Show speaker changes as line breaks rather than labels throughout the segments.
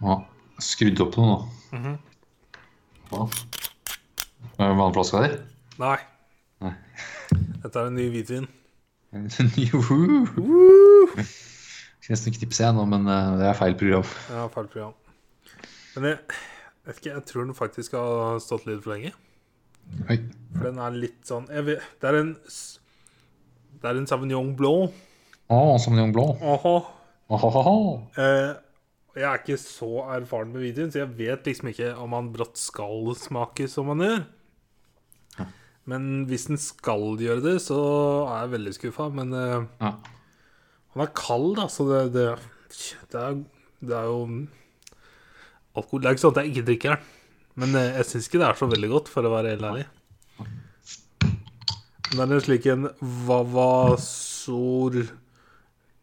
Ja. Skrudd opp noe nå.
Mhm.
Ja. Er det Vannflaska di?
Nei.
Nei.
Dette er en ny hvitvin.
Juhu! Skal nesten knipse jeg nå, men eh, det er feil program.
Ja, feil program. Men jeg, vet ikke, jeg tror den faktisk har stått litt for lenge.
Oi.
For den er litt sånn jeg vet, Det er en s- Det er en Sauvignon Blanc.
Å, Sauvignon Blå.
Aha.
Ahaha.
Eh, jeg er ikke så erfaren med videoen, så jeg vet liksom ikke om han brått skal smake som han gjør. Men hvis den skal gjøre det, så er jeg veldig skuffa. Men eh,
Ja.
han er kald, da, så det, det, det, er, det er jo Alkohol Det er ikke sånn at jeg ikke drikker den. Men eh, jeg syns ikke det er så veldig godt, for å være helt ærlig. Det er en slik en Vavasor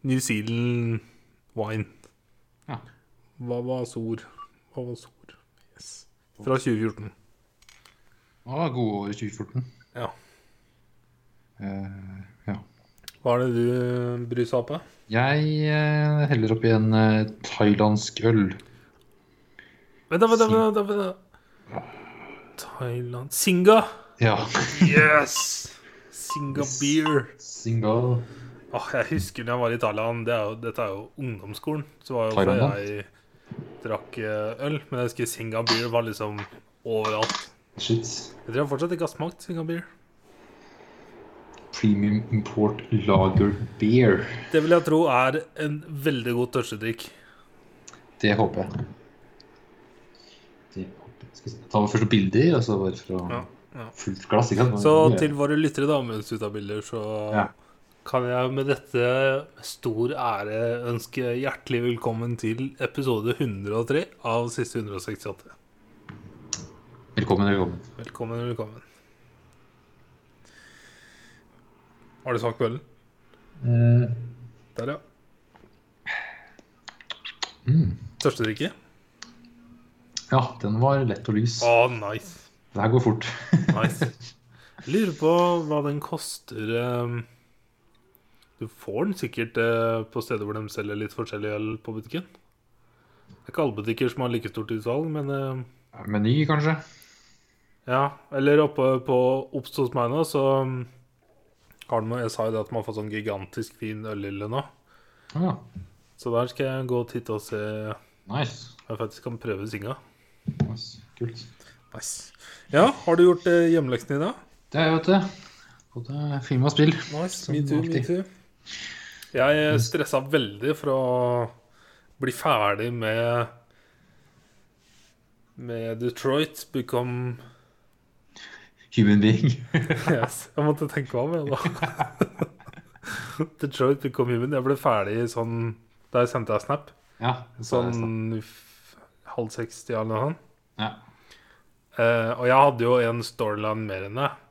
New Zealand wine.
Ja.
Vavasor Vavasor Yes. Fra 2014.
Ah, gode år i 2014.
Ja.
Eh, ja.
Hva er det du bruser opp av?
Jeg eh, heller oppi en eh, thailandsk øl.
Vent, da, vent, da, vent, da, vent, da. Thailand Singa!
Ja.
Yes! Singa beer.
Singal.
Åh, jeg husker da jeg var i Thailand det er jo, Dette er jo ungdomsskolen. Så var jo
Thailand,
før
da?
jeg drakk eh, øl. Men jeg husker Singa beer var liksom overalt.
Shit.
Jeg tror jeg fortsatt ikke har smakt Singa beer.
Premium import lager beer.
Det vil jeg tro er en veldig god tørstedrikk.
Det håper jeg. Det håper jeg. Skal vi ta noen første bilder, og så bare for å
Ja, ja.
Fullt glass, ikke sant?
Så til våre lyttere, da, mens du tar bilder, så
Ja.
kan jeg med dette stor ære ønske hjertelig velkommen til episode 103 av siste 168.
Velkommen, velkommen.
Velkommen, velkommen. Har du smakt på ølen?
Eh,
Der, ja. Tørstedrikke?
ja, den var lett og lys.
Å, nice.
Det her går fort.
Nice. Jeg Lurer på hva den koster eh, Du får den sikkert eh, på steder hvor de selger litt forskjellig øl på butikken. Det er ikke alle butikker som har like stort utvalg, men eh,
Meny, kanskje?
Ja, eller oppe på Obst hos meg nå, så um, har de, jeg sa jo det at man har fått sånn gigantisk fin ølhylle nå.
Ja,
Så der skal jeg gå og titte og se om
nice.
jeg faktisk kan prøve singa.
nice. Kult.
Nice. Ja, har du gjort eh, hjemmeleksen i dag?
Det er jo, eh, vet du. Både film og eh, spill.
Nice,
Som
me too, me
alltid.
too. Jeg stressa veldig for å bli ferdig med med Detroit Become
Human being.
Yes, jeg måtte tenke meg om, jeg, da. Detroit Become Human. Jeg ble ferdig sånn Da jeg sendte deg snap.
ja, så er det snart.
Sånn f- halv seks til eller noe sånt.
Ja.
Eh, og jeg hadde jo en storyline mer enn deg,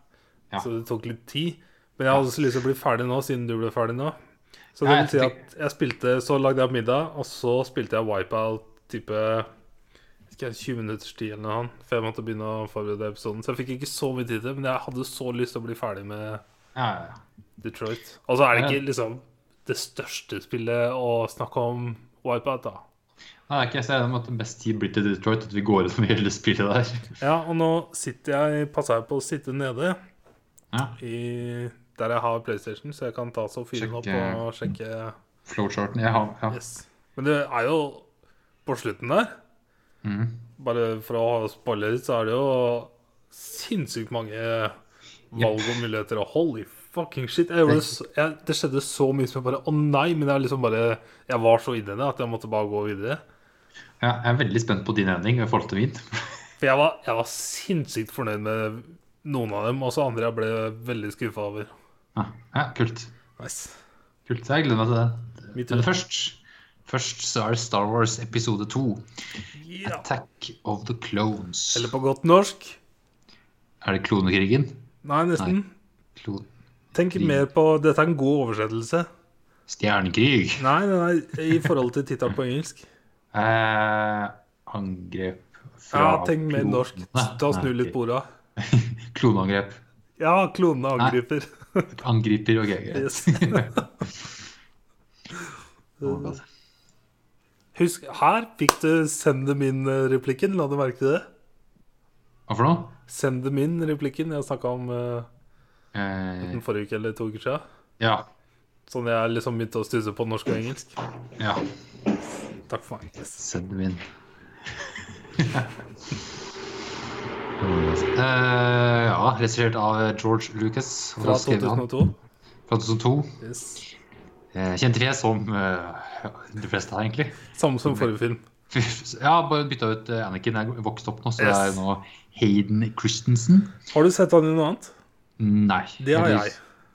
Ja.
så det tok litt tid. Men jeg hadde også lyst til å bli ferdig nå, siden du ble ferdig nå. Så det
Ja,
vil si
jeg
at jeg spilte, så lagde jeg middag, og så spilte jeg Wipeout type ikke, 20 minutters tid eller noe annet, for jeg måtte begynne å forberede episoden. Så jeg fikk ikke så mye tid til det, men jeg hadde så lyst til å bli ferdig med
Ja, ja, ja.
Detroit. Og så er det
Ja.
ikke liksom det største spillet å snakke om Wipeout, da.
Nei, ikke jeg ser det med at det best tid blir til Detroit, at vi går ut med hele spillet der.
Ja, og nå sitter jeg, passer jeg på å sitte nede
Ja,
i, der jeg har PlayStation, så jeg kan ta så fyren opp
Sjekke-
og sjekke.
flowcharten. Jeg har, ja.
Yes. Men det er jo på slutten der,
Mhm.
bare for å spoile litt, så er det jo sinnssykt mange valg og muligheter. Og holy fucking shit! Jeg gjorde det, så, jeg, det skjedde så mye som jeg bare Å nei! Men jeg liksom bare Jeg var så inne i det at jeg måtte bare gå videre.
Ja, jeg er veldig spent på din ending i forhold til min.
For jeg var, jeg var sinnssykt fornøyd med noen av dem, og så andre jeg ble veldig skuffa over.
Ja, ja kult.
Nice.
Kult, jeg gleder meg til det.
Mitt
Men
ord.
først, først så er det Star Wars episode 2.
Ja.
Attack of the Clones.
Eller på godt norsk
Er det klonekrigen?
Nei, nesten.
Klo
Tenk
Krig.
mer på Dette er en god oversettelse.
Stjernekrig.
Nei, nei, nei i forhold til tittelen på engelsk.
Eh, angrep fra
Ja, tenk mer norsk.
klonene.
Ta og Snu
Nei,
litt
ok.
på orda.
Kloneangrep.
Ja, klonene angriper.
Angriper og greier.
Yes.
Oh my God.
Husk, her fikk du 'send dem inn'-replikken. La du merke til det?
Hva for noe?
'Send dem inn'-replikken jeg snakka om eh,
Eh,
den forrige uke eller to uker siden.
ja.
Sånn jeg liksom begynte å stusse på norsk og engelsk.
Ja.
Takk for meg. Yes.
Send dem inn. Eh, ja, regissert av George Lucas. og
Fra
skrevet av han
2002.
Fra 2002.
Yes.
Eh, kjente fjes som eh, ja, de fleste her, egentlig.
Samme som forrige film.
Ja, bare bytta ut eh, Anakin. Jeg er vokst opp nå, så det
Yes.
er nå Hayden Christensen.
Har du sett han i noe annet?
Nei.
Det har
heldigvis.
jeg.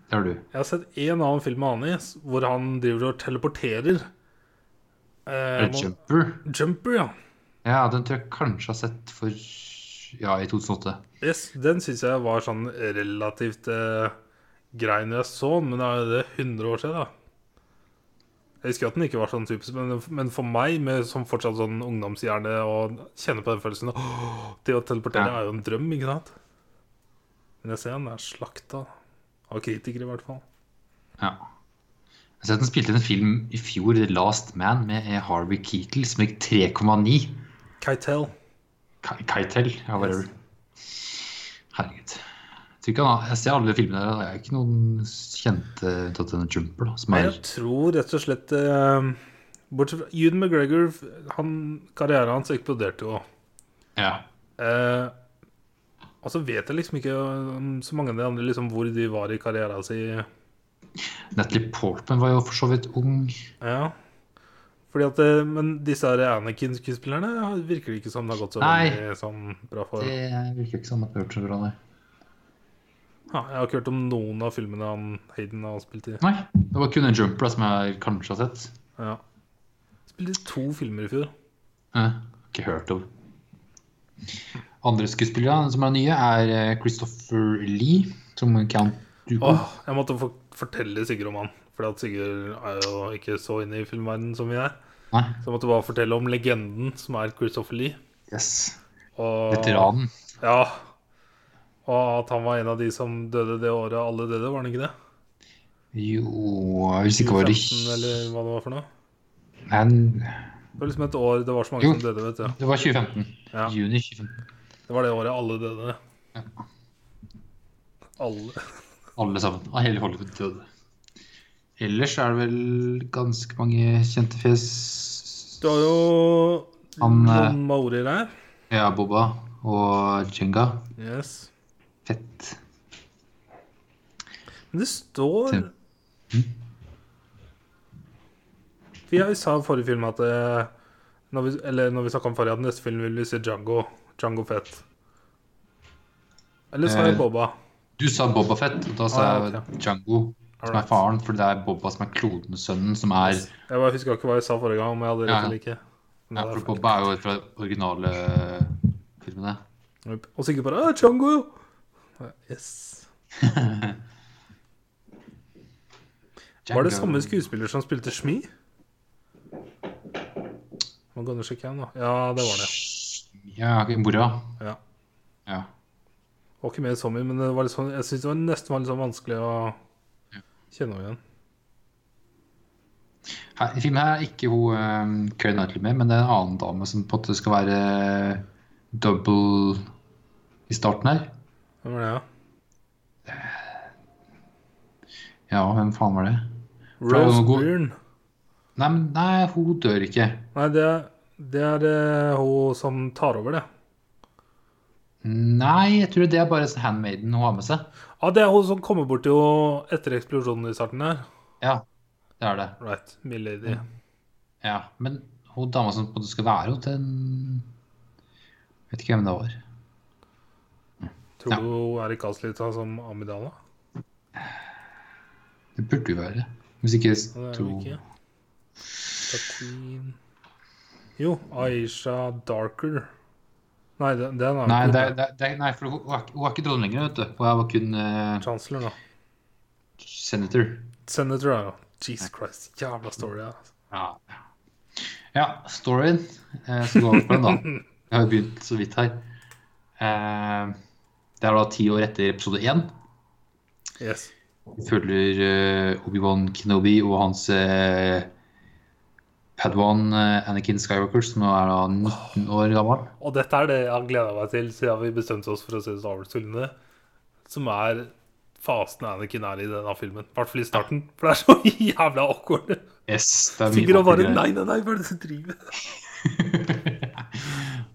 Det har du.
Jeg har sett en annen film med han i, s- hvor han driver og teleporterer. Eh,
Er det Jumper?
Jumper, ja.
Ja, den tror jeg kanskje har sett for Ja, i 2008.
Yes, den syns jeg var sånn relativt eh, grei når jeg så den, men da er det 100 år siden, da. Jeg husker at den ikke var sånn typisk, men, men for meg, med som fortsatt sånn ungdomshjerne, og kjenne på den følelsen «Åh, Det å teleportere
Ja.
er jo en drøm, ikke sant? Men jeg ser den er slakta. Av kritikere, i hvert fall.
Ja. Jeg har sett den spilte i en film i fjor, The Last Man, med Harvey Keatle, som gikk 3,9.
Keitel.
Ki- Keitel, ja, whatever. Herregud. Jeg tror ikke han har, jeg ser alle filmene der, og det er ikke noen kjente unntatt denne Jumper, da, som
Nei,
er
jeg tror rett og slett eh, Bortsett fra Ewan McGregor, han, karrieren hans eksploderte jo.
Ja.
Eh, og så vet jeg liksom ikke um, så mange av de andre liksom, hvor de var i karrieren sin.
Natalie Portman var jo for så vidt ung.
Ja. Fordi at, eh, men disse her Anakin-skuespillerne ja, virker det ikke som det har gått så
Nei.
veldig sånn, bra for.
Det virker ikke som at vi har hørt så bra, nei.
Ja, jeg har ikke hørt om noen av filmene han Hayden har spilt i.
Nei, det var kun en Jumper da, som jeg kanskje har sett.
Ja. Spilte i to filmer i fjor.
Ja, ikke hørt om. Andre skuespillere som er nye, er eh, Christopher Lee, som Count Dooku.
Åh, jeg måtte for fortelle Sigurd om han. Fordi at Sigurd er jo ikke så inne i filmverdenen som vi er.
Nei,
Så jeg måtte bare fortelle om legenden som er Christopher Lee.
yes.
Og...
Veteranen.
Ja. Og at han var en av de som døde det året alle døde, var han ikke det?
Jo, hvis ikke var det
2015 eller hva det var for noe?
Nei,
Det var liksom et år det var så mange
Jo.
som døde, vet du.
det var 2015.
Ja.
Juni 2015.
Det var det året alle døde.
Ja.
Alle
Alle sammen. Av hele Hollywood døde. Ellers er det vel ganske mange kjente fjes.
Du har jo
Han, eh,
noen maorier her.
Ja, Boba og Jenga.
Yes.
Fett.
Men det står
Tim. Hm?
For jeg sa i forrige film at eh, når vi, Eller når vi snakka om forrige, at neste film vil vi se Django. Django Fett. Eller sa
Eh,
jeg Boba?
Du sa Boba Fett, og da sa
Ah,
jeg Django, som er
Alright.
faren. For det er Boba som er klonesønnen, som er
Jeg bare husker ikke hva jeg sa forrige gang, om jeg hadde rett
Ja.
eller ikke.
ja,
Men det er
For
fint.
Boba er jo fra originale eh, filmene.
Nope. Og sikkert bare «Ah, Django! Yes. Var
Django.
det samme skuespiller som spilte Shmi? Man kan jo sjekke igjen, da. Ja, det var det.
Ja, Bora.
Ja.
Ja.
Var ikke med i Zombie, men det var litt sånn, jeg syns det var nesten var litt sånn vanskelig å kjenne henne igjen.
Her, I filmen her er ikke hun um, Keira Knightley med, men det er en annen dame som på en måte skal være eh, double i starten her.
Hvem var det, ja?
Ja, hvem faen var det? det
Rose
noe god-
Byrne.
Nei, men nei, hun dør ikke.
Nei, det, det er eh, hun som tar over, det.
Nei, jeg tror det er bare sånn handmaiden hun har med seg.
Ja, det er hun som kommer bort til henne etter eksplosjonen i starten her.
Ja, det er det.
Right, Milady.
Ja, Men hun dama som på en måte skal være henne, den Vet ikke hvem det var.
Tror du hun er i Kaslita som Amidala?
Det burde jo være. Hvis ikke
Ja, det er
tror
jo ikke. Tatooine Jo, Aisha Darker. Nei, den, den er jo
Nei,
ikke
det, er- det, er- det, er- nei for hun hun er, ikke- hun er ikke dronning lenger, vet du. Hun er bare kun eh,
Chancellor, da.
senator.
Senator, ja. Jesus Christ, jævla story. Ja.
Ja. ja storyen. Eh, så går vi på den, da. Vi har jo begynt så vidt her. Eh, det er da ti år etter episode én.
Yes.
Vi følger eh, Obi-Wan Kenobi og hans eh, Padwan eh, Anakin Skywalker, som nå er da 19 år gammel.
Og dette er det jeg har gleda meg til siden vi bestemte oss for å se Star Wars-filmene. Som er fasen Anakin er i denne filmen. I hvert fall i starten. For det er så jævla awkward.
Yes, det er mye
Sikkert å bare
ordentlig
Nei, nei, nei, hva er det du driver med?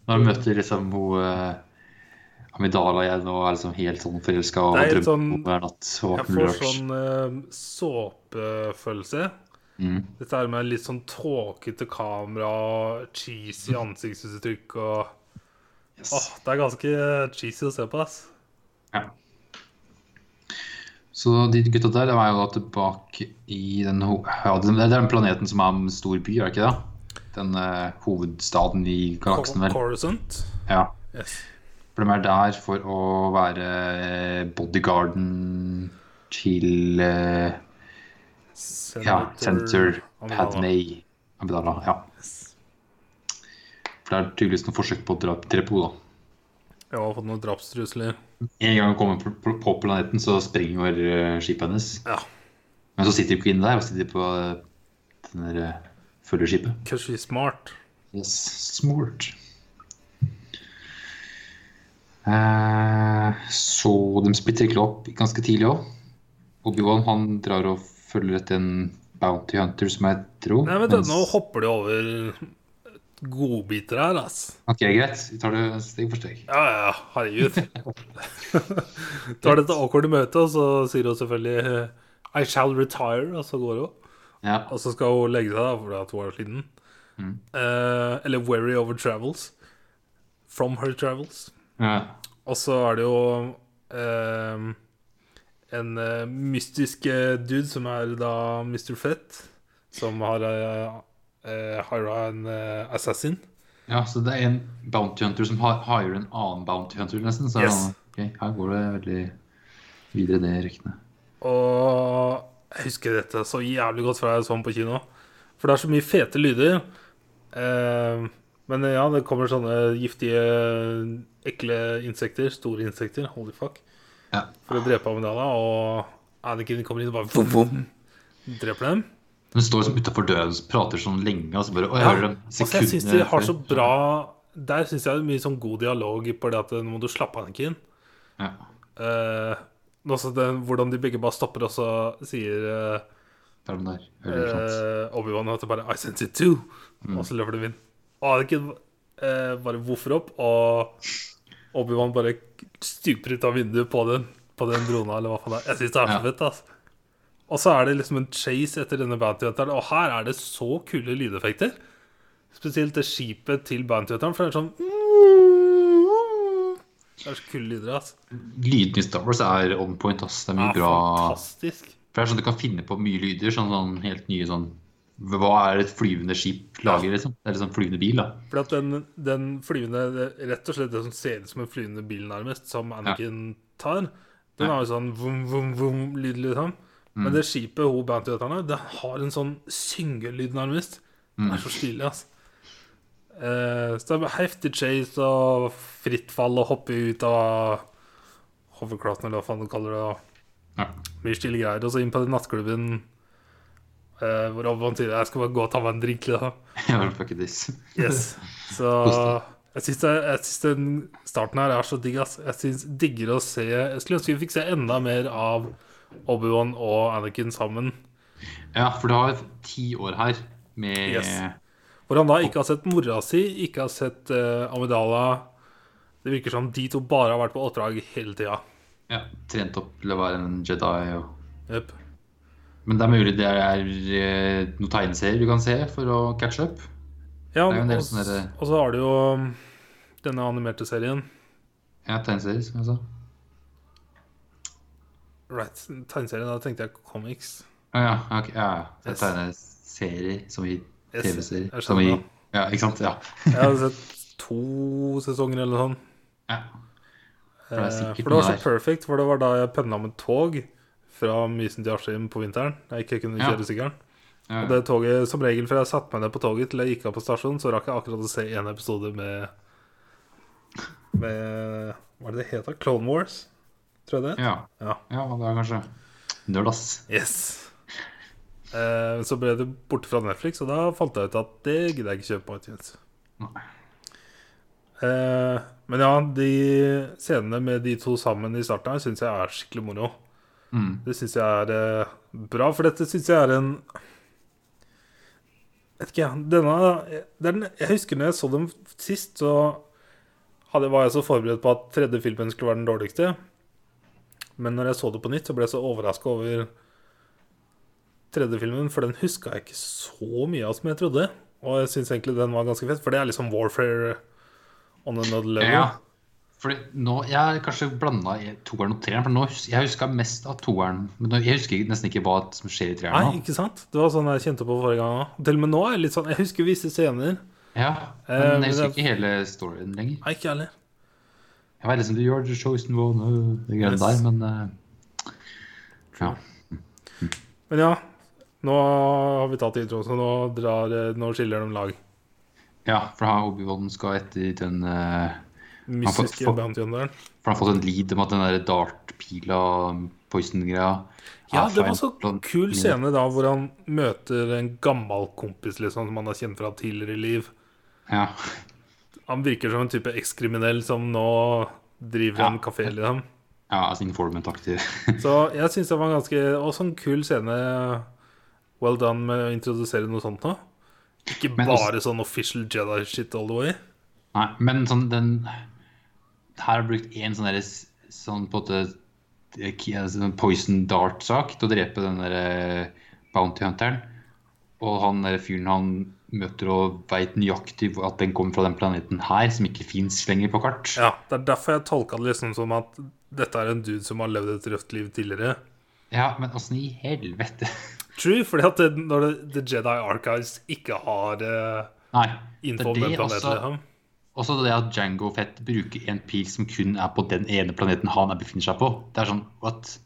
Når han møter liksom hun eh, Amidala igjen og er liksom helt sånn forelska og
Det er
drømmer
helt
om
sånn-
hver natt og
Jeg
har
får
lurch.
sånn eh, såpefølelse.
Mm.
Dette her med litt sånn tåkete kamera, cheesy
Mm.
ansiktsuttrykk og
Yes.
Åh, Det er ganske cheesy å se på, ass.
Så de gutta der de er jo da tilbake i den, ho- ja, den, det er den planeten som er en stor by, er det ikke det? Den eh, hovedstaden i galaksen, vel?
Coruscant.
Ja.
Yes.
For de er der for å være eh, bodyguarden til eh, ja, Senator
Amidala.
Padmay Amidala. Ja.
Yes.
For det er tydeligvis noen forsøk på å dra- drepe henne, da.
Jeg har fått noen drapstrusler.
En gang hun kommer på- på- på planeten, så springer eh, skipet hennes.
Ja.
Men så sitter kvinnen der, og sitter på eh, den der eh, følgeskipet.
Cause she's smart.
Yes, smart. Eh, så de splitter egentlig opp ganske tidlig òg. Obi-Wan han drar og følger etter en bounty hunter, som jeg tror.
Nei, vent da,
mens-
nå hopper du over godbiter her, ass.
Ok, greit. Vi tar det steg for steg.
Ja, ja, ja, herregud. du har dette awkwarde møtet, og så sier hun selvfølgelig eh, I shall retire, og så går hun.
Ja.
Og så skal hun legge seg, da, fordi at hun er sliten.
Mm.
Eh, eller wary over travels. From her travels.
Ja.
Og så er det jo eh, en eh, mystisk eh, dude som er da Mr. Fett, som har uh, hira en eh, assassin.
ja, så det er en bounty hunter som har- hirer en annen bounty hunter, nesten. Så er det
Yes.
sånn, ok, her går det veldig videre, det ryktene.
Og jeg husker dette så jævlig godt fra jeg så den på kino. For det er så mye fete lyder. Eh, men ja, det kommer sånne giftige, ekle insekter. Store insekter. Holy fuck.
Ja.
For å drepe Amidala. Og Anakin kommer inn og bare vum, vum, dreper dem.
De står liksom utafor døra og prater sånn lenge, og så bare Å, jeg
Ja.
hører dem
Altså, jeg syns de har så bra Der syns jeg det er mye sånn god dialog på det at eh, nå må du slappe av, Anakin.
Ja.
Eh, også den, hvordan de begge bare stopper og så sier eh,
Det er de der. Hører ikke sant. Mm.
Eh, Obi-Wan heter bare I sense it too. Og så løper de inn. Og Anakin eh, bare voffer opp, og Obi-Wan bare stuper ut av vinduet på den På den drona, eller hva faen det er. Jeg syns det er så
Ja.
fett, altså. Og så er det liksom en chase etter denne bounty hunteren, og her er det så kule lydeffekter. Spesielt det skipet til bounty hunteren, for det er sånn Det er så kule lyder, altså.
Lydene i Star Wars er on point. ass. Det er mye
Ja,
bra
Ah, fantastisk.
For det er sånn Du kan finne på mye lyder. Sånn, sånn helt nye sånn Hva er et flyvende skip lager? liksom? Det er liksom flyvende bil, da.
For at den, den flyvende det- Rett og slett det som ser ut som en flyvende bil, nærmest, som Anakin tar, den
Ja.
har jo sånn vum, vum, vum-lyd, liksom. Men det skipet hun bandt ut av, det har en sånn syngelyd, nærmest. Det er så stilig, altså. Eh, så det er heftig chase og fritt fall og hoppe ut av hovercraften, eller hva faen du kaller det. og
Ja.
mye stille greier. Og så inn på den nattklubben eh, hvor Obi-Wan sier 'jeg skal bare gå og ta meg en drink'. liksom. Da.
Ja, fuck it, this.
Yes. Så jeg syns, det, jeg syns den starten her er så digg, ass. Jeg syns digger å se Jeg skulle ønske vi fikk se enda mer av Obi-Wan og Anakin sammen.
ja, for du har ti år her med
Yes. Hvor han da ikke har sett mora si, ikke har sett eh, Amidala. Det virker som de to bare har vært på oppdrag hele tida.
ja, trent opp til å være en Jedi. Og...
Jep.
Men det er mulig det er eh, noen tegneserier du kan se for å catch up.
Ja,
Det er jo en del
og,
sånne der-
og så har du jo um, denne animerte serien.
Ja, tegneserier, som jeg sa.
Right, tegneserien, da tenkte jeg comics.
Ja, ja, ok, ja. ja.
Yes.
Tegneserier som i
Yes,
TV-serier.
jeg
Som i
skjønner.
Ja, ikke sant? Ja.
Jeg har sett to sesonger eller noe sånt.
ja.
Eh,
det er sikkert
For det var
noe
så perfekt, for det var da jeg pendla med tog fra Mysen til Askim på vinteren. Jeg ikke kunne
Ja.
kjøre sykkelen.
ja.
Og det toget, som regel fra jeg satte meg ned på toget til jeg gikk av på stasjonen, så rakk jeg akkurat å se én episode med Med Hva er det det heter? Clone Wars? Tror jeg det?
Ja.
Ja.
ja, det er kanskje Nerd, ass.
Yes. Eh, så ble det borte fra Netflix, og da fant jeg ut at det gidder jeg ikke kjøpe på iTunes.
Nei.
Eh, men ja, de scenene med de to sammen i starten her syns jeg er skikkelig moro.
Mm.
Det syns jeg er eh, bra, for dette syns jeg er en Vet ikke, jeg. Denne det er den, Jeg husker når jeg så dem sist, så hadde, var jeg så forberedt på at tredje filmen skulle være den dårligste. Men når jeg så det på nytt, så ble jeg så overraska over tredje filmen, for den huska jeg ikke så mye av som jeg trodde. Og jeg syns egentlig den var ganske fett, for det er liksom Warfare on another level.
Ja. Fordi nå, Jeg har kanskje blanda toeren og treeren. For nå, hus- jeg huska mest av toeren. Men nå, jeg husker nesten ikke hva som skjer i
Nei,
treeren nå.
ikke sant? Det var sånn jeg kjente på forrige gang òg. Til og med nå er jeg litt sånn Jeg husker visse scener.
Ja,
Eh,
men jeg husker
men det-
ikke hele storyen lenger.
Nei, ikke jeg heller.
Jeg vet liksom, You're the chosen one, øh, det greiene
Yes.
der, men eh, ja.
Men ja, nå har vi tatt introen, så nå, drar, nå skiller de lag.
ja, for han Obi-Wan skal etter den eh,
Mystiske
for-
Bounty Hunteren.
For han har fått en lead om at den der dart-pila, poison-greia
Ja,
er
det
fra
var
en
så
plan- Mm.
kul scene da hvor han møter en gammel kompis liksom, som han har kjent fra tidligere i liv.
Ja.
Han virker som en type ekskriminell som nå driver
Ja.
en kafé. Liksom.
ja, altså informant-aktig.
Så jeg syns det var en ganske Også en kul scene. Well done med å introdusere noe sånt nå. Ikke
Men også-
bare sånn official Jedi shit all the way.
Nei, men sånn den Her har jeg brukt én sånn derre s- sånn på en måte k- sånn poison dart-sak til å drepe den derre bounty hunteren. Og han derre fyren han møter og veit nøyaktig hvor- at den kommer fra den planeten her, som ikke fins lenger på kart.
Ja, Det er derfor jeg tolka det liksom som at dette er en dude som har levd et røft liv tidligere.
Ja, men åssen i helvete?
True, fordi at det, når det, The Jedi Archives ikke har eh,
Nei.
info om
det er
den
det
planeten.
også.
Liksom.
Også det at Django Fett bruker en pil som kun er på den ene planeten han er befinner seg på. Det er sånn at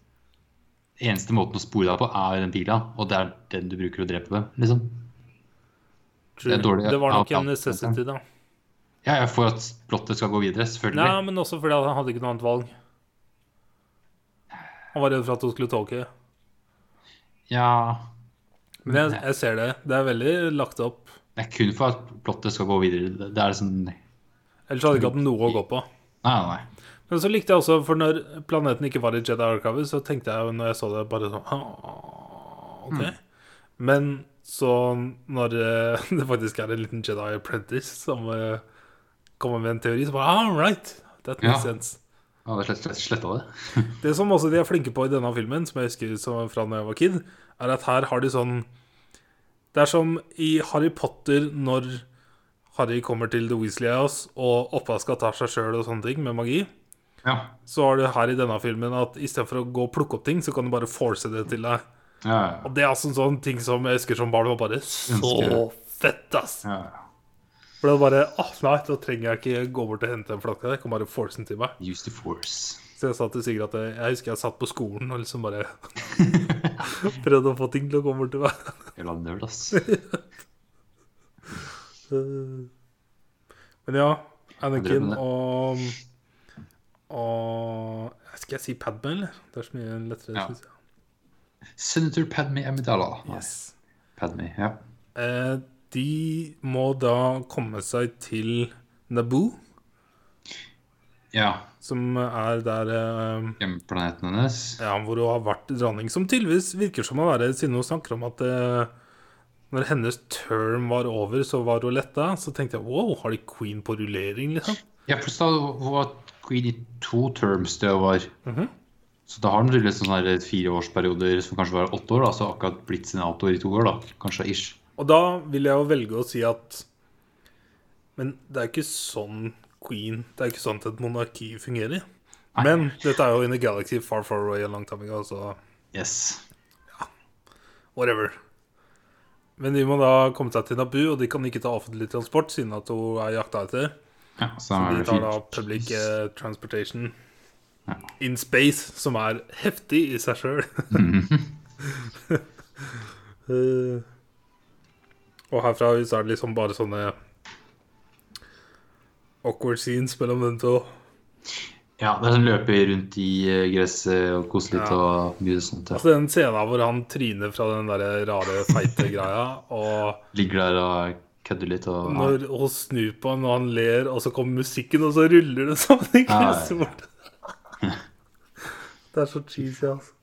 eneste måten å spore deg på, er den pila. Og det er den du bruker å drepe dem. liksom.
True.
det er
Det,
dårlig- Mm.
var nok
ja,
en
ja,
necessity, da.
Ja, ja, For at plottet skal gå videre, selvfølgelig.
Nei, men også fordi at han hadde ikke noe annet valg. Han var redd for at hun skulle tolke.
Ja,
Men jeg, jeg ser det. Det er veldig lagt opp.
Det er kun for at plottet skal gå videre. Det- Det er liksom Nei,
Ellers hadde jeg ikke hatt noe å gå på.
nei, nei.
Men så likte jeg også, for når planeten ikke var i Jedi Archives, så tenkte jeg jo når jeg så det, bare sånn «Ah, OK. Men så når eh, det faktisk er en liten Jedi Apprentice som eh, kommer med en teori, så bare All right, that makes
Ja.
sense.
Jeg hadde slett, slett, sletta det.
Det som også de er flinke på i denne filmen, som jeg husker som fra da jeg var kid, er at her har de sånn Det er som i Harry Potter når Harry kommer til The Weasley House og oppvaska tar seg sjøl og sånne ting med magi.
Ja,
Så har du her i denne filmen at istedenfor å gå og plukke opp ting, så kan du bare force det til deg.
ja, ja,
Og det er altså en sånn ting som jeg husker som barn var bare så
Ønsker.
fett, ass.
ja, ja.
For det var bare åh, nei, da trenger jeg ikke gå bort og hente en flaske. Jeg kan bare force den til meg.
Use the force.
Så jeg sa til Sigurd at jeg, jeg husker jeg satt på skolen og liksom bare prøvde å få ting til å komme bort til meg.
Jævla nerd, ass.
Men ja, Anakin
Drømmen, ja.
og og Skal jeg si Padme, eller? Det er så mye lettere,
Ja.
synes jeg.
Senator Padme Amidala. Nei,
Yes.
Padme, ja.
Eh, de må da komme seg til Naboo,
Ja,
som er der eh,
Hjemplaneten hennes.
Ja, hvor hun har vært dronning, som tydeligvis virker som å være Siden hun snakker om at eh, når hennes term var over, så var hun letta. Så tenkte jeg wow, har de queen på rullering, liksom?
Ja, for da var Queen i to terms det var.
Mhm.
Så da har den rullet sånne her fireårsperioder som kanskje var åtte år, da, så akkurat blitt senator i to år, da. Kanskje ish.
Og da vil jeg jo velge å si at Men det er ikke sånn queen Det er ikke sånn at et monarki fungerer.
Nei.
Men dette er jo in a galaxy far far away a long time ago, så
Yes.
whatever. Men de må da komme seg til Naboo, og de kan ikke ta offentlig transport siden at hun er jakta etter.
Ja, så,
Så
er
de
det
tar
fint.
da public eh, transportation
Ja.
in space, som er heftig i seg sjøl.
Mhm.
Eh, og herfra ut så er det liksom bare sånne awkward scenes mellom dem to.
Ja, det er sånn løpe rundt i eh, gresset og kose litt
Ja.
og mye sånt. Ja.
Altså Den scenen hvor han tryner fra den der rare, feite greia, og
Ligger der og kødder litt og ja.
når hun snur på han og han ler, og så kommer musikken, og så ruller det sammen
Ja,
i
ja, ja.
gresset bort. Det er så cheesy, altså.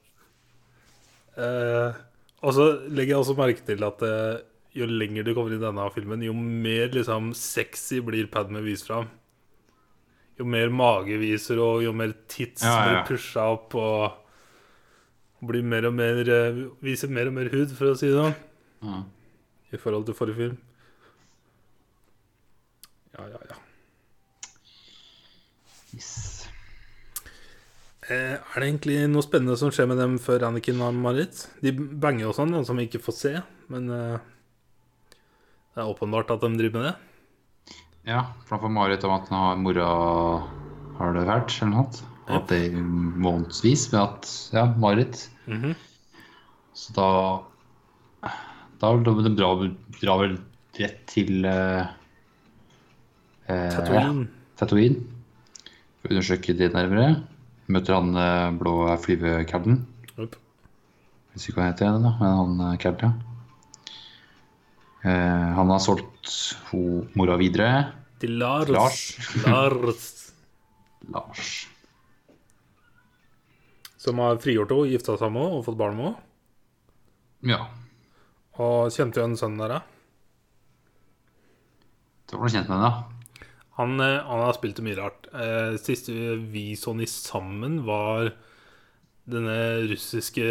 Eh, og så legger jeg også merke til at eh, jo lenger du kommer i denne filmen, jo mer liksom sexy blir Padme vist fram. Jo mer mage viser, og jo mer tits
Ja, ja, ja.
blir pusha opp, og blir mer og mer eh, Viser mer og mer hud, for å si det sånn,
Ja.
i forhold til forrige film. Ja, ja, ja.
Yes.
Eh, er det egentlig noe spennende som skjer med dem før Anakin og Marit? De banger jo sånn, noen som vi ikke får se, men eh, det er åpenbart at de driver med det.
Ja, for han får mareritt om at han har mora har det fælt, eller noe sånt.
Ja.
At det er månedsvis, men at Ja, mareritt.
Mhm.
Så da Da vil de dra, dra vel rett til eh, eh,
Tatooine.
Tatooine. For å undersøke det nærmere. Møter han eh, blå flyvecadden.
Opp.
Hvis ikke hva han heter igjen, da. Men han eh, cadden, ja. Eh, han har solgt ho mora videre.
Til Lars.
Lars.
Lars.
Lars.
Som har frigjort henne, gifta seg med henne og fått barn med henne.
Ja.
Og kjente jo en sønn der, ja.
Det var noe kjent med henne, da.
Han, eh, han har spilt mye rart. Eh, siste vi så han i sammen, var denne russiske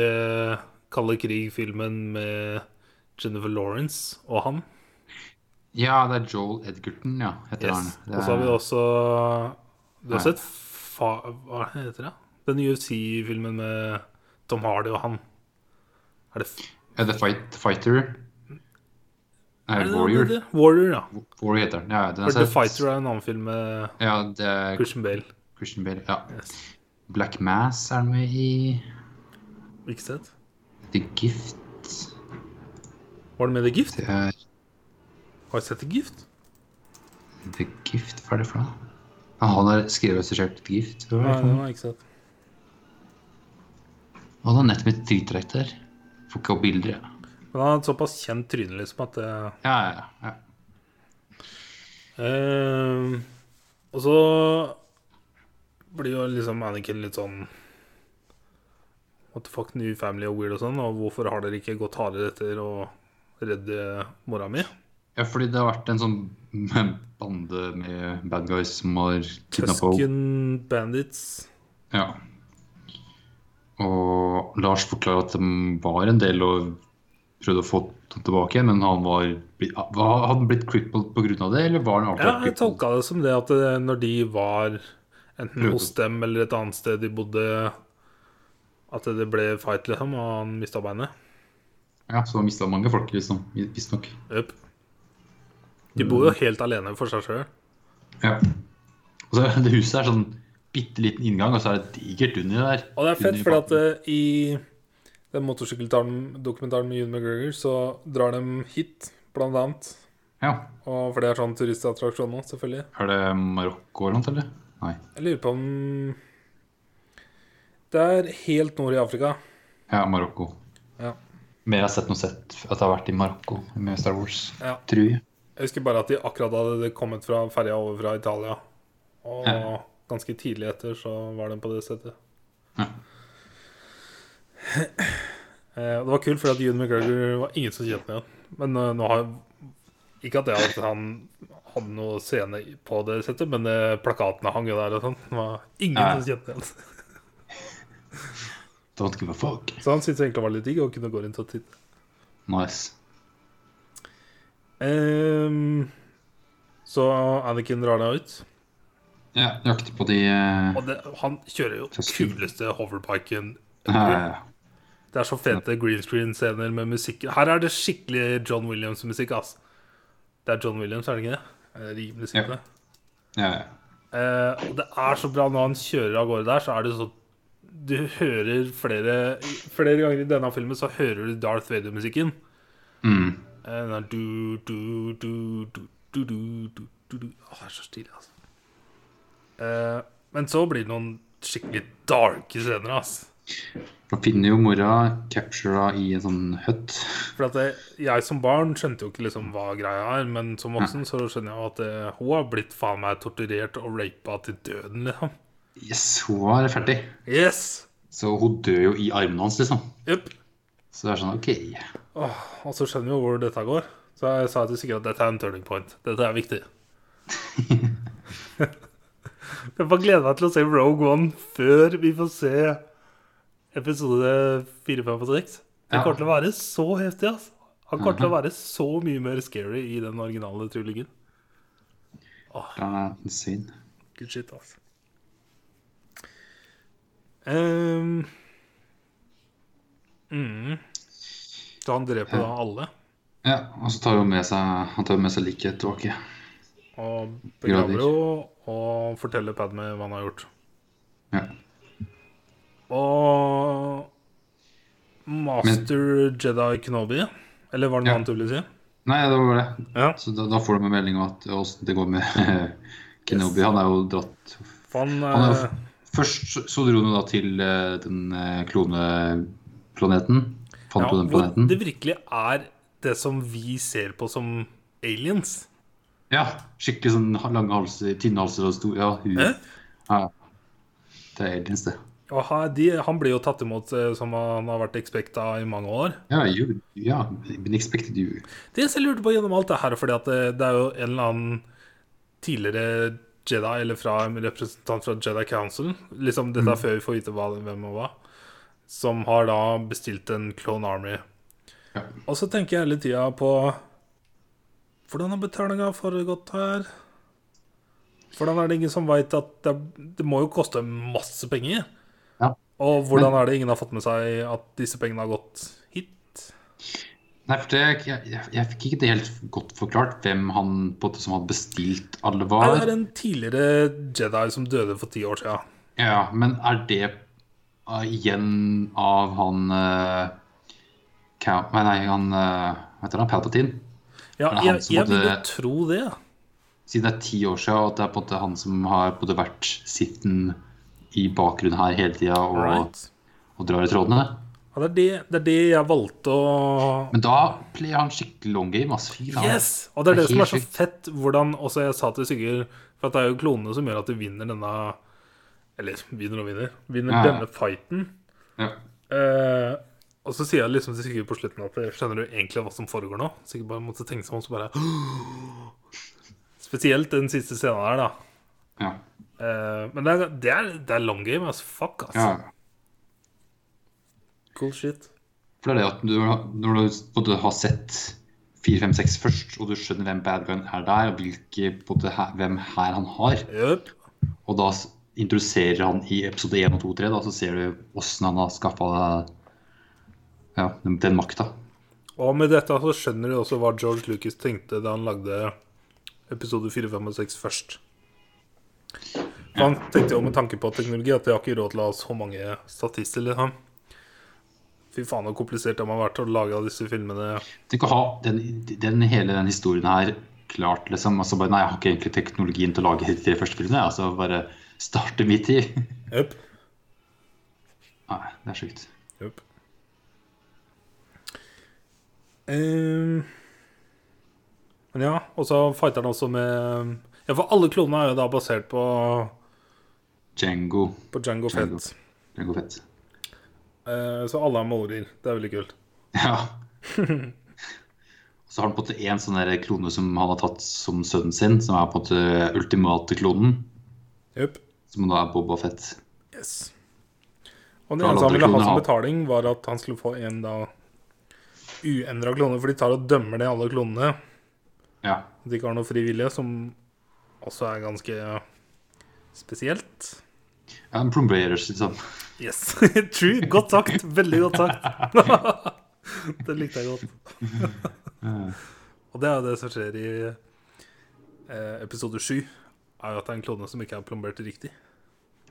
kalde krig-filmen med Jennifer Lawrence og han.
Ja, det er Joel Edgerton, ja. Heter
Yes.
han. Det
Og så har vi
er-
også Du har
Nei.
sett fa... Hva heter det? Den UFC-filmen med Tom Hardy og han. Er det, f-
Ja, eh, The Fight, Fighter. Nei,
er det
Warrior.
det- Warrior, ja.
Warrior heter den. Ja, den har
For The
sett.
Fighter er en annen film med
Ja, det er
Christian Bale.
Christian Bale. Ja.
Yes.
Black Mass er den med i
Ikke sett?
The Gift.
Var det med i The Gift?
Det er
Har du sett The Gift?
The Gift, hva er det for noe? Ja, han har skrevet og regissert The Gift. Hva er det
Nei,
for
den
noe?
har jeg ikke sett.
Og han har nettopp blitt dritdrekt der. Får ikke opp bilder, ja.
Men han har et såpass kjent tryne, liksom, at det
Ja, ja, ja.
Eh, Og så blir jo liksom Anakin litt sånn What the fuck, new family og weird og sånn, og hvorfor har dere ikke gått hardere etter å redde mora mi?
Ja, fordi det har vært en sånn bande med bad guys som har kidnappa henne.
Tusken Bandits.
Ja. Og Lars forklarer at de var en del og prøvde å få den tilbake, men han var blitt, var- hadde han blitt crippled pga. det, eller var han
Ja,
avklart
jeg
crippled?
tolka det som det at eh, når de var enten
Prøvde.
hos dem eller et annet sted de bodde, at det ble fight, liksom, og han mista beinet.
Ja, så han mista mange folk, liksom, visstnok.
Jøp. De bor jo
Mm.
helt alene for seg sjøl.
Ja. Og så er det huset er sånn bitte liten inngang, og så er det et digert under der.
Og det er fett,
Under
for at
bakken.
eh, i den motorsykkeldokumentaren med Ewan McGregor, så drar de hit, blant annet.
Ja.
Og for det er sånn turistattraksjon nå, selvfølgelig.
Er det Marokko eller noe, eller? Nei.
Jeg lurer på om Det er helt nord i Afrika.
Ja, Marokko.
Ja.
Men jeg har sett noe sett at det har vært i Marokko med Star Wars,
Ja.
tror jeg.
Jeg husker bare at de akkurat hadde kommet fra ferja over fra Italia. Og
Ja.
ganske tidlig etter så var de på det stedet.
Ja.
Eh, Det var kult, fordi at Ewan McGregor var ingen som kjente ham igjen. Men eh, nå har Ikke at det at han hadde noe scene på det settet, men eh, plakatene hang jo der og sånn. Det var ingen
Ja.
som kjente ham igjen.
Don't give a fuck.
Så han syntes egentlig det var litt digg å kunne gå rundt og titte.
Nice.
Ehm, så Anakin drar deg ut.
Ja, jakte på de eh,
Og det, han kjører jo kuleste hoverpiken.
her.
Det er så fete green screen-scener med musikk. Her er det skikkelig John Williams-musikk, ass. Det er John Williams, er det ikke det? Er det rimelig sikkert
Ja.
det?
Ja, ja.
Eh, og det er så bra når han kjører av gårde der, så er det så Du hører flere Flere ganger i denne filmen så hører du Darth Vader-musikken.
Mm.
Eh, Den er du, du, du, du, du, du, du, du, du. Åh, det er så stilig, altså. Eh, Men så blir det noen skikkelig darke scener, ass.
Da finner jo mora captura i en sånn hut.
For at jeg, jeg som barn skjønte jo ikke liksom hva greia er, men som voksen så skjønner jeg jo at eh, hun har blitt faen meg torturert og rapa til døden, liksom.
Yes, hun var ferdig.
Yes!
Så hun dør jo i armene hans, liksom.
Jupp.
Så det er sånn OK.
Åh, Og så Altså, skjønner vi jo hvor dette går. Så jeg sa til Sigurd at dette er en turning point. Dette er viktig. jeg bare gleder meg til å se Rogue One før vi får se episode 4, 5 og 6. Det
Ja.
kommer til å være så heftig, ass. Han kommer til å være så mye mer scary i den originale trilogien.
Da er det en svin.
Good shit, ass. Ehm. mm. Så han dreper da alle
Ja, og så tar hun med seg Han tar med seg liket tilbake.
og begraver
Grader.
henne og forteller Padme hva han har gjort.
Ja.
Og Master Jedi Kenobi, eller var det noe
Ja.
annet du ville si?
Nei, det var det.
Ja.
Så da, da får de en melding om at åssen det går med Kenobi. Han er jo dratt
For han,
Han er
eh,
jo- Først så- så dro han jo da til eh, den eh, kloneplaneten. Fant
ja,
på den
hvor
planeten.
det virkelig er det som vi ser på som aliens.
Ja, skikkelig sånn lange halser, tynne halser og stor Ja, hu.
Hæ?
Ja. Det er aliens, det.
Og han, de, han blir jo tatt imot eh, som han har vært expecta i mange år.
Ja, you, ja, been expected you.
Det eneste jeg lurte på gjennom alt det her, fordi at det, det er jo en eller annen tidligere Jedi, eller fra en representant fra Jedi Council, liksom dette er før vi får vite hva, hvem og hva, som har da bestilt en Clone Army.
Ja.
Og så tenker jeg hele tida på Hvordan har betalinga foregått her? Hvordan er det ingen som veit at det, det må jo koste masse penger?
Ja.
Og hvordan er det ingen har fått med seg at disse pengene har gått hit?
Nei, for det, jeg, jeg, jeg fikk ikke det helt godt forklart hvem han på en måte som hadde bestilt alle var.
Det er en tidligere Jedi som døde for ti år siden.
Ja, men er det eh, igjen av han eh, Cal... Nei, nei, han eh, Hva heter han? Palpatine?
Ja,
Er det han
jeg,
som
jeg vil jo
hadde-
tro det.
Siden det er ti år siden, og at det er på en måte han som har på en måte vært sitten i bakgrunnen her hele tida og,
Right.
og drar i trådene.
Ja, det, er det, det er det jeg valgte å
Men da player han skikkelig long game. ass. Fy faen.
Yes! Og det er det
Det er
som er så
helt
fett, hvordan også jeg sa til Sigurd For at det er jo klonene som gjør at du vinner denne Eller vinner og vinner. Vinner
Ja, ja.
denne fighten.
Ja.
Eh, og så sier jeg liksom til Sigurd på slutten at skjønner du egentlig hva som foregår nå? Sigurd bare måtte tenke seg om, så bare Spesielt den siste scenen her, da.
Ja.
Eh, men det er, det, er, det er long game, altså. Fuck, altså.
ja.
Cool shit.
For det er det at du, når du på en måte har sett 4-5-6 først, og du skjønner hvem bad guyen er der, og hvilke, på en måte, hæ- hvem her han har,
Jøp.
og da s- introduserer han i episode 1 og 2 og 3, da, så ser du åssen han har skaffa ja, den, den makta.
Og med dette så skjønner du også hva George Lucas tenkte da han lagde episode 4, 5 og 6 først. For han tenkte jo med tanke på teknologi at jeg har ikke råd til å ha så mange statister. Liksom. Fy faen, så komplisert det må ha vært å lage av disse filmene.
Tenk å ha den, den, hele den historien her klart, liksom. Altså bare, nei, jeg har ikke egentlig teknologien til å lage de tre første filmene. jeg, Altså bare starte midt i.
Jøp.
Nei, det er sjukt.
Jøp. Ehm. men ja, og så fighter han også med Ja, for alle klonene er jo da basert på,
Django.
på Django
Django.
Fett.
Django Fett.
Eh, så alle er maurer. Det er veldig kult.
Ja. Så har han på en måte en sånn der klone som han har tatt som sønnen sin, som er på en måte ultimate klonen,
Jøp.
som da er Boba Fett.
Yes. Og den
For alle andre
eneste han ville ha
kloner
som
har-
betaling, var at han skulle få en da uendra klone, for de tar og dømmer ned alle klonene.
Ja.
At de ikke har noe frivillige, som også er ganske spesielt.
ja en plomberer, liksom.
Yes. True. Godt sagt. Veldig godt sagt. det likte jeg godt. Og det er jo det som skjer i eh, episode sju. Er jo at det er en klone som ikke er plombert riktig.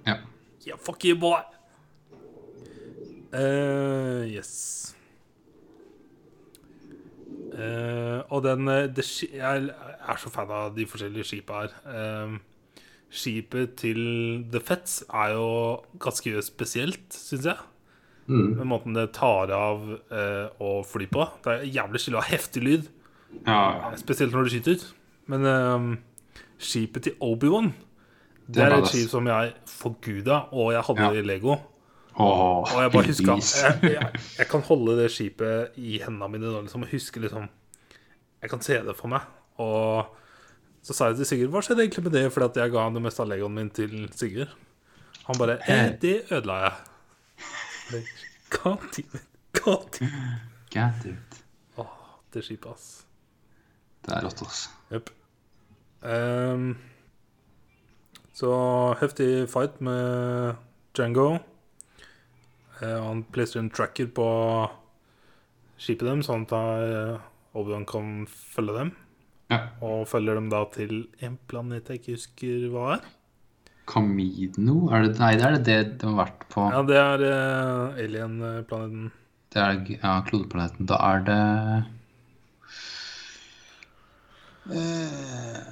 Ja.
Yeah, fuck you, boy! Eh, yes. Eh, og den eh, det, ski- Jeg er så fan av de forskjellige skipa her. Eh, skipet til The Fets er jo ganske spesielt, syns jeg.
Mm.
Med måten det tar av eh, og flyr på. Det er jævlig skille av heftig lyd,
Ja,
spesielt når du skyter. Men eh, skipet til Obi-Wan,
er
det, er et
badass.
skip som jeg forguda, og jeg hadde
Ja.
det i Lego.
Åh,
Og jeg bare husker
heldigvis.
jeg, jeg, jeg kan holde det skipet i hendene mine nå, liksom, og huske liksom Jeg kan se det for meg. Og så sa jeg til Sigurd Hva skjedde egentlig med det fordi at jeg ga han det meste av legoen min til Sigurd? Han bare eh, Det ødela jeg. Men, Hva time? Hva time?
God damn it.
Åh, det skipet, ass.
Det er rått, altså.
Jepp. Ehm, så heftig fight med Django. Eh, han placer en tracker på skipet dem, sånn at eh, Obi-Wan kan følge dem.
Ja.
Og følger dem da til en planet jeg ikke husker hva er.
Camino? Er det, nei, det er det det de har vært på.
Ja, det er eh, alien-planeten.
Det er ja, klodeplaneten. Da er det eh,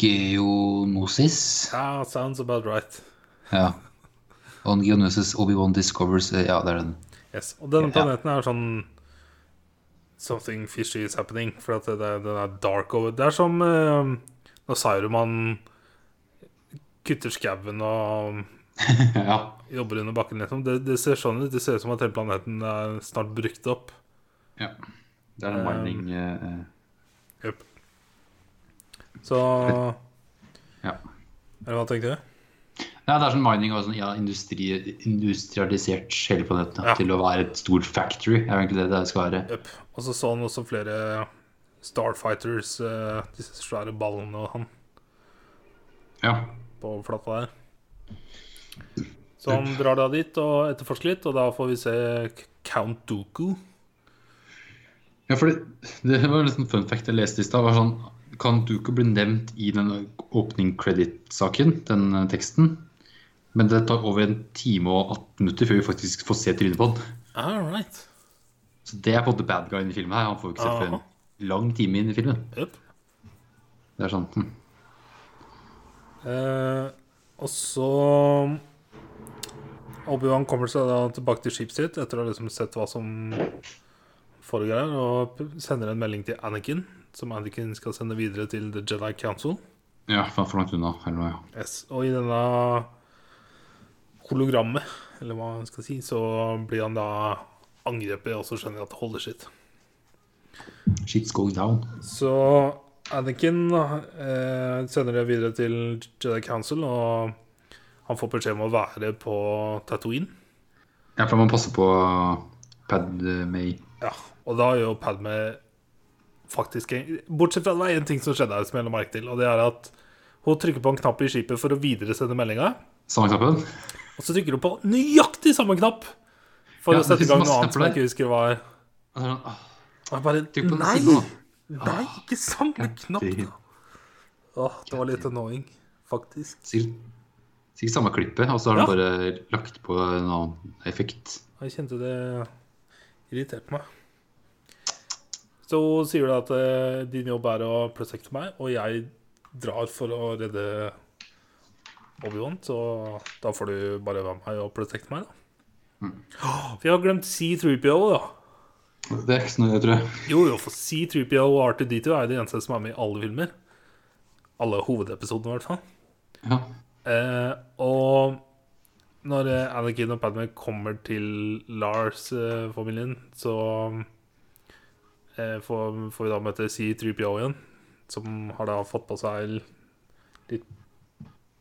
Geonosis.
Ja, sounds about right.
Ja. On Geonosis, Obi-Wan discovers eh, Ja, det er den.
Yes. Og denne
Ja.
planeten er sånn Something fishy is happening. For at det, det, den er dark over Det er som eh, når Sauroman kutter skauen og
ja.
jobber under bakken. Liksom. Det, det ser sånn ut. Det ser ut som at hele planeten er snart brukt opp.
ja. Det er en
Um,
mining eh,
Yep. Så
Ja.
Eller hva tenkte du?
Nei, det er sånn mining og sånn, ja, industri, industrialisert hele planeten
Ja.
til å være et stort factory. er jo egentlig det det skal være.
Yep. Og så så han også flere Starfighters, eh, disse svære ballene og han
Ja.
på overflata der. Så han drar da dit og etterforsker litt, og da får vi se K- Count Dooku.
ja, for det, det var en sånn fun fact jeg leste i stad. var sånn, Kan Duko bli nevnt i den opening credit-saken, den eh, teksten? Men det tar over en time og 18 minutter før vi faktisk får se trynet på han.
All right.
Så det er på en måte bad guy i filmen her. Han får vi ikke se før
Aha.
en lang time inn i filmen.
Yep.
Det er sånn, hm.
Eh, og så Obi-Wan kommer seg da tilbake til skipet sitt etter å ha liksom sett hva som foregår her, og p- sender en melding til Anakin, som Anakin skal sende videre til The Jedi Council.
Ja, for for langt unna. Eller noe, ja.
Yes. Og i denne hologrammet, eller hva man skal si, så blir han da angrepet, og så skjønner jeg at det holder sitt.
Shit's going down.
Så Anakin eh, sender det videre til Jedi Council, og han får beskjed om å være på Tatooine.
Ja, for man passer på uh, Pad May.
Ja, og da gjør jo Padme faktisk Bortsett fra det var én ting som skjedde her, som jeg la merke til, og det er at hun trykker på en knapp i skipet for å videresende meldinga,
Samme knappen?
og så trykker hun på nøyaktig samme knapp for
Ja,
å sette
det
i
finnes
gang noe
masse
annet som jeg ikke husker hva er.
Og så er det sånn, «Åh,
Og jeg bare
Trykk på den
Nei!
siden,
Nei, ikke samme knapp!
det-
da. Åh, det var litt annoying, faktisk.
Sikkert, sikkert samme klippet, og så har
Ja.
de bare lagt på en annen effekt.
Jeg kjente det irriterte meg. Så sier du at eh, din jobb er å protekte meg, og jeg drar for å redde Obi-Wan, så da får du bare være med meg og protekte meg, da.
Mm.
Åh, For jeg har glemt C3PO, da.
Det er ikke så nøye, tror jeg.
Jo, jo, for C3PO og R2D2 er jo de eneste som er med i alle filmer. Alle hovedepisodene, i hvert fall.
Ja.
Eh, og når eh, Anakin og Padme kommer til Lars-familien, så eh, får, får vi da møte C3PO igjen, som har da fått på seg l- litt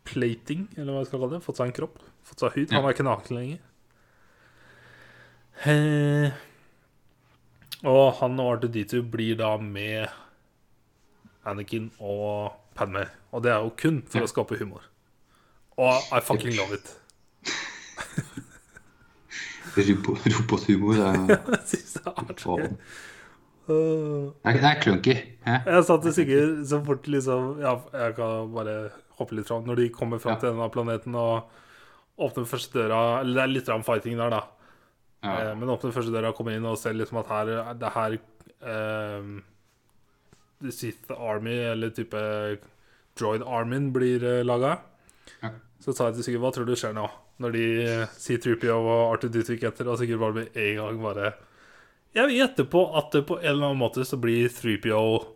plating, eller hva jeg skal kalle det. Fått seg en kropp. Fått seg hud. Han er ikke naken lenger. Eh, og han og R2D2 blir da med Anakin og Padme. Og det er jo kun for å skape humor. Og I fucking love it.
Robo- Robothumor. Det er,
Jeg synes det er så gøy.
faen.
Øh,
det er- det er clunky. Hæ?
Jeg sa til Sigurd så fort liksom Ja, jeg kan bare hoppe litt fram. Når de kommer fram
Ja.
til denne planeten og åpner første døra Eller det er litt rann fighting der, da.
Ja.
Eh, Men åpner første døra, kommer inn og ser liksom at her er- det her eh, The Sith Army, eller type droid-armen blir uh, laga.
Ja.
Så sa jeg til Sigurd hva tror du skjer nå? Når de sier Troopy og Arthur Dutvik etter, og Sigurd bare med en gang bare Jeg vil gjette på at det på en eller annen måte så blir 3PO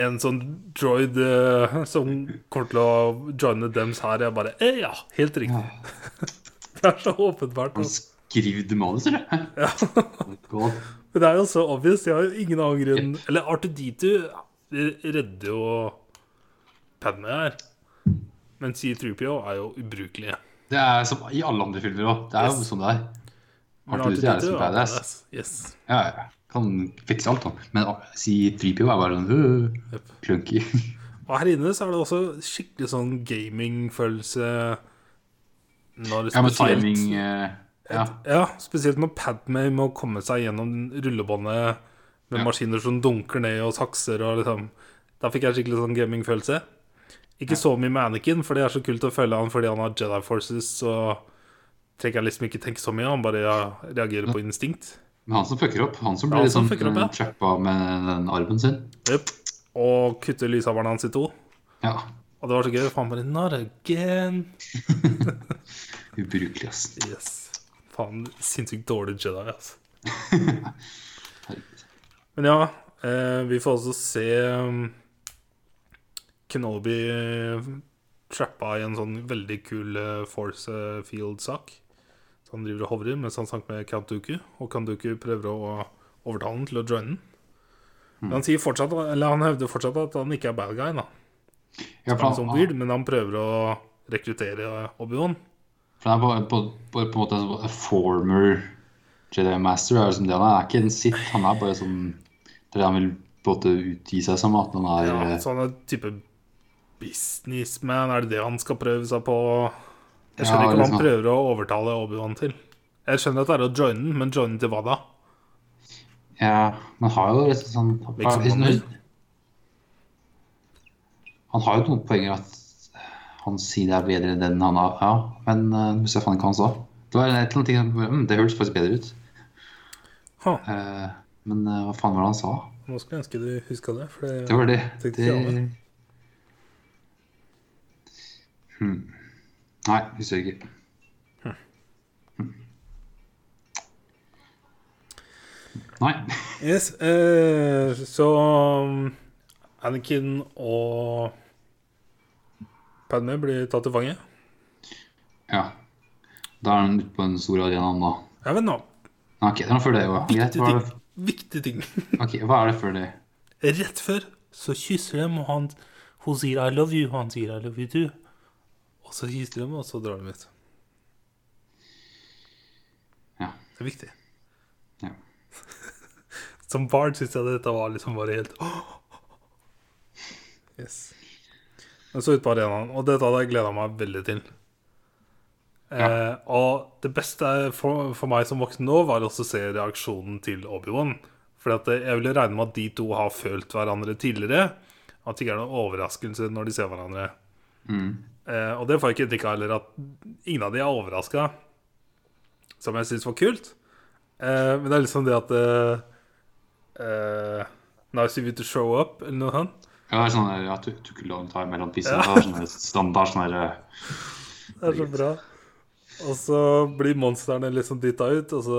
en sånn droid eh, som kommer til å joine dems her. Jeg bare eh, Ja, helt riktig. Det er så åpenbart.
Han
altså.
skrev manus, eller? Ja. God.
Men det er jo så obvious. Jeg har jo ingen annen grunn Eller R2D2 redder jo Padme her. Men C3PO er jo ubrukelig.
Det er som i alle andre filmer òg. Det er jo
Yes.
sånn det er.
Men
Arthur Duty er liksom
R2D2
badass.
Yes.
Ja, ja. Kan fikse alt, han. Men si 3PO er bare sånn øh,
Jep.
klunky.
Og her inne så er det også skikkelig sånn gaming-følelse. Når
Ja, med
spesielt-
timing eh, Ja.
Ja, spesielt når Padme må komme seg gjennom rullebåndet med
Ja.
maskiner som dunker ned og sakser og liksom Da fikk jeg skikkelig sånn gaming-følelse. Ikke så mye med Anakin, for det er så kult å følge han fordi han har Jedi Forces, så trenger jeg liksom ikke tenke så mye, han bare ja, reagerer på instinkt.
Men han som fucker opp. Han som
Ja,
blir
han
litt
som
sånn
fucker opp, ja.
eh, trappa med den armen sin.
Jep. Og kutter lyshaveren hans i to.
Ja.
Og det var så gøy, for han bare Not again.
Ubrukelig, ass.
Yes. Faen, sinnssykt dårlig Jedi, altså.
Herregud.
Men ja, eh, vi får også se um, Kenobi eh, trappa i en sånn veldig kul eh, Force eh, Field-sak. Så han driver og hovrer mens han snakker med Count Dooku, og Count Dooku prøver å overtale han til å joine den. Men han, sier fortsatt, eller han hevder fortsatt at han ikke er bad guy, da.
Ja,
Han er sånn weird, men han prøver å rekruttere eh, Obi-Wan.
For han er på, på, på, på en måte en sånn former Jedi Master. Er liksom det han er. han er ikke en Sith, han er bare sånn Det er det han vil på en måte utgi seg som. At han er
Ja, altså.
eh,
så han er type businessman. Er det det han skal prøve seg på? Jeg skjønner
Ja,
ikke hva han
liksom.
prøver å overtale Obi-Wan til. Jeg skjønner at det er å joine den, men joine til hva da?
Ja, men har jo liksom sånn
Liksom
har- liksom,
han vil.
Han har jo noen poenger at han sier det er bedre enn den han har. Ja, men eh, nå husker jeg faen ikke hva han sa. Det var et eller annet ting som mm, Det hørtes faktisk bedre ut.
Ha,
Eh, men eh, hva faen var det han sa?
nå skulle jeg ønske du huska det. For det,
Det var det.
Tenkte
det...
ikke jeg over.
Hmm. Nei, husker jeg ikke.
Hm.
Hmm. Nei.
Yes, eh, så um, Anakin og Padme blir tatt til fange.
Ja. Da er han ute på en stor arena da.
Ja, vent nå.
Nei, ok, det er noe før det jo. ja. Greit,
Viktig
hva er
ting.
det,
Viktig ting.
ok, hva er det før det?
Rett før så kysser de, og han, hun sier 'I love you', og han sier 'I love you too'. Og så kysser de, og så drar de ut.
Ja.
Det er viktig.
Ja.
Som barn syns jeg dette var liksom bare helt Yes. Men så ut på arenaen, og dette hadde jeg gleda meg veldig til. Eh, og det beste for, for meg som voksen nå, var også å se reaksjonen til Obi-Wan. For at eh, jeg ville regne med at de to har følt hverandre tidligere. At det ikke er noen overraskelse når de ser hverandre.
Mm.
Eh, og det får jeg ikke inntrykk av heller, at ingen av de er overraska. Som jeg syns var kult. Eh, men det er liksom det at eh, eh, Nice of you to show up, eller noe sånt.
Ja, det er sånn der, ja, took took a long time mellom pissene. Det er sånn der standard sånn der eh,
Det er så bra. Og så blir monstrene liksom dytta ut, og så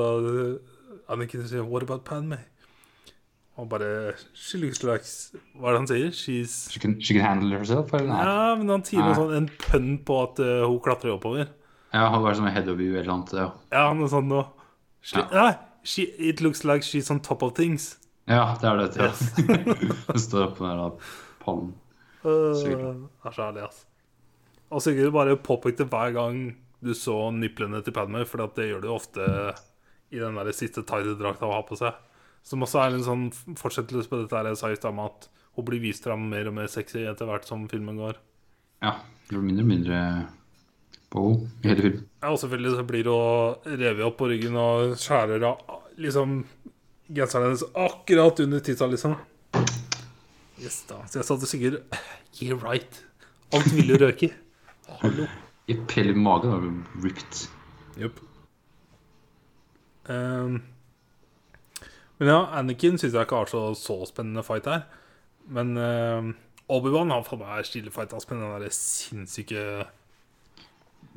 Anniken sier 'What about Padme?' Og bare She looks like Hva er det han sier? She's
she can, she can handle herself, eller? Nei.
Ja, men han sier noe
Nei.
sånn, en pønn på at eh, hun klatrer oppover.
Ja, det var sånn head of you eller annet. Ja,
Ja, noe sånt nå. She,
Ja.
Nei, she, it looks like she's on top of things.
ja det er det. Ja. Hun står oppe med den der pallen.
Øh, Det
Sykt.
er så herlig, ass. Og Sigurd bare påpekte hver gang du så niplene til Padme, for at det gjør du ofte i den der siste tighte drakta hun har på seg. Som også er en sånn fortsettelse på dette her jeg sa i stad, med at hun blir vist fram mer og mer sexy etter hvert som filmen går.
Ja, det blir mindre og mindre bowl i hele filmen.
Ja, og selvfølgelig så blir hun revet opp på ryggen og skjærer av liksom genseren hennes akkurat under titta, liksom. Yes, da. Så jeg sa til Sigurd Yeah, right. Alt ville jo røke. Hallo.
Jepp, hele magen var ripped.
Jupp. men ja, Anakin syns jeg ikke har så, så spennende fight her. Men ehm, Obi-Wan har faen meg stilefight ass, med den der sinnssyke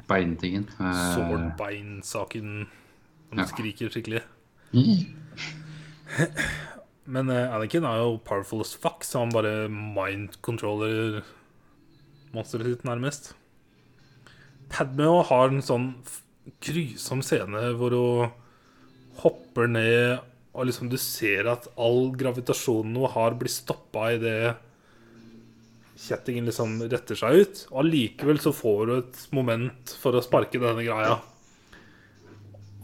Beintingen. eh,
swordbein-saken. Han
Ja.
skriker skikkelig.
eh, i.
Men eh, Anakin er jo powerful as fuck, så han bare mind-controller monsteret sitt, nærmest. Padme også har en sånn f- grusom scene hvor hun hopper ned, og liksom du ser at all gravitasjonen hun har, blir stoppa idet kjettingen liksom retter seg ut. Og allikevel så får hun et moment for å sparke denne greia.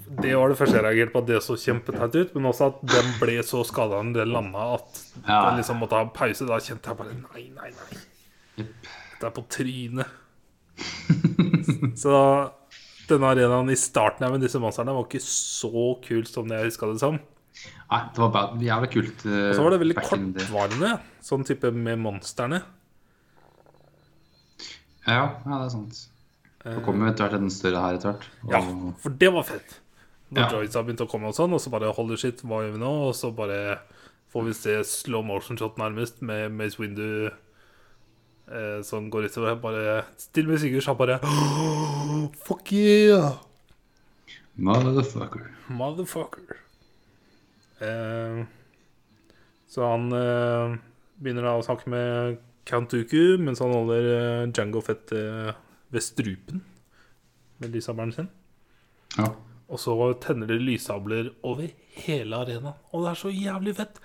Det var det første jeg reagerte på, at det så kjempeteit ut. Men også at den ble så skada når den landa at
Ja.
den liksom måtte ha pause. Da kjente jeg bare nei, nei, nei.
Jepp.
Det er på trynet. så denne arenaen i starten her med disse monstrene var ikke så kult som det jeg huska det som.
Nei, det var bad. jævlig kult. eh,
Så var det veldig
back in the-
kortvarende, sånn type med monstrene.
Ja, ja, det er sant. Det kommer jo etter hvert en større her etter hvert.
Eh, Ja,
Og-
for det var fett. Når
Ja.
droids har begynt å komme og sånn, og så bare holder shit, hva gjør vi nå? Og så bare får vi se slow motion shot nærmest med Mace Windu eh, som går utover. her, Bare stille musikk, og så bare Fuck yeah!
Motherfucker.
Motherfucker. Eh, så han eh, begynner da å snakke med Count Dooku mens han holder eh, Jango Fett eh, ved strupen med lysabelen sin.
Ja.
Og så tenner de lyssabler over hele arenaen. Og det er så jævlig fett.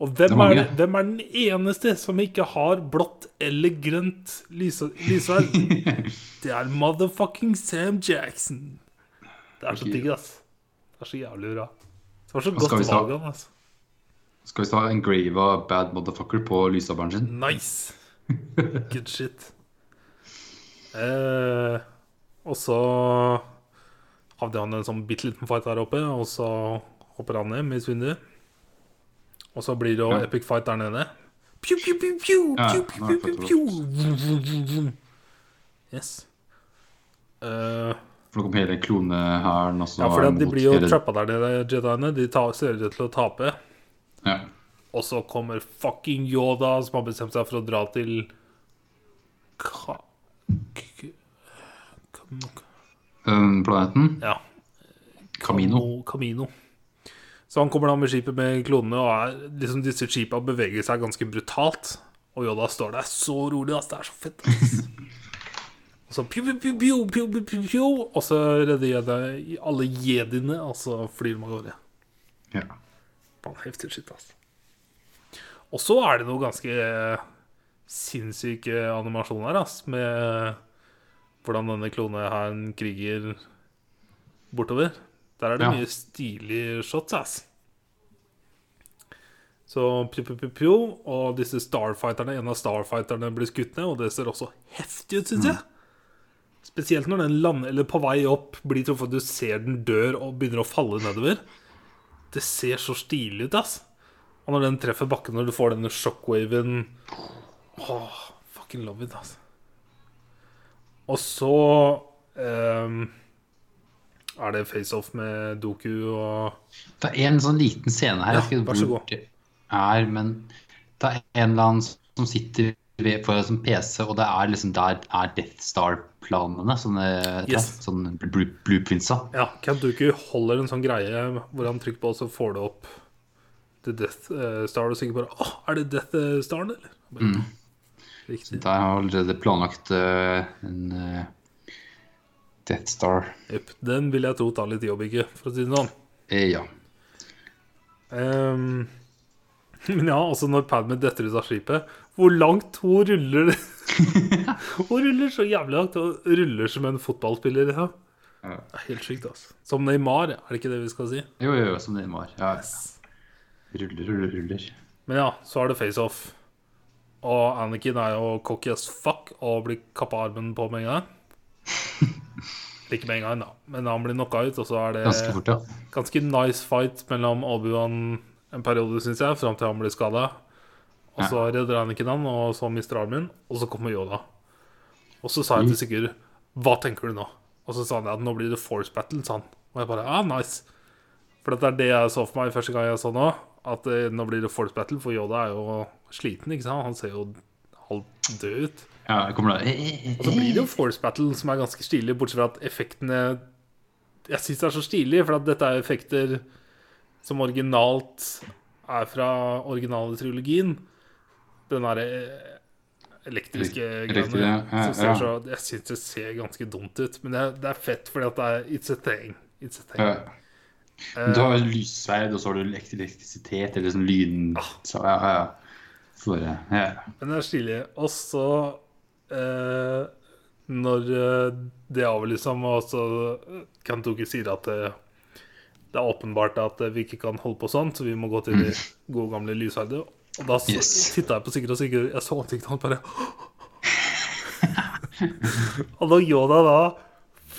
Og
Det
hvem
er
er,
mange.
det- hvem er den eneste som ikke har blått eller grønt lyse- lyssverd? det er motherfucking Sam Jackson. Det er så
Ok.
digg, ass. Det er så jævlig bra. Det var så
skal vi
godt
ta?
valg, han, ass.
Skal vi ta en grave av bad motherfucker på lysabelen sin?
Nice. Good shit. Eh, og så hadde han en sånn bitte liten fight der oppe, og så hopper han ned med svindu. Og så blir det jo
Ja.
epic fight der nede. Pew, pew, pew, pew,
Ja,
pew,
nå
pew,
har jeg
pew,
fått
pew, pew. Yes. Eh,
For det kom hele klonehæren også.
ja, for
mot
de blir jo
hele-
trappa der nede, jediene. De ta, ser ut til å tape.
Ja.
Og så kommer fucking Yoda, som har bestemt seg for å dra til Ka... K- Kam-
Den planeten.
Ja.
Kamino.
Kamo- Kamino. Så han kommer da med skipet med klonene, og er, liksom disse skipa beveger seg ganske brutalt. Og Yoda står der så rolig, ass. Det er så fett. Ass. Og så piu, piu, piu, piu, piu, piu, piu, piu, Og så redder jeg alle jediene, og så flyr de av gårde.
Ja.
Faen, heftig shit, ass. Og så er det noe ganske eh, sinnssyke animasjoner, ass, med hvordan denne klonehæren kriger bortover. Der er det
Ja.
mye stilige shots, ass. Så pjo-pjo-pjo, og disse starfighterne, en av starfighterne blir skutt ned, og det ser også heftig ut, syns jeg. Spesielt når den lander, eller på vei opp, blir truffet, du ser den dør og begynner å falle nedover. Det ser så stilig ut, ass. Og når den treffer bakken, når du får denne shockwaven Åh, fucking love it, ass. Og så ehm, er det face-off med Doku og
Det er en sånn liten scene her.
Ja,
jeg vet ikke
vær så
hvor
god.
det Er, men det er en eller annen som sitter ved, foran som PC, og det er liksom der er Death Star-planene. Sånne,
Yes.
sånne blu- blueprintsa.
Ja, Count Dooku holder en sånn greie hvor han trykker på, og så får du opp The Death eh, Star. Og sikkert bare Åh, er det Death eh, Staren, eller? Bare, Riktig.
Der har jeg allerede planlagt eh, en eh, Death Star.
Jepp. Den vil jeg tro tar litt jobb, ikke, for å si det sånn.
Eh, ja.
Ehm, men ja, også når Padme detter ut av skipet Hvor langt hun ruller Hun ruller så jævlig langt Og ruller som en fotballspiller liksom.
Ja.
Det er Helt sykt altså Som Neymar, er det ikke det vi skal si?
Jo, jo, jo, som den var. Ja. Ruller, ruller, ruller.
Men ja, så er det face-off Og Anakin er jo cocky as fuck Og blir kappa armen på med en gang Ikke med en gang da Men han blir knocka ut Og så er det
Ganske fort, ja.
ganske nice fight mellom Obi-Wan en periode, syns jeg, fram til han blir skada. Og så redder han ikke han, og så mister armen, og så kommer Yoda. Og så sa jeg til Sigurd 'Hva tenker du nå?' Og så sa han at nå blir det force battle, sa han. Og jeg bare 'Ah, nice'. For dette er det jeg så for meg første gang jeg så nå, at eh, nå blir det force battle, for Yoda er jo sliten, ikke sant? Han ser jo halvt død ut.
Ja, jeg kommer da
Og så blir det jo Force Battle som er ganske stilig, bortsett fra at effektene Jeg syns det er så stilig, for at dette er effekter som originalt er fra originale trilogien. Den derre elektriske
Riktig,
greiene.
ja,
synes jeg er
ja.
så- Jeg syns det ser ganske dumt ut, men det er, det er fett fordi at det er It's a thing. It's a thing.
Ja. Eh, Men Du har jo lyssverd, og så har du elekt- elektrisitet, eller sånn lyn så, ja, ja, ja. Så bare, ja.
Men det er stilig. Og så eh, Når eh, det er over, liksom, og så kan Toki sier at eh, det er åpenbart at eh, vi ikke kan holde på sånn, så vi må gå til det gode gamle lyshverdet. Og da yes.
Yes.
titta jeg på Sigurd, og Sigurd jeg så ansiktet hans bare Og når Yoda da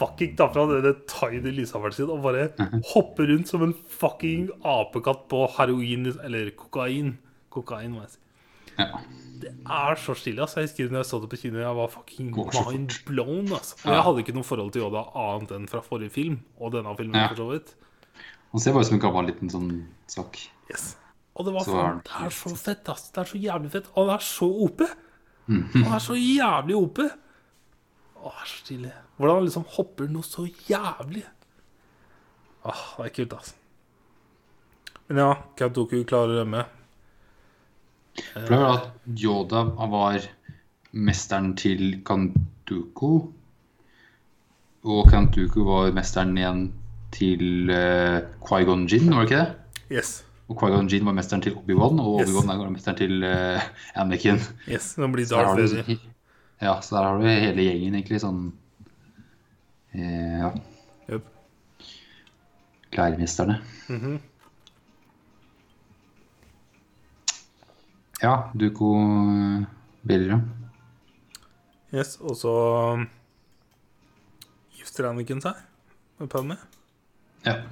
fucking tar fra denne tiny lyshaveren sin og bare
Mhm.
hopper rundt som en fucking apekatt på heroin Eller kokain. Kokain, må jeg si
ja.
er så stille. Altså. Jeg husker når jeg så det på kino, jeg var fucking
Går så fort.
mind blown. Altså. Og
Ja.
jeg hadde ikke noe forhold til Yoda annet enn fra forrige film, og denne filmen
Ja.
for så vidt.
Han ser bare ut som en gammel liten sånn sak.
Yes. Og det var
Så
sånn
er det
Det er så fett, ass. Det er så jævlig fett. Og det er så OP. Han er så jævlig OP. Å, det er så stille. Hvordan han liksom hopper noe så jævlig. Åh, det er kult, ass. Men ja, Kautoku klarer å rømme.
For det er vel at Yoda var mesteren til Kantuku, og Kantuku var mesteren igjen til uh, Qui-Gon Jinn, var det ikke det?
Yes.
Og Qui-Gon Jinn var mesteren til Obi-Wan, og
Yes.
Obi-Wan er mesteren til eh, Anakin.
yes. Nå blir
Så der,
Darth
har du,
Vader.
ja, så der har du hele gjengen, egentlig, sånn eh, Ja,
Jøp.
læremesterne.
Mhm.
Ja, Duko eh, Belleram.
Yes, og så um, gifter Anakin seg med Padme.
Ja.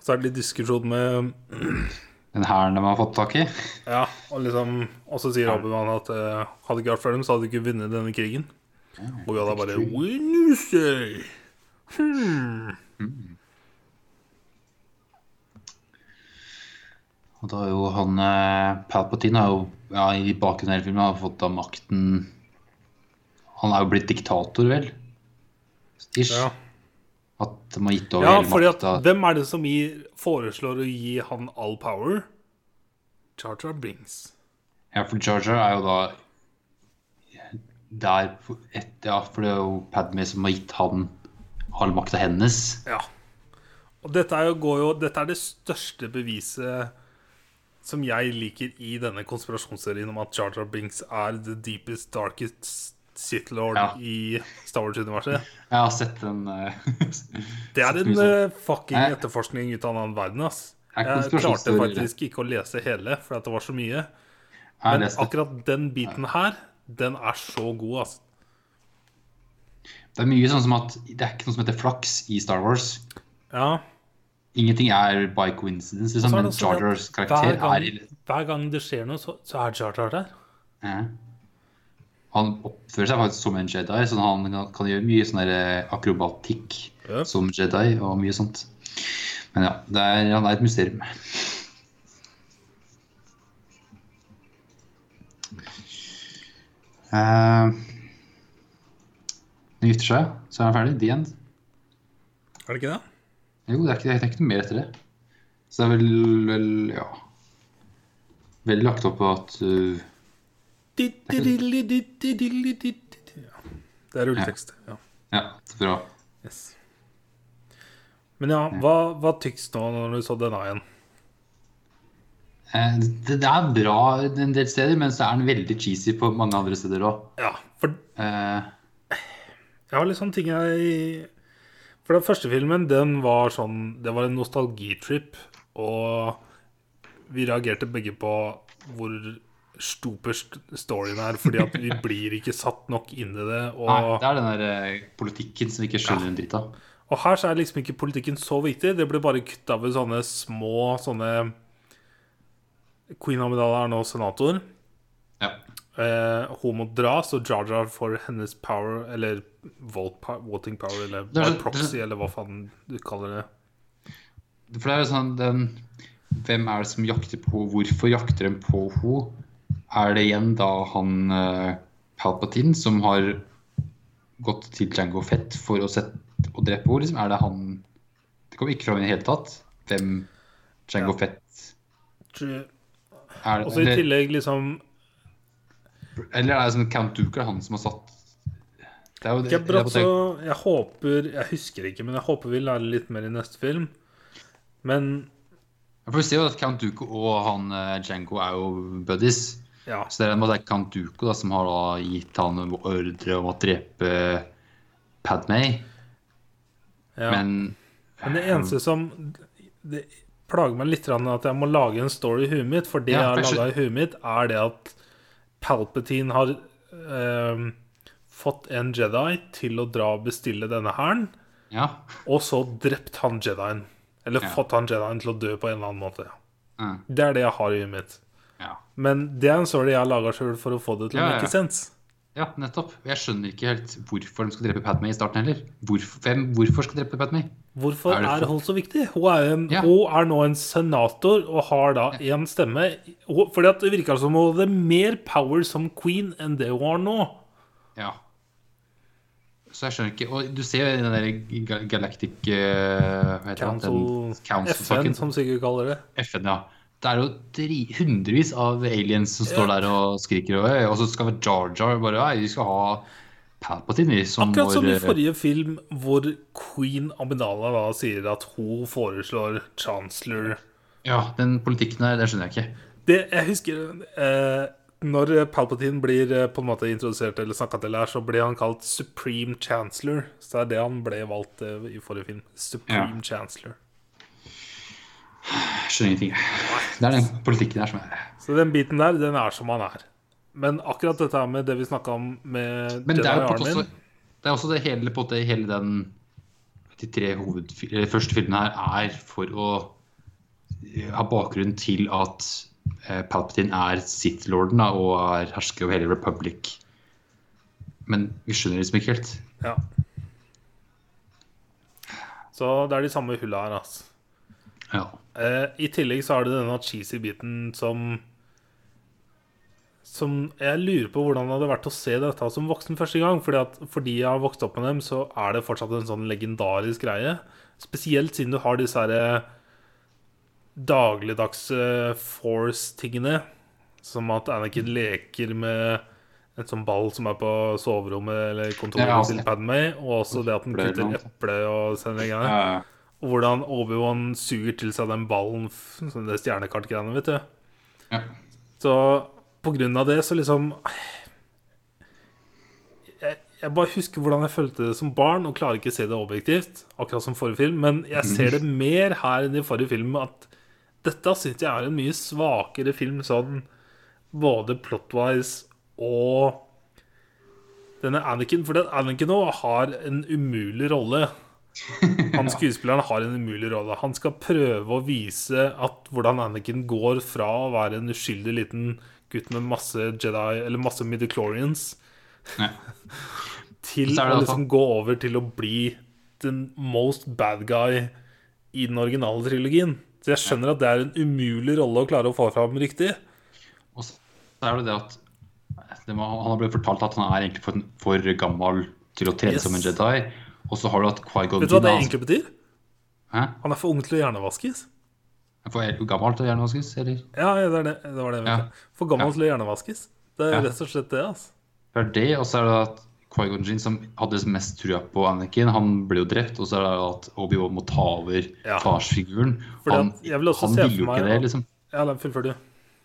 Så er det litt diskusjon med um,
Den hæren de har fått tak i.
Ja, og liksom Og så sier Obi-Wan at eh, hadde det ikke vært for dem, så hadde du ikke vunnet denne krigen. Og Yoda bare When you say
Og da er jo han eh, Palpatine har jo ja, i bakgrunnen av hele filmen har fått da makten Han er jo blitt diktator, vel? Ish.
Ja,
At de har gitt over
ja
hele
fordi at
makta.
hvem er det som gir, foreslår å gi han all power? Charter Brings.
Ja, for Jar Jar er jo da der på- et, Ja, for det er jo Padme som har gitt han all makta hennes.
Ja. Og dette er, jo, går jo, dette er det største beviset som jeg liker i denne konspirasjonsserien om at Jar Jar Binks er the deepest, darkest Sith Lord
Ja.
i Star Wars-universet.
Jeg har sett den eh,
Det er en
Mye sånn.
eh, fucking
Nei.
etterforskning ut av en annen verden, ass.
Det er
Jeg klarte
konspirasjonsteorier, det.
faktisk ikke å lese hele, for at det var så mye.
Jeg har
Men
lest det.
akkurat den biten her, den er så god, ass.
Det er mye sånn som at det er ikke noe som heter flaks i Star Wars.
Ja.
Ingenting er by coincidence, liksom.
Så er
Men
det også
Jar
det at
Jars
Hver
karakter er
gang,
i-
hver gang det skjer noe, så, så er Jar Jar der.
Ja. Han oppfører seg faktisk som en Jedi, så han kan- kan gjøre mye sånn der akrobatikk
Ja.
som Jedi og mye sånt. Men ja, det er, han er et mysterium. Uh, han gifter seg, så er han ferdig. The end.
Er det ikke det?
Jo, det er ikke, det er ikke noe mer etter det. Så det er vel, vel ja. Veldig lagt opp på at uh,
Det er rulletekst. Ja.
Ja, bra.
Yes. Men ja, hva, hva tykkes nå når du så denne igjen?
Eh, Det det er bra en del steder, men så er den veldig cheesy på mange andre steder Eh, òg.
Ja, for jeg har liksom ting jeg For den første filmen, den var sånn Det var en nostalgitrip, og vi reagerte begge på hvor stuperst storyen er, fordi at vi blir ikke satt nok inn i det. Og
Nei, det er den der eh, politikken som vi ikke skjønner en dritt av.
Og her så er liksom ikke politikken så viktig. Det ble bare kutta ved sånne små sånne Queen Amidala er nå senator.
Ja.
Eh, hun må dras, og Jar Jar får hennes power, eller vote, pow- voting power, eller
Det er-
by proxy, eller hva faen du kaller det.
For det er jo sånn den Hvem er det som jakter på Hvorfor jakter de på henne? er det igjen da han eh, Palpatine som har gått til Jango Fett for å sette, og drepe henne? Liksom? Er det han Det kommer ikke fram i det hele tatt hvem Jango
Ja.
Fett
Tror-
er.
eh, Også i
eller,
tillegg liksom
eller er det sånn Count Duker, han som har satt Det er jo det.
Gebrat,
det er på
så jeg håper Jeg husker ikke, men jeg håper vi lærer litt mer i neste film. Men
det. For vi ser jo at Count Duker og han eh, Jango er jo buddies.
ja.
Så det er en måte Count Duko da, som har da gitt han ordre om å drepe Padmay.
ja.
Men
Men det eneste som Det plager meg litt grann at jeg må lage en story i huet mitt, for det jeg
Ja,
har
kanskje-
laga i huet mitt, er det at Palpatine har ehm, fått en Jedi til å dra og bestille denne hæren,
ja.
og så drept han Jedien. Eller
Ja.
fått han Jedien til å dø på en eller annen måte.
Ja.
Det er det jeg har i huet mitt.
ja.
Men det er en story jeg har laga sjøl for å få det til å
Ja, ja, ja.
make sense.
Ja, nettopp. Jeg skjønner ikke helt hvorfor de skal drepe Padmay i starten heller. Hvorfor, hvem, hvorfor skal de drepe Padmay?
Hvorfor
Er
er,
det for-
hun så viktig? Hun er, en,
Ja.
hun er nå en senator og har da én stemme. Hun, fordi at det virka som hun hadde mer power som queen enn det hun har nå.
Ja. Så jeg skjønner ikke Og du ser jo i den der Ga- Galactic eh, Hva heter
Council,
den? Council-saken.
FN, som Sigurd kaller det.
FN, ja. Det er jo dri hundrevis av aliens som står der og skriker, og, eh, og så skal Jar Jar bare Nei, vi skal ha Palpatine vi, som
Akkurat som i
vår-
forrige film, hvor queen Aminala da sier at hun foreslår chancellor
Ja, den politikken her, det skjønner jeg ikke.
Det, jeg husker eh, Når Palpatine blir eh, på en måte introdusert eller snakka til her, så ble han kalt Supreme Chancellor. Så det er det han ble valgt eh, i forrige film. Supreme
Ja.
Chancellor.
Jeg skjønner ingenting. jeg. Det er den politikken her som er
Så den biten der, den er som han er. Men akkurat dette her med det vi snakka om med
Men det er jo på en måte
Armin
også det, er også det hele, på en måte, hele den De tre hoved, eller første filmene her er for å eh, ha bakgrunn til at eh, Palpatine er Sith-lorden da, og er hersker over hele Republic. Men vi skjønner liksom ikke helt.
ja. Så det er de samme hulla her, altså.
Ja.
Eh, I tillegg så er det denne cheesy biten som Som Jeg lurer på hvordan det hadde vært å se dette som voksen første gang. Fordi, at, fordi jeg har vokst opp med dem, så er det fortsatt en sånn legendarisk greie. Spesielt siden du har disse her eh, dagligdagse eh, force-tingene. Som at Anakin leker med en sånn ball som er på soverommet eller kontoret
Ja,
til Padmay. Og også det at den
Ble det
kutter
noe?
eple og sender greier. Og hvordan Obi-Wan suger til seg den ballen, f- sånn det stjernekartgreiene, vet du.
ja.
Så på grunn av det, så liksom jeg, jeg bare husker hvordan jeg følte det som barn, og klarer ikke å se det objektivt. Akkurat som forrige film, men jeg ser det mer her enn i forrige film. At dette syns jeg er en mye svakere film sånn både plot-wise og denne Anakin. For den Anakin nå har en umulig rolle. Han skuespilleren har en umulig rolle. Han skal prøve å vise at hvordan Anakin går fra å være en uskyldig liten gutt med masse Jedi Eller masse midichlorians
Ja.
til
Så er det
å
altså-
liksom gå over til å bli den most bad guy i den originale trilogien. Så jeg skjønner at det er en umulig rolle å klare å få fram riktig.
Og så er det det at eh, det må, han har blitt fortalt at han er egentlig for, for gammel til å trene
Yes.
som en Jedi. Og så har du at Qui-Gon
Vet du hva det
Jinn,
egentlig betyr?
Hæ?
Han er for ung til å hjernevaskes.
Er for gammel til å gjøre noe, skal jeg si, eller?
Ja, ja, det, er det. det var det jeg
Ja.
mente. For gammel
Ja.
til å hjernevaskes. Det er
Ja.
rett og slett det, altså.
Det er det, og så er det at Qui-Gon Jinn, som hadde mest trua på Anakin, han ble jo drept. Og så er det at Obi-Wan må ta over
Ja.
farsfiguren.
Fordi
Han,
at jeg vil også
han
se
ville
for
jo
meg
ikke det,
at-
liksom.
Ja, den fullfører du.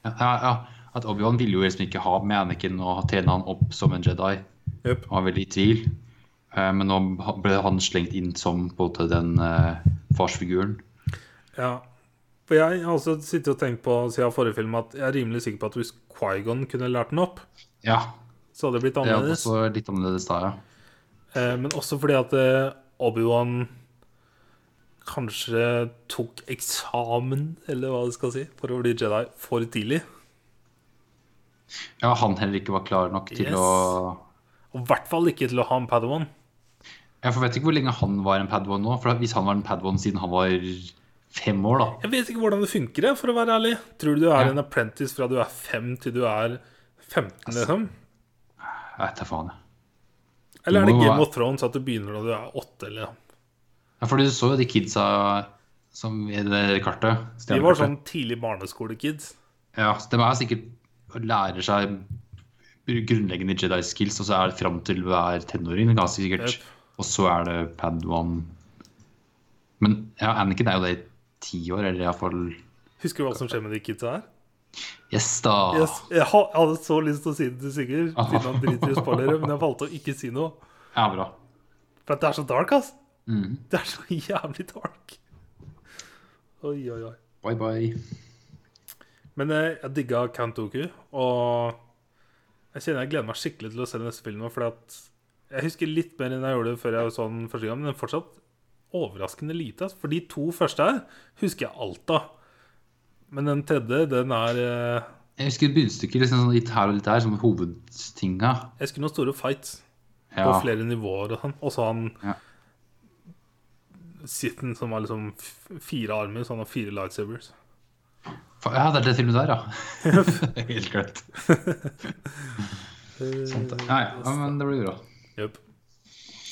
Ja, ja, ja. At Obi-Wan ville jo liksom ikke ha med Anakin og trene han opp som en Jedi.
Jøp.
Han var veldig i tvil. Eh, Men nå ble han slengt inn som på en måte den eh, farsfiguren.
Ja. For jeg har også sittet og tenkt på siden forrige film at jeg er rimelig sikker på at hvis Qui-Gon kunne lært den opp,
Ja,
så hadde det blitt
det er
annerledes.
også litt annerledes da, ja.
Eh, men også fordi at eh, Obi-Wan kanskje tok eksamen, eller hva det skal si, for å bli Jedi for tidlig.
Ja, han heller ikke var klar nok til
Yes.
å
Og i hvert fall ikke til å ha en Padawan.
Jeg vet ikke hvor lenge han var en Padawan nå. For hvis han var en Padawan siden han var fem år, da.
Jeg vet ikke hvordan det funker, jeg, for å være ærlig. Tror du du er
Ja.
en apprentice fra du er fem til du er 15,
Altså,
liksom?
Jeg vet da faen. jeg.
Eller er
må
det
jo
Game
være-
of Thrones at du begynner når du er åtte? Eller? noe?
Ja, for du så jo de kidsa som i det der kartet.
De var
stjernekartet.
sånn tidlig barneskolekids.
Ja, så de er sikkert og lærer seg grunnleggende Jedi skills, og så er det fram til du er tenåring, ganske sikkert.
Yep.
Og så er det Padawan Men ja, Anakin er jo det i ti år, eller iallfall
Husker du hva som skjer med de kidsa her?
Yes, da!
Jeg, s- jeg ha- jeg hadde så lyst til å si det til Sigurd,
Ah.
siden han driter i spoilere, men jeg valgte å ikke si noe.
Ja, bra.
For at det er så dark, ass.
Mm.
Det er så jævlig dark. Oi, oi, oi.
Bye, bye.
Men eh, jeg digga Count Dooku, og jeg kjenner jeg gleder meg skikkelig til å se den neste filmen. For at jeg husker litt mer enn jeg gjorde før jeg så den første gang, men den er fortsatt overraskende lite. ass. For de to første her husker jeg alt av. Men den tredje, den er eh,
Jeg husker bunnstykker liksom, sånn litt her og litt der, som hovedtinga.
Jeg husker noen store fights
Ja.
på flere nivåer og sånn. Og så han
Ja.
Sitten som har liksom f- fire armer, så han har fire lightsabers.
Fa- ja, det er det filmet der, ja. Helt glemt. Sant det. Ja, ja, ja, men det blir bra.
Jøp.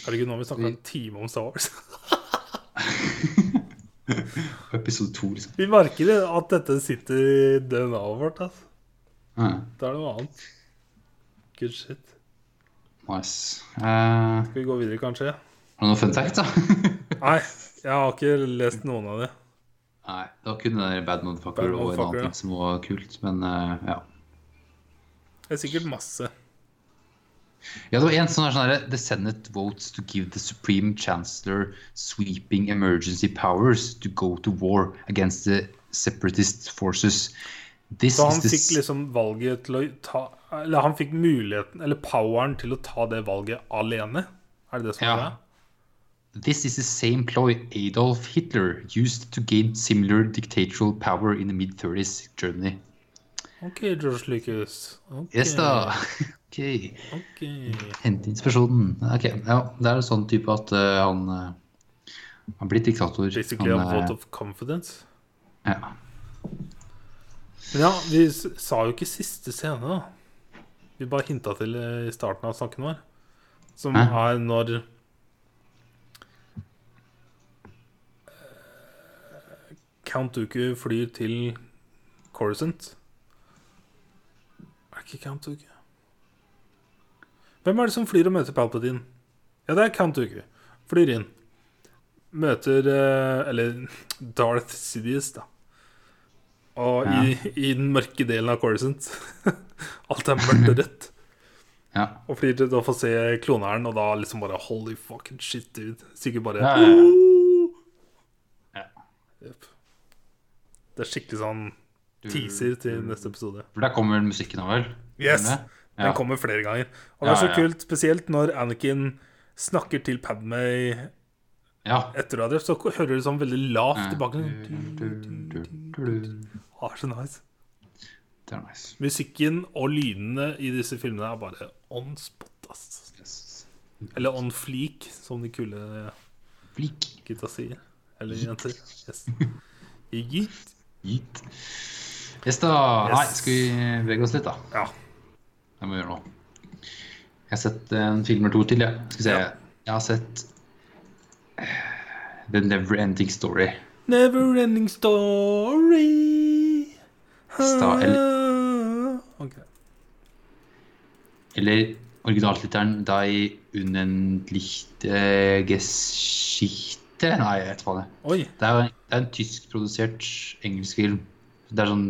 Herregud, nå har vi snakka en time om Star Wars.
Episode to, liksom.
Vi merker det, at dette sitter i DNA-et vårt. Altså.
Ja,
Det er noe annet. Good shit.
nice. Eh, er
Skal vi gå videre, kanskje?
det noe fun fact, da?
Nei, jeg har ikke lest noen av de.
Nei, det var kun den der Bad Motherfucker
Bad
og en
Motherfucker,
annen
ja.
ting som var kult, men eh, ja.
Det er sikkert masse.
Ja, det var en sånn her sånn her, The Senate votes to give the Supreme Chancellor sweeping emergency powers to go to war against the separatist forces. This
Så han
is the
fikk liksom valget til å ta Eller han fikk muligheten, eller poweren, til å ta det valget alene? Er det det som
Ja.
er greia?
This is the same ploy Adolf Hitler used to gain similar dictatorial power in the mid 30s Germany.
OK, George Lucas. Ok,
Yes, da! Ok.
ok.
Hente inspirasjonen. Ok, ja, Det er en sånn type at eh, han uh, Han blir diktator.
Basically a
han, eh,
vote of confidence.
ja.
Men ja, vi s- sa jo ikke siste scene, da. Vi bare hinta til eh, i starten av snakken vår. Som
Hæ?
er når eh, Count Dooku flyr til Coruscant. Er det ikke Count Dooku? Hvem er det som flyr og møter Palpatine? Ja, det er Count Dooku. Flyr inn. Møter eh, Eller Darth Sidious, da. Og i, i den mørke delen av Coruscant. Alt er mørkt og rødt.
Ja.
Og flyr til å få se kloneren, og da liksom bare Holy fucking shit, dude. Sikkert bare
Ja, ja, ja.
«Åh!»
Ja.
Jep. Det er skikkelig sånn teaser til neste episode.
For der kommer vel musikken av, vel?
Yes!
Skjønner jeg?
Den
Ja.
kommer flere ganger. Og det er
Ja,
så
ja, ja.
kult, spesielt når Anakin snakker til Padmay
Ja. Eh,
etter å ha drept, så hører du sånn veldig lavt i
Du,
bakgrunnen.
du, du, du.
Ah, så nice.
Det er nice.
Musikken og lydene i disse filmene er bare on spot, ass.
Yes.
Eller on fleak, som de kule
Flik.
gutta sier. Eller jenter. Yes. Iggy?
Gitt. Yes, da. Nei,
Yes.
skal vi bevege oss litt, da?
Ja.
Jeg må gjøre noe. Jeg har sett eh, en film eller to til, jeg. Skal vi se.
Ja.
Jeg har sett eh, The Never Ending Story.
Never ending story.
Sta-
Ok.
Eller originaltittelen Dei unendlichte Geschichte Nei, jeg vet hva det er.
Oi.
Det er, det er en tyskprodusert engelsk film. Det er sånn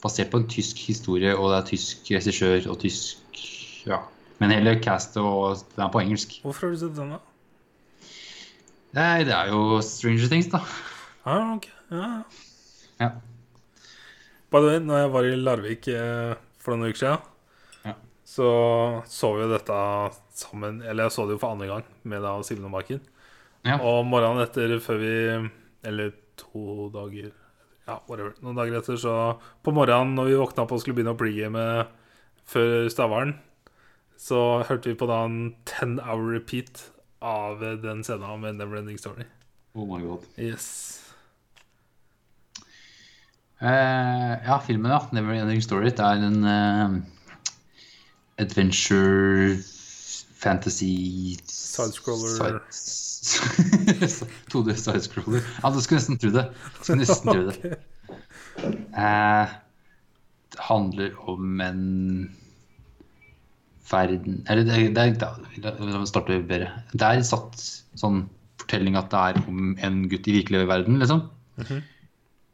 basert på en tysk historie, og det er tysk regissør og tysk Ja. Men hele castet og den er på engelsk.
Hvorfor har du sett den, da?
Nei, det er jo Stranger Things, da.
Ah, ok. Ja.
Ja.
By the way, når jeg var i Larvik eh, for noen uker siden,
Ja.
så så vi jo dette sammen Eller jeg så det jo for andre gang med da Simen og Marken.
Ja.
Og morgenen etter, før vi Eller to dager Ja, whatever. Noen dager etter, så På morgenen når vi våkna opp og skulle begynne å pregame før Stavern, så hørte vi på da en ten hour repeat av den scenen med Neverending Story.
Oh my god.
Yes.
Eh, ja, filmen, ja. 'Never Ending Story' det er en eh, adventure fantasy
Sidescroller.
side- 2D sidescroller. Ja, du skulle nesten tro det. Du skulle nesten tro det.
Ok.
Eh, det handler om en verden Eller det, det, er- det, er- la meg starte bedre. Det er satt sånn fortelling at det er om en gutt i virkelig verden, liksom.
Mhm.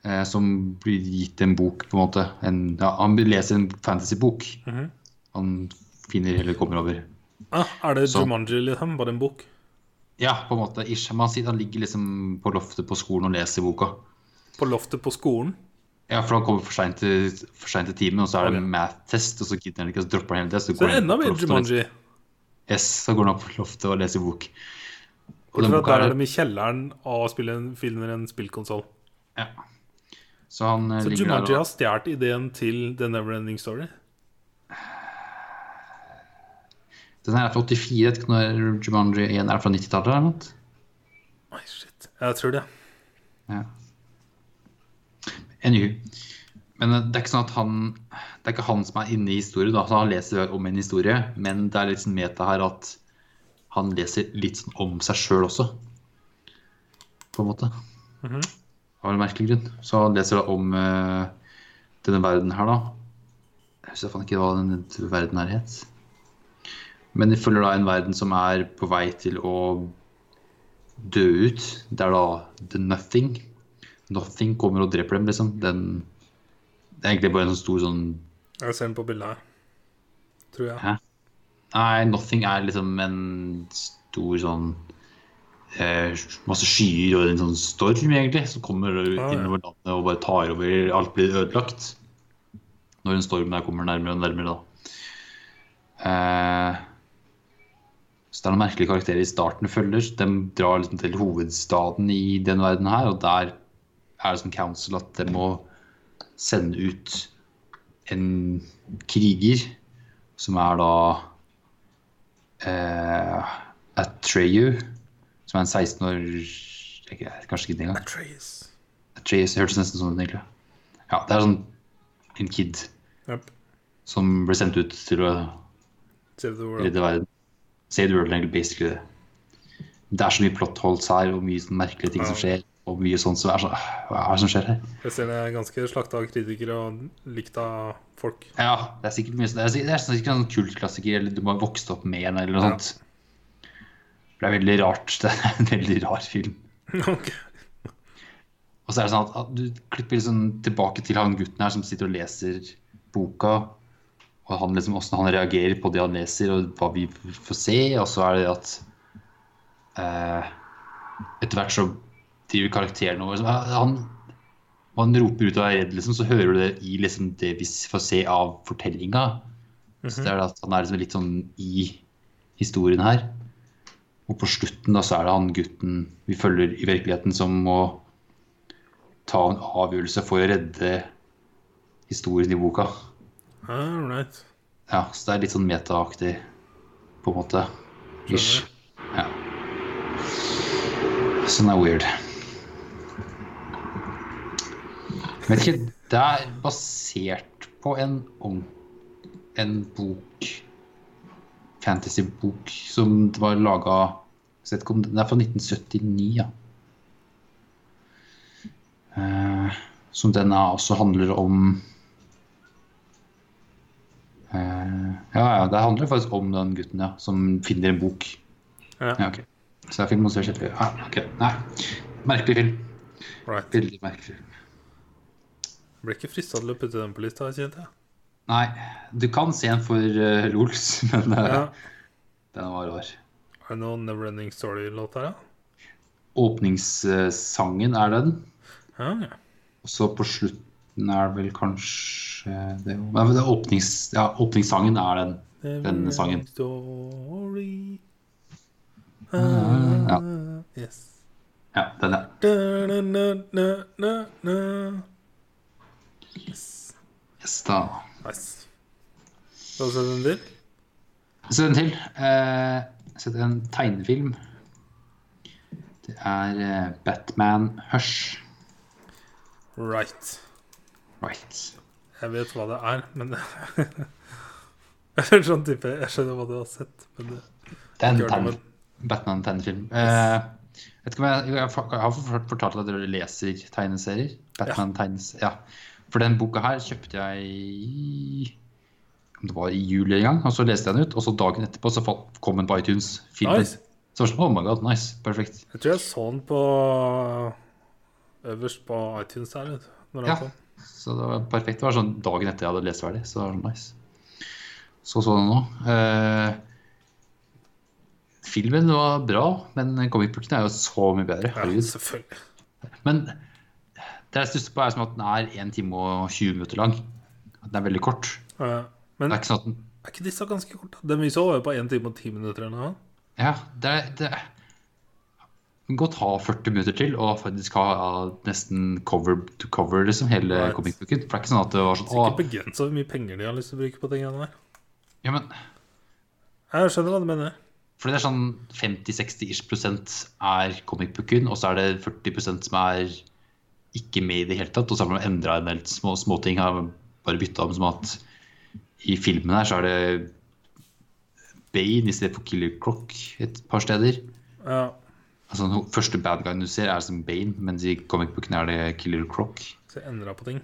eh, som blir gitt en bok, på en måte. En, ja, han leser en fantasybok.
Mhm.
Han finner eller kommer over.
Ah, er det
Så-
Jumanji liksom? Bare en bok?
Ja, på en måte. Ish. Men han, sitter, han ligger liksom på loftet på skolen og leser boka.
På loftet på skolen?
Ja, for han kommer for seint til, for sent til timen, og så er det
Ok.
math-test, og så gidder han ikke, og så dropper han hele det. Så,
Så
går
det er
han
enda
på
mer
loftet og leser-
Jumanji.
Yes, så går han opp på loftet og leser bok. Og
Bortsett
den
fra
boka
at der
er
er de i kjelleren og spiller en, finner en spillkonsoll.
ja. Så han eh,
Så
ligger
Jumanji
der
har stjålet ideen til The Neverending Story?
og Den her er fra 84, jeg vet ikke når Jumanji 1 er fra 90-tallet eller noe?
Oi, shit. Jeg tror det.
Ja. Anywho. Men eh, det er ikke sånn at han Det er ikke han som er inne i historien, da. Så han leser om en historie, men det er litt sånn meta her at han leser litt sånn om seg sjøl også. På en måte.
Mhm.
Av en merkelig grunn. Så han leser da om eh, denne verden her, da. Jeg husker faen ikke hva den verden her het. Men de følger da en verden som er på vei til å dø ut. Det er da The Nothing. Nothing kommer og dreper dem, liksom. Den, det er egentlig bare en sånn stor sånn
Jeg ser den på bildet her. Tror jeg.
Hæ? Nei, Nothing er liksom en stor sånn eh, Masse skyer og en sånn storm, egentlig, som kommer
ja.
innover landet og bare tar over. Alt blir ødelagt. Når en storm der kommer nærmere og nærmere, da. Eh, så det er noen merkelige karakterer i starten følger. De drar liksom til hovedstaden i den verden her, og der er det som council at de må sende ut en kriger som er da eh, Atreyu, som er en 16 år jeg vet Kanskje ikke det engang.
Atreus.
Atreyu det hørtes nesten sånn ut, egentlig. Ja, det er sånn en kid
Yep.
som ble sendt ut til å
Save the world.
redde verden. Save the world, egentlig, basically. Det er så mye plot holes her, og mye sånn merkelige ting som skjer. Og mye sånt som er sånn «Åh, Hva er det som skjer her?
Jeg ser den er ganske slakta av kritikere og likt av folk.
Ja, det er sikkert mye sånn- Det er sikkert, det er sikkert en sånn kultklassiker, eller du må ha vokst opp med den, eller noe
Ja.
sånt. For det er veldig rart. Det er en veldig rar film.
Ok.
Og så er det sånn at, at du klipper liksom tilbake til han gutten her som sitter og leser boka, og han liksom, hvordan han reagerer på det han leser, og hva vi f- får se, og så er det at eh, etter hvert så driver karakteren over så, eh, han, og han roper ut og er redd, liksom, så hører du det i liksom, det vi s- får se av fortellinga. Så det er det at han er liksom litt sånn i historien her. Og på slutten da, så er det han gutten vi følger i virkeligheten, som må ta en avgjørelse for å redde historien i boka.
All right.
Ja, så det er litt sånn metaaktig, på en måte. Ish. Ja. Så den er weird. Vet ikke, det er basert på en ong... En bok Fantasybok som det var laga Den er fra 1979, ja. Eh, som den er, også handler om Eh, ja, ja, det handler faktisk om den gutten ja, som finner en bok.
Ja.
Ja, ok. Så det er film og så er det kjedelig. Ja, ok. Nei, merkelig film.
Right.
Veldig merkelig film.
Jeg ble ikke frista til å putte den på lista, kjente jeg.
Nei, du kan se den for eh, LOLs, men eh,
Ja.
den var rar.
Er det noen Neverending Story-låt her,
Åpningssangen er den.
ja? Ja, ja.
Og så på slutten er det vel kanskje det, er jo- Nei, men det er åpnings, ja, åpningssangen er den. Denne sangen.
Neverending Story.
ja.
Ah, Yes.
Ja, den er.
Da, na, na, na, na, na. Yes.
Yes, da.
Nice. Skal du se den til?
Så den til. Eh, så det er en tegnefilm. Det er eh, Batman Hush.
Right.
Right.
Jeg vet hva det er, men Eller sånn type Jeg skjønner hva du har sett, men det
Det er en
Gjør det,
tegn-
men-
Batman tegnefilm. Eh, vet ikke om jeg, jeg har fort- fortalt at dere leser tegneserier. Batman tegnes, ja. For den boka her kjøpte jeg i om det var i juli en gang, og så leste jeg den ut. Og så dagen etterpå så fall- kom den på iTunes. Filmen.
Nice.
Så var det sånn, oh my god, nice, perfekt.
Jeg tror jeg så den på øh, øverst på iTunes her, vet du. Når den
Ja,
kom.
så det var perfekt. Det var sånn dagen etter jeg hadde lest ferdig, så det var sånn nice. Så så den nå. Eh, filmen var bra, men comicbooken er jo så mye bedre.
Ja,
Herregud.
selvfølgelig.
Men det jeg stusser på, er som at den er 1 time og 20 minutter lang. At den er veldig kort.
Ja. Men
Det er ikke sånn at den
er ikke disse ganske korte? Den vi så, var jo på 1 time og 10 minutter eller noe.
Ja, det er det er- den kan godt ha 40 minutter til og faktisk ha ja, nesten cover to cover liksom hele
Right.
comicbooken. For det er ikke sånn at det var sånn
Sikkert
Å,
begrensa hvor mye penger de har lyst til å bruke på de greiene der.
ja, men
Jeg skjønner hva du mener.
For det er sånn 50-60-ish prosent er comicbooken, og så er det 40 prosent som er ikke med i det hele tatt. Og så har man endra en del små småting. Har bare bytta om som at i filmen her så er det Bane istedenfor Killer Croc et par steder.
Ja.
Altså den første bad guyen du ser, er som Bane, mens i comicbooken er det Killer Croc.
Så jeg endra på ting.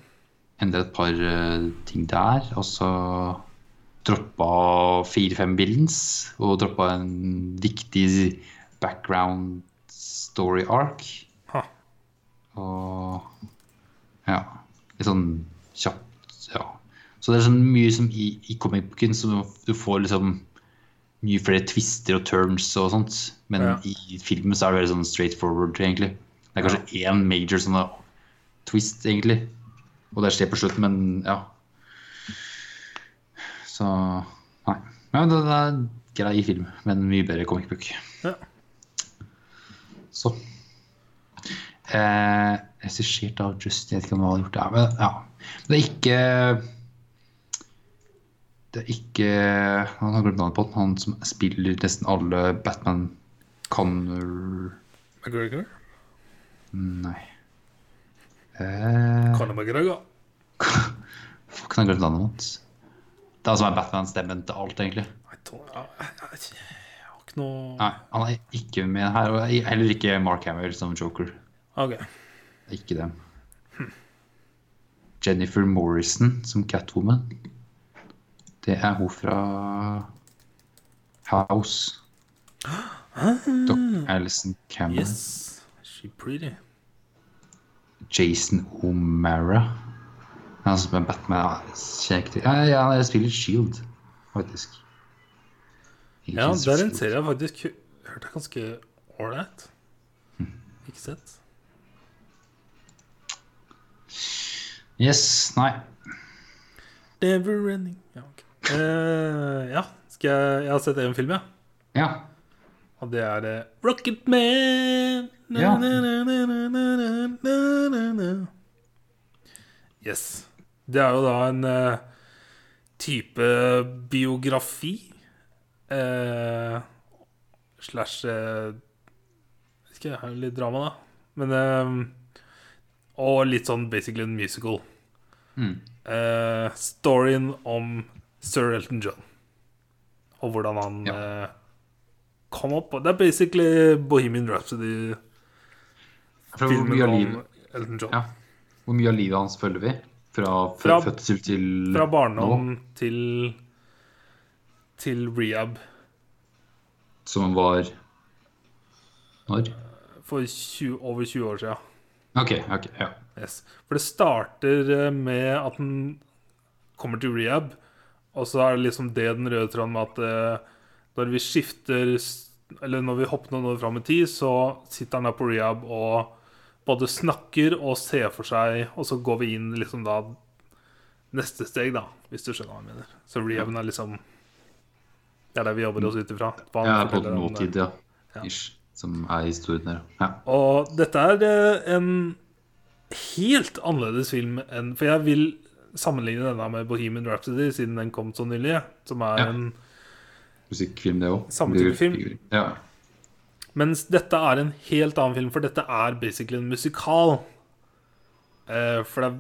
Endra et par eh, ting der, og så droppa fire-fem villains, og droppa en viktig background story arc.
Ha.
Og ja, litt sånn kjapt, ja. Så det er sånn mye som i, i comic-booken, så du får liksom mye flere twister og turns og sånt. Men
Ja.
i filmen så er det veldig sånn straight forward, egentlig. Det er kanskje én major sånn da, twist, egentlig. Og det skjer på slutten, men ja. Så nei. Men det, det er en grei film, men mye bedre comic-book.
Ja.
Så. Eh, Regissert av Justin, jeg vet ikke om han har gjort det. Men, ja. Det er ikke Det er ikke Han har glemt navnet på den, han som spiller nesten alle Batman Connor
McGregor.
Nei. Eh,
Conor McGregor.
fuck, han har glemt navnet hans. Det er han som er Batman-stemmen til alt, egentlig.
I don't, jeg, jeg, jeg, jeg har ikke noe
Nei, han er ikke med her. Og heller ikke Mark Hamill som joker.
OK.
Det er Ikke dem. Jennifer Morrison som Catwoman. Det er hun fra House. Doc Alison Cameron.
Ah. Yes. She pretty.
Jason O'Mara. Han som er Batman kjenner jeg ikke til. Ja, ja, jeg spiller Shield, faktisk.
Ja,
Agents
der er en
Shield.
serie jeg faktisk hø- hørte er ganske ålreit. Ikke sett.
Yes, nei.
Never ending. Ja, ok. Eh, ja. Skal jeg, jeg har sett en film, ja.
Ja.
Og det er eh, Rocket Man. Na,
Ja.
na, na, na, na, na, na, na, na. Yes. Det er jo da en eh, type biografi eh, slash eh, Vet ikke, det er jo litt drama, da. Men eh, Og litt sånn basically en musical.
Mm.
Eh, storyen om Sir Elton John. Og hvordan han
Ja.
eh, kom opp. Og Det er basically Bohemian Rhapsody-filmen
For hvor mye av
om
livet
Elton John.
Ja. Hvor mye av livet hans følger vi? Fra, fra
Fra-
fødsel til
Fra
nå,
barndom til til rehab
Som var Når?
for 20, over 20 år siden.
OK. ok, ja.
Yes. For det starter eh, med at den kommer til rehab, og så er det liksom det den røde tråden med at eh, når vi skifter s- Eller når vi hopper noen år fram i tid, så sitter han der på rehab og både snakker og ser for seg, og så går vi inn liksom da neste steg, da, hvis du skjønner hva jeg mener. Så rehaben er liksom Det er der vi jobber oss ut ifra. hva han
Jeg er på
forteller om det.
nåtid, ja.
Ja.
Ish. Som er historien her. Ja.
Og dette er eh, en helt annerledes film enn For jeg vil sammenligne denne med Bohemian Rhapsody, siden den kom så nylig. Som er
Ja.
en,
Musikkfilm, det òg.
Samme type film.
Ja.
mens dette er en helt annen film, for dette er basically en musikal. Eh, for det er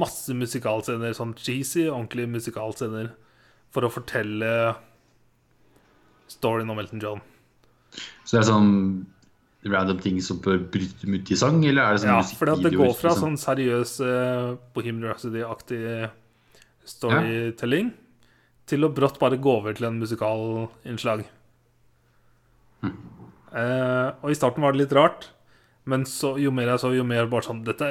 masse musikalscener, sånn cheesy, ordentlige musikalscener, for å fortelle storyen om Elton John.
Så det er sånn random ting som bør bryte ut i sang, eller er det sånn
Ja,
musikkvideo,
for det går fra
liksom?
sånn seriøs eh, Bohemian Rhapsody-aktig storytelling til å brått bare gå over til en musikalinnslag. Eh, og i starten var det litt rart, men så, jo mer jeg så, jo mer bare sånn Dette,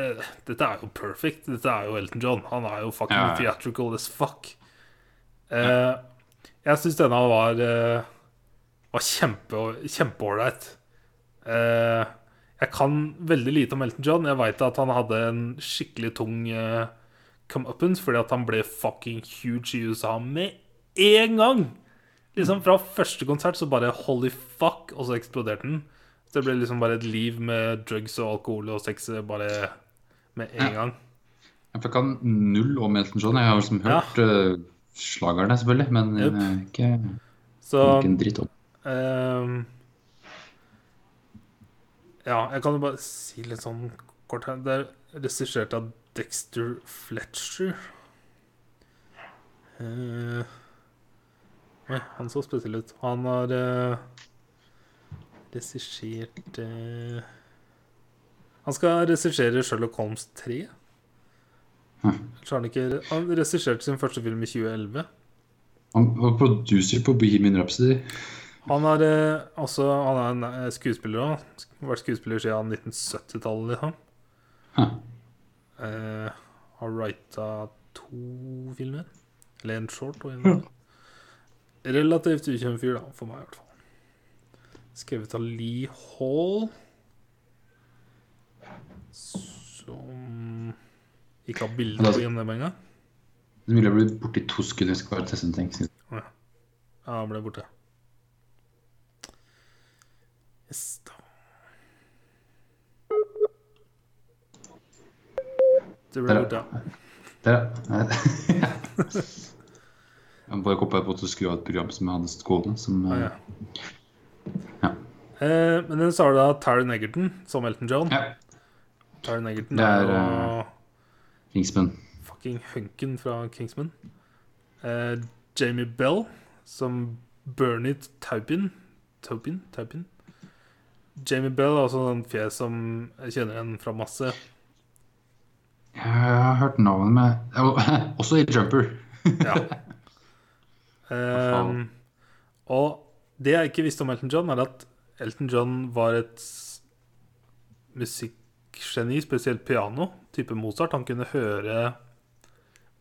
dette er jo perfect. Dette er jo Elton John. Han er jo fucking
Ja, ja.
theatrical as fuck. Eh, jeg syns denne var eh, Var kjempe kjempeålreit. Eh, jeg kan veldig lite om Elton John. Jeg veit at han hadde en skikkelig tung eh, comeuppance fordi at han ble fucking huge i USA med en gang! Liksom Fra første konsert så bare holy fuck, og så eksploderte den. Så det ble liksom bare et liv med drugs og alkohol og sex eh, bare med en gang.
Ja, for Jeg kan null om Elton John. Jeg har liksom
sånn- Ja.
hørt eh, slagerne, selvfølgelig, men jeg er ikke,
Så
ikke en dritt om.
Ehm, Ja, jeg kan jo bare si litt sånn kort her. Det er regissert av Dexter Fletcher. Eh, Oi, han så spesiell ut. Han har eh, regissert eh, Han skal regissere Sherlock Holmes 3. Så har han, ikke, han regisserte sin første film i 2011.
Han var producer på Bohemian Rhapsody.
Han er eh, også han er en eh, skuespiller òg. Vært skuespiller siden 1970-tallet, liksom.
Huh.
Eh, har writa to filmer. Eller en short og en Relativt ukjent fyr, da, for meg i hvert fall. Skrevet av Lee Hall. Som ikke har bilder på IMDb engang.
Så ville jeg blitt borte i to sekunder. Jeg skal bare teste en ting.
Ja, han ble borte. Yes, da. Du ble
Der, ja.
borte, ja.
Der, ja. Jeg bare kom på at jeg måtte skru av et program som jeg hadde stående. Som,
Ah,
eh,
ja.
Ja.
Eh, men den starter da Taron Egerton som Elton John.
ja.
Taron Egerton
Det
er
er, eh,
jo
Ringspenn.
fucking hunken fra Kingsman. Eh, Jamie Bell som Bernie Taupin. Taupin? Taupin? Jamie Bell er også en sånn fjes som jeg kjenner igjen fra masse.
Jeg har hørt navnet med Ja, Også i Jumper.
Ja. Ehm, og det jeg ikke visste om Elton John, er at Elton John var et s- musikkgeni, spesielt piano, type Mozart. Han kunne høre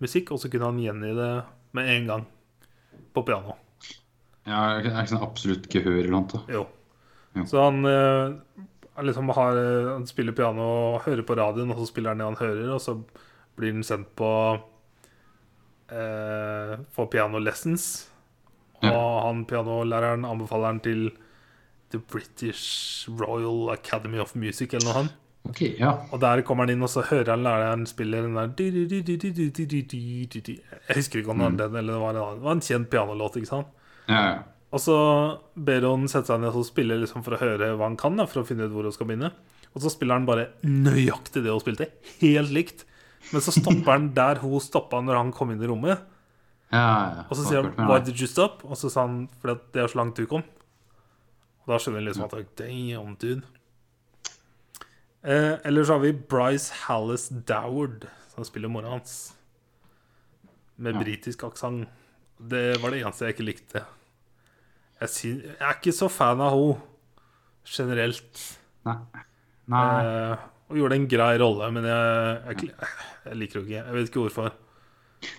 musikk, og så kunne han gjengi det med en gang på piano.
Jeg har ikke- jeg har ikke sånn absolutt gehør eller noe. annet, da.
Jo.
Ja.
Så han eh, er liksom har, han spiller piano og hører på radioen, og så spiller han det han hører, og så blir den sendt på eh, For piano lessons. Og
Ja.
han pianolæreren anbefaler han til The British Royal Academy of Music eller noe sånt.
Ok, ja.
Og der kommer han inn, og så hører han læreren spille den der di-di-di-di-di-di-di-di-di. Jeg husker ikke om det var den, eller det var en annen. Det var en kjent pianolåt, ikke sant?
Ja, ja.
Og så ber hun sette seg ned og spille liksom for å høre hva han kan, da, for å finne ut hvor hun skal begynne. Og så spiller han bare nøyaktig det hun spilte, helt likt. Men så stopper han der hun stoppa når han kom inn i rommet.
ja, ja.
Og så sier han 'Why did you stop?' Og så sa han 'Fordi at det er så langt du kom'. Og da skjønner jeg liksom at Damn, dude. Eh, eller så har vi Bryce Hallis Doward, som spiller mora hans. Med
Ja.
britisk aksent. Det var det eneste jeg ikke likte. Jeg, syn- jeg er ikke så fan av henne generelt.
Nei. Nei.
Eh, og gjorde en grei rolle, men jeg, jeg, kl- jeg liker henne ikke. Jeg vet ikke hvorfor.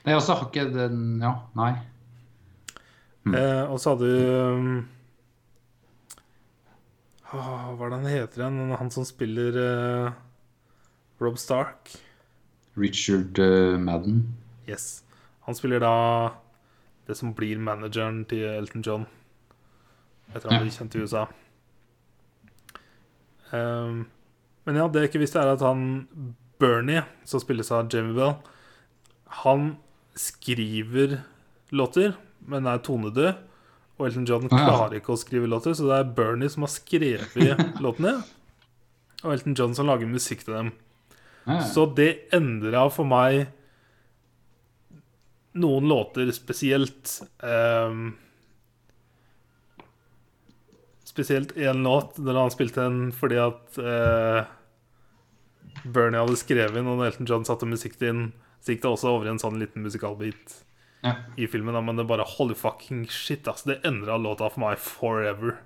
Nei, også har ikke den Ja, nei.
Eh, og så hadde du um, ah, Hva er det han heter igjen? Han som spiller eh, Rob Stark.
Richard eh, Madden.
Yes. Han spiller da det som blir manageren til Elton John. Etter han
Ja.
ble kjent i USA. Ehm, men ja, det jeg ikke visste, er at han Bernie, som spilles av Jamie Bell, han skriver låter, men er tonedød. Og Elton John
ja.
klarer ikke å skrive låter, så det er Bernie som har skrevet låtene. Og Elton John som lager musikk til dem.
Ja, ja.
Så det endra for meg noen låter spesielt. ehm, spesielt én låt der han spilte den fordi at eh, Bernie hadde skrevet den, og når Elton John satte musikk til den, så gikk det også over i en sånn liten musikalbit
Ja.
i filmen. Da, men det bare holy fucking shit, ass. Det endra låta for meg forever.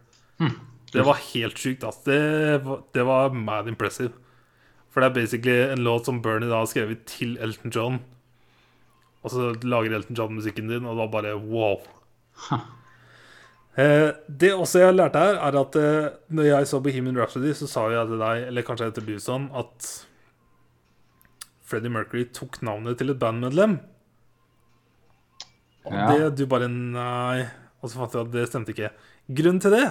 Hm.
Det var helt sjukt, ass. Det, var- det var mad impressive. For det er basically en låt som Bernie da har skrevet til Elton John. Og så lager Elton John musikken din, og da bare wow. Eh, Det også jeg lærte her, er at eh, når jeg så Bohemian Rhapsody, så sa jeg til deg, eller kanskje etter du sånn, at Freddie Mercury tok navnet til et bandmedlem. Og
Ja.
det du bare Nei. Og så fant jeg at det stemte ikke. Grunnen til det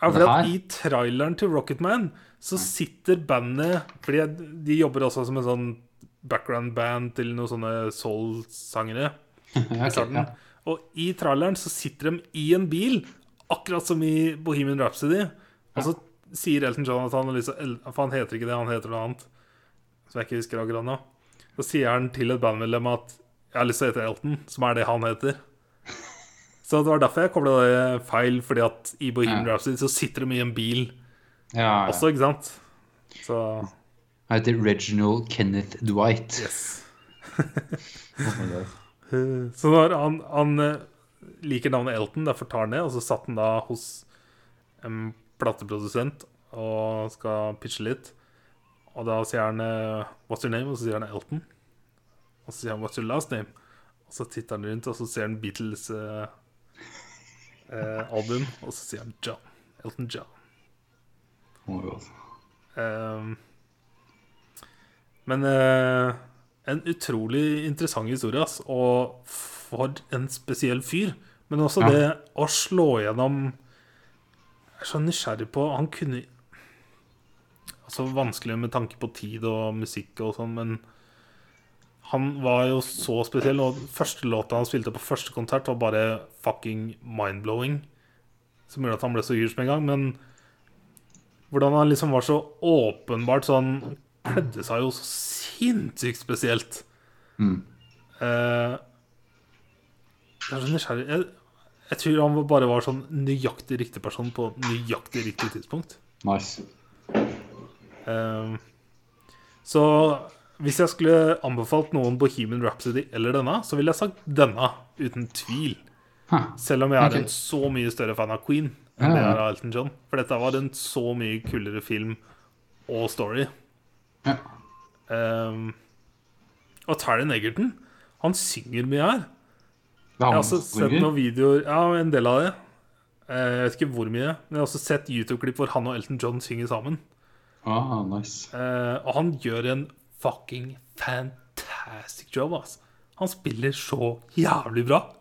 er fordi
Det
at
her?
i traileren til Rocketman så sitter bandet Fordi jeg- de jobber også som en sånn background band til noen sånne soul-sangere
Ja,
i starten.
ok, ja.
Og i traileren så sitter de i en bil, akkurat som i Bohemian Rhapsody. Og så sier Elton John at han, har lyst til å el- for han heter ikke det, han heter noe annet. Som jeg ikke husker akkurat nå. Så sier han til et bandmedlem at 'jeg har lyst til å hete Elton', som er det han heter. Så det var derfor jeg kobla det feil, fordi at i Bohemian
Ja.
Rhapsody så sitter de i en bil
ja, ja.
også, ikke sant? Så
Han heter Reginald Kenneth Dwight.
yes.
Oh my God.
Så når han, han eh, liker navnet Elton, derfor tar han det. Og så satt han da hos en plateprodusent og skal pitche litt. Og da sier han eh, 'What's your name?' og så sier han Elton. Og så sier han 'What's your last name?' Og så titter han rundt, og så ser han Beatles eh, eh, album, og så sier han John. Elton John.
Oh my God.
Ehm, men eh, en utrolig interessant historie, ass. Og for en spesiell fyr. Men også
Ja.
det å slå gjennom Jeg er så nysgjerrig på Han kunne Altså vanskelig med tanke på tid og musikk og sånn, men han var jo så spesiell, og første låta han spilte på første konsert, var bare fucking mind-blowing. Som gjorde at han ble så hyrs med en gang, men hvordan han liksom var så åpenbart sånn Kledde seg jo så sinnssykt spesielt.
Mm.
Eh, jeg er så nysgjerrig jeg, jeg tror han bare var sånn nøyaktig riktig person på nøyaktig riktig tidspunkt.
Nice.
Eh, så hvis jeg skulle anbefalt noen Bohemian Rhapsody eller denne, så ville jeg sagt denne, uten tvil.
Huh.
Selv om jeg er
Ok.
en så mye større fan av Queen
Ja,
enn det
ja.
jeg er av Elton John. For dette var en så mye kulere film og story.
Ja.
Ehm, og Taron Egerton, han synger mye her.
Det har
Jeg har
man
også
som
sett
synger.
noen videoer Ja, en del av det. Eh, Jeg vet ikke hvor mye. Men jeg har også sett YouTube-klipp hvor han og Elton John synger sammen.
Ah, nice.
Eh, og han gjør en fucking fantastic job, ass. Han spiller så jævlig bra.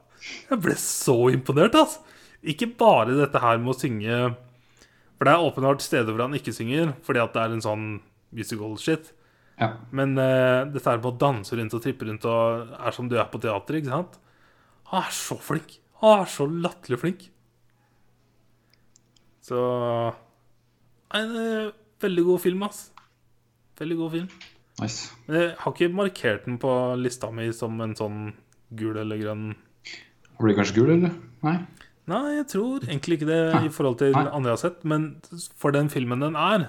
Jeg ble så imponert, ass. Ikke bare dette her med å synge For det er åpenbart steder hvor han ikke synger, fordi at det er en sånn musical shit.
Ja.
Men eh, dette her med å danse rundt og trippe rundt og er som du er på teater, ikke sant? Han er så flink. Han er så latterlig flink. Så En eh, veldig god film, ass. Veldig god film.
Nice.
Men jeg har ikke markert den på lista mi som en sånn gul eller grønn
Blir det kanskje gul, eller? Nei?
Nei, jeg tror egentlig ikke det i forhold til
Nei.
andre jeg har sett, men for den filmen den er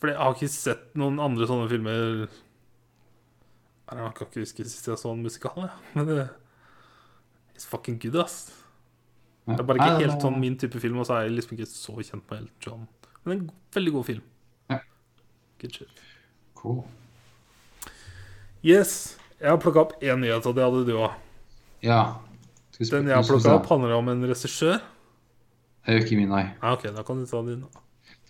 For jeg har ikke sett noen andre sånne filmer Nei, Jeg kan ikke huske sist jeg så en musikal, jeg. Men det It's fucking good, ass.
Nei.
Det er bare ikke
Nei, det
helt
var-
sånn min type film, og så er jeg liksom ikke så kjent med Elton John. Men en veldig god film.
Ja.
Good shit.
Cool.
Yes. Jeg har plukka opp én nyhet, og det hadde du òg.
Ja. Skal vi sp-
Den jeg har
skal vi
plukka
se.
opp, handler om en regissør.
Det gjør ikke min, nei.
Ja, OK, da kan du ta din.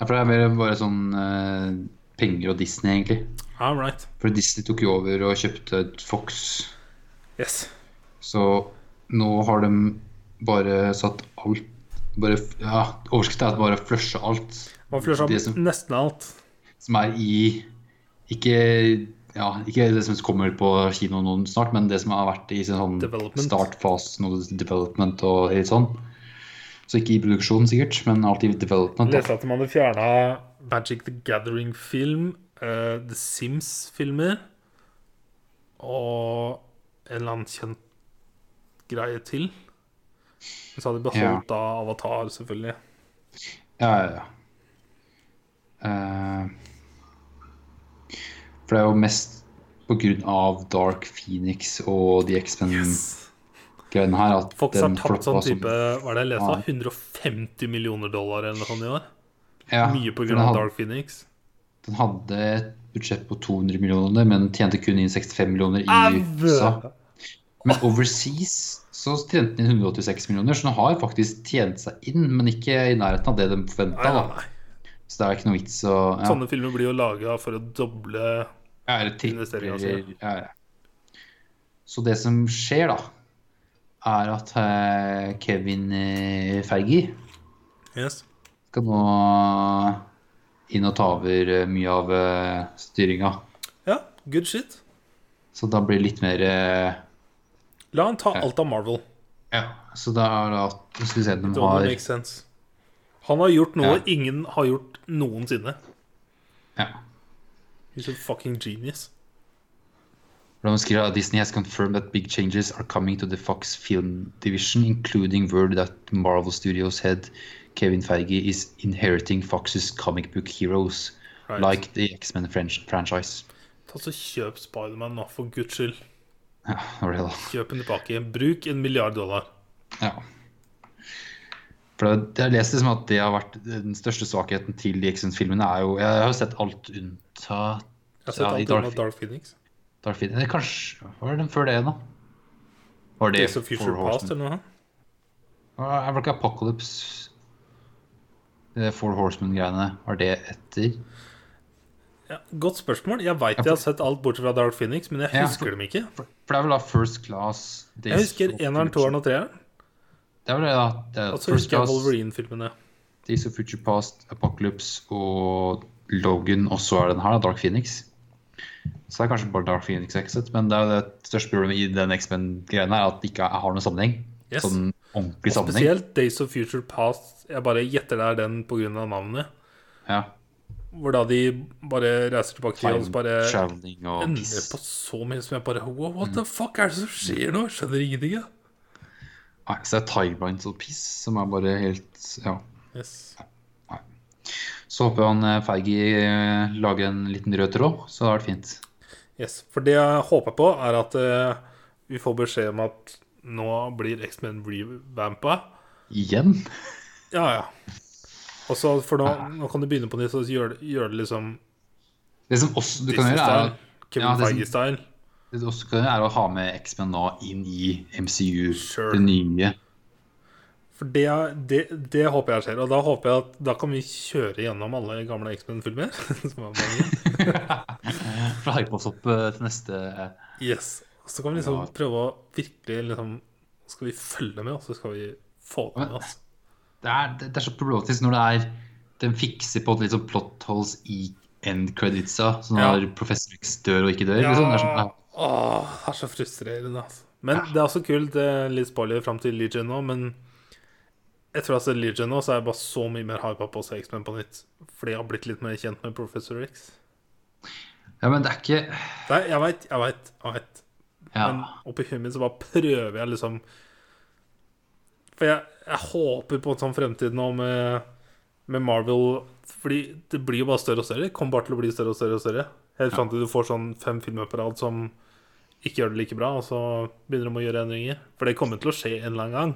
Ja, for det er mer bare sånn eh, penger og Disney, egentlig.
All right.
For Disney tok jo over og kjøpte Fox.
Yes.
Så nå har de bare satt alt bare, ja, Overskriften er at bare flushe alt
Man flusher
Det
opp
som-
nesten alt.
som er i Ikke, ja, ikke det som kommer på kino nå snart, men det som har vært i sånn
Development.
startfasen og development og litt sånn. Så ikke i Mm. produksjon, sikkert, men alltid i development. da.
Leste at de hadde fjerna Magic the Gathering-film eh, The Sims-filmer og en eller annen kjent greie til. Men så har de beholdt da Avatar, selvfølgelig.
Ja, ja, ja. Eh, for det er jo mest på grunn av Dark Phoenix og The X-Men-greiene her at
Fox har tapt
floppa
sånn
Mm. som-
type Hva er det jeg leste? 150 millioner dollar eller noe sånt i år?
ja,
Mye
den
pga.
hadde-
Dark Phoenix.
Den hadde et budsjett på 200 millioner, men tjente kun inn 65 millioner i USA.
Au!
Men overseas så tjente den inn 186 millioner, så den har faktisk tjent seg inn, men ikke i nærheten av det de
Nei, Sånn nei,
forventa.
nei.
Så det er ikke noe vits å ja.
Sånne filmer blir jo laga for å doble
Ja, eller tripper,
investeringer, altså.
eller- ja, ja. Så det som skjer, da, er at eh, Kevin eh, Feige
Yes.
skal nå inn og ta over eh, mye av eh, styringa.
Ja, good shit.
Så da blir det litt mer eh,
La han ta alt av Marvel.
Ja, så da er det at Skal vi se, de
Det
har
makes sense. Han har gjort noe
Ja.
ingen har gjort noensinne.
ja.
He's a fucking genius.
For De skriver at Disney has confirmed that big changes are coming to the Fox film division, including word that Marvel Studios head Kevin Feige is inheriting Fox's comic book heroes,
Right.
like the X-Men French franchise.
Ta så Kjøp Spiderman nå, for guds skyld.
Ja, det var det da.
Kjøp den tilbake. Bruk en milliard dollar.
Ja. For det, jeg leste liksom at det har vært den største svakheten til de X-Men-filmene er jo Jeg har jo sett alt unntatt
Jeg har
Ja, i
sett alt
Dark-
annet Dark Phoenix.
Dark Phoenix. Eller Kanskje Var det den før det, da? Var det
Days of Future
Four
Past
Horsemen?
eller noe?
Var var det ikke Apocalypse Det Four Horsemen-greiene Var det etter?
Ja, godt spørsmål. Jeg veit
for-
jeg har sett alt bortsett fra Dark Phoenix, men jeg
Ja,
husker
for-
dem ikke.
For, for det er vel da First Class Days
Jeg husker
of
eneren,
Future-
toeren og treeren.
Det er vel det, da. Det er
Og så
First
husker jeg
Class,
Wolverine-filmene.
Days of Future Past, Apocalypse og Logan, og så er den her, da, Dark Phoenix. Så det er kanskje bare Dark Phoenix jeg ikke har sett, men det er jo det største problemet i den X-Men-greiene er at det ikke har noen sammenheng.
Yes.
Sånn ordentlig sammenheng.
Spesielt Days of Future Past. Jeg bare gjetter det er den pga. navnet.
Ja.
Hvor da de bare reiser tilbake til og så bare
Traveling og
ender
piss.
på så mye som jeg bare Wow, What the fuck er det som skjer nå? Jeg Skjønner ingenting, jeg.
Nei, så det er timelines og piss som er bare helt Ja.
Yes.
Så håper jeg han eh, Feige eh, lager en liten rød tråd, så hadde det vært fint.
yes. For det jeg håper på, er at eh, vi får beskjed om at nå blir X-Men revampa.
Igjen?
Ja, ja. Og så for nå, nå kan du begynne på nytt og gjøre gjør det liksom
Det som også du kan gjøre, er,
Disney-style. Kevin
Ja, det som-
Feige-style.
det du også kan gjøre, er å ha med X-Men nå inn i MCU,
Sure.
det nye.
For det, er- det, det håper jeg skjer. Og da håper jeg at da kan vi kjøre gjennom alle gamle X-Men-filmer. som er mange.
For å hype oss opp eh, til neste eh,
yes. Og så kan vi liksom
Ja.
prøve å virkelig liksom Skal vi følge med, og så skal vi få det med altså. oss.
det er, det, det er så problematisk når det er De fikser på litt sånn plot holes i end creditsa, så
Ja.
når Professor X dør og ikke dør.
Ja.
Liksom, det er sånn, ja.
Åh, det er så frustrerende, altså. Men det er også kult. Det er litt spoiler fram til Legion nå, men etter å ha sett Legion nå, så er jeg bare så mye mer hypa på å se X-Men på nytt. Fordi jeg har blitt litt mer kjent med Professor X.
ja, men det er ikke ja.
Nei, jeg veit, jeg veit, jeg veit. Men oppi huet mitt så bare prøver jeg liksom For jeg, jeg håper på en sånn fremtid nå med, med Marvel. Fordi det blir jo bare større og større. Det Kommer bare til å bli større og større. og større Helt fram til du får sånn fem filmer på rad som ikke gjør det like bra, og så begynner de å gjøre endringer. For det kommer til å skje en eller annen gang.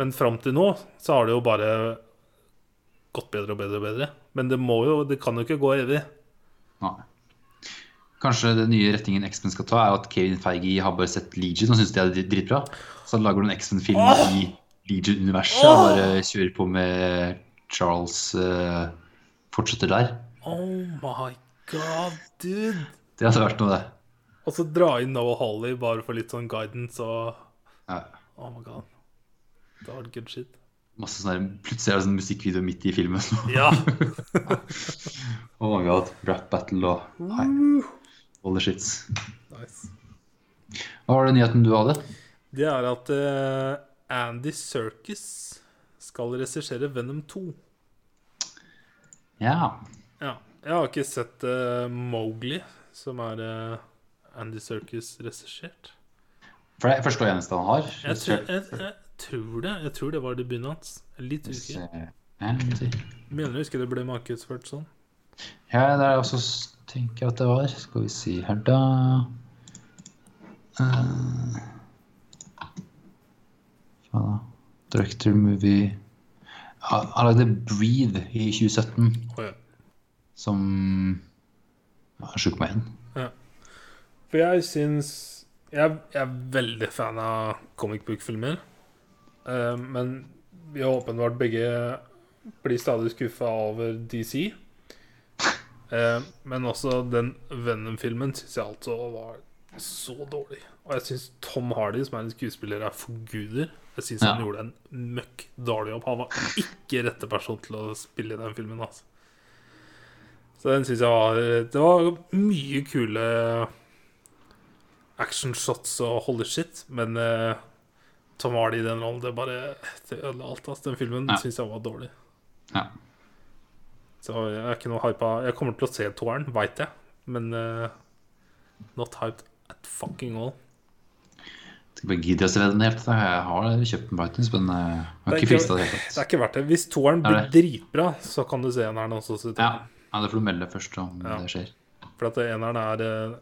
Men fram til nå så har det jo bare gått bedre og bedre og bedre. Men det må jo, det kan jo ikke gå evig.
Nei. Kanskje den nye retningen X-Men skal ta, er at Kevin Feige har bare sett Legion og syns det er drit- dritbra. Så han lager noen X-Men-film i Legion-universet og bare kjører på med Charles eh, fortsetter der.
Oh my god, dude!
Det hadde vært noe, det.
Og så dra inn Noah Hawley bare for litt sånn guidance og
Ja.
Oh my god. Det var good shit.
Masse sånne, her- plutselig er det sånn musikkvideo midt i filmen.
Ja.
oh my god, Rap battle og Nei, all the shits.
nice.
Hva var det nyheten du hadde?
Det er at eh, Andy Circus skal regissere Venom 2.
Ja.
Ja. Jeg har ikke sett uh, Mowgli, som er eh, Andy Serkis regissert.
For det er første og eneste han har.
Jeg, tror- jeg, jeg tror det. Jeg tror det var debuten hans. Jeg er Litt usikker.
eh, Ja, skal vi se.
Mener du ikke det ble markedsført sånn?
Ja, det er det jeg også s- tenker at det var. Skal vi si her, da Eh, Faen, da. Director movie Han han lagde 'Breathe' i 2017,
Å ja.
som ja, Jeg er sjuk meg igjen.
For jeg syns jeg, jeg er veldig fan av comic book-filmer. Eh, men vi har åpenbart begge blir stadig skuffa over DC. Eh, men også den Venom-filmen syns jeg altså var så dårlig. Og jeg syns Tom Hardy, som er en skuespiller, er forguder. Jeg syns
Ja.
han gjorde en møkk dårlig jobb. Han var ikke rette person til å spille i den filmen. Altså. Så den syns jeg var Det var mye kule actionshots og holy shit, men eh, Tom Hardy i den rollen, det bare Det ødela alt. ass. Den filmen
Ja.
synes syns jeg var dårlig.
Ja.
Så jeg er ikke noe hypa. Jeg kommer til å se toeren, veit jeg, men eh, not hyped at fucking all.
Skal bare gidde å se den helt. da. Jeg har kjøpt den på iTunes, men eh, jeg har
Det er
ikke
ikke-
frista det helt.
Det er ikke verdt det. Hvis toeren
Det
blir
er
dritbra, så kan du se eneren også. Så
Ja. ja, det får du melde først om
Ja.
det skjer.
For at eneren er eh,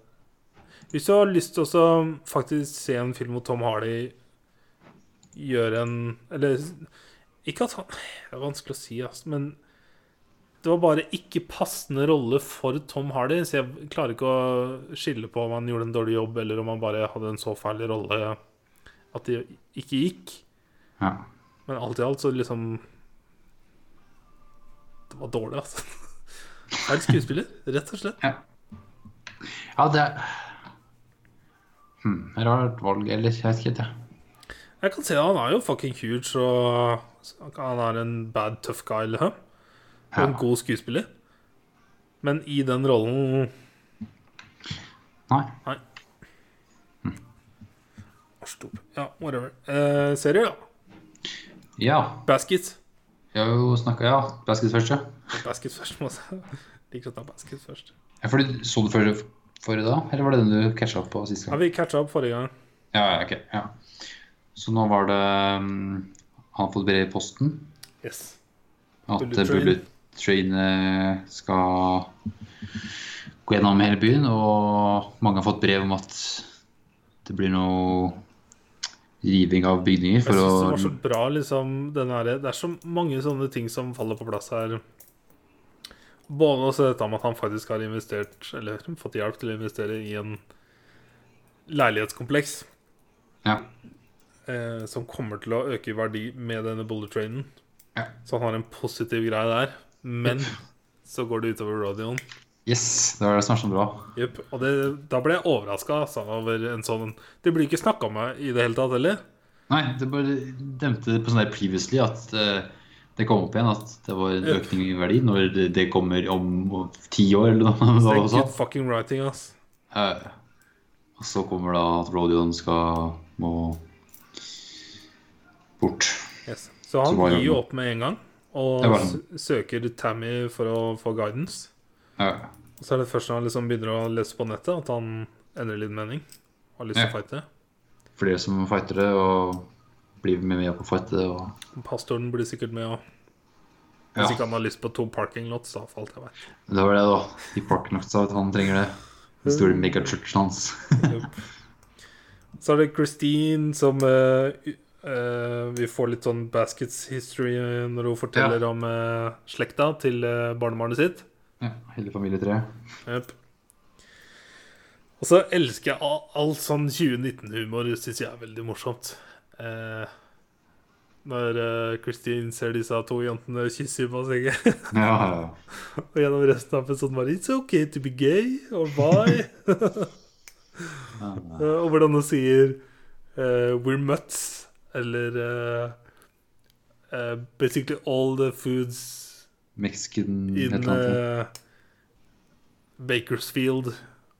Hvis du har lyst til å så faktisk se en film hvor Tom Hardy gjør en Eller ikke at han Det er vanskelig å si, ass, men det var bare ikke passende rolle for Tom Hardy, så jeg klarer ikke å skille på om han gjorde en dårlig jobb, eller om han bare hadde en så fæl rolle at det ikke gikk.
Ja.
Men alt i alt så liksom Det var dårlig, altså. Feil skuespiller, rett og slett.
Ja, det er hmm, Rart valg, eller? Jeg vet ikke helt, jeg.
Jeg kan se han er jo fucking huge, og så han er en bad tough guy, liksom. Og en
Ja.
god skuespiller. Men i den rollen
Nei.
Stopp. Ja, whatever. Eh, serier, da.
Ja,
Basket.
jeg har jo snakka Ja, basket først, ja.
Basket først, må jeg si. Liker å ta basket først.
Ja, for du så du forrige forrige da? Eller var det den du catcha opp på sist
Ja,
gang?
vi catcha opp forrige gang.
Ja, ja, ok. Ja. Så nå var det mm, Han har fått brev i posten
Yes.
at
Bullet Train.
Bullet Train eh, skal gå gjennom hele byen, og mange har fått brev om at det blir noe riving av bygninger
Jeg
for
synes det
å
var så bra, liksom, den her, Det er så mange sånne ting som faller på plass her. Både også dette med at han faktisk har investert, eller fått hjelp til å investere i en leilighetskompleks
Ja.
eh, som kommer til å øke i verdi med denne bullet trainen.
Ja.
Så han har en positiv greie der. Men så går det utover rodeoen.
Yes, det var det som var så bra.
Jep, Og det, da ble jeg overraska over en sånn Det blir ikke snakka om i det hele tatt heller.
Nei, det bare demte på sånn der previously at eh, det kom opp igjen at det var en
Ja.
økning i verdi når det, det kommer om ti år eller noe
Det
sånt.
er
også.
good fucking writing, ass.
Eh, og så kommer da at Rodion skal må bort.
Yes. Så han
Så var
gir
det-
jo opp med en gang og
Det var
s-
han.
søker Tammy for å få guidance.
Ja,
Og så er det først når han liksom begynner å lese på nettet, at han endrer litt mening. Har lyst til å
Ja.
fighte.
flere som fightere og blir med med på fightet og
Pastoren blir sikkert med òg.
ja.
Hvis ikke han har lyst på to parking lots, da, for alt jeg vet.
Det var det, da. I parken også, at han trenger det. Den store megachurchen hans.
Yep. Så er det Christine som eh, u- eh, Vi får litt sånn baskets history eh, når hun forteller om eh, slekta til eh, barnebarnet sitt.
ja, hele familietreet.
Jep. Og så elsker jeg all, all sånn 2019-humor. Det syns jeg er veldig morsomt. Eh, når eh, Christine ser disse to jentene kysse i bassenget,
Ja, ja, ja.
og gjennom resten av episoden bare It's okay to be gay, or bye.
Ja, ja.
Eh, og hvordan hun sier eh, We're mutts, eller eh, eh, Basically all the foods
Mexican Mm, et
in
eller annet.
eh, Bakersfield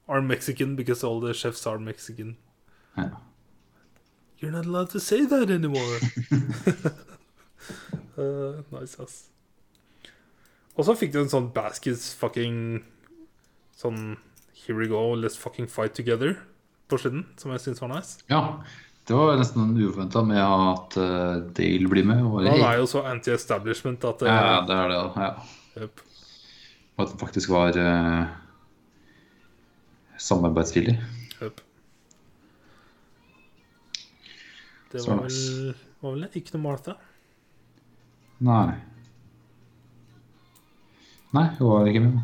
are Mexican because all the chefs are Mexican.
Ja.
You're not allowed to say that anymore. Eh, nice, ass. Og så fikk du en sånn baskets fucking Sånn Here we go, let's fucking fight together på slutten, som jeg syns var nice.
Ja. Det var nesten uventa med at eh, Dale blir med. Og,
Han er jo så anti-establishment at eh,
Ja, det er det. da, Ja.
yep.
Og at den faktisk var eh, samarbeidsvillig.
Yep. Det
Så
var
nice.
vel, var vel ikke noe Martha.
Nei. Nei, hun var ikke med.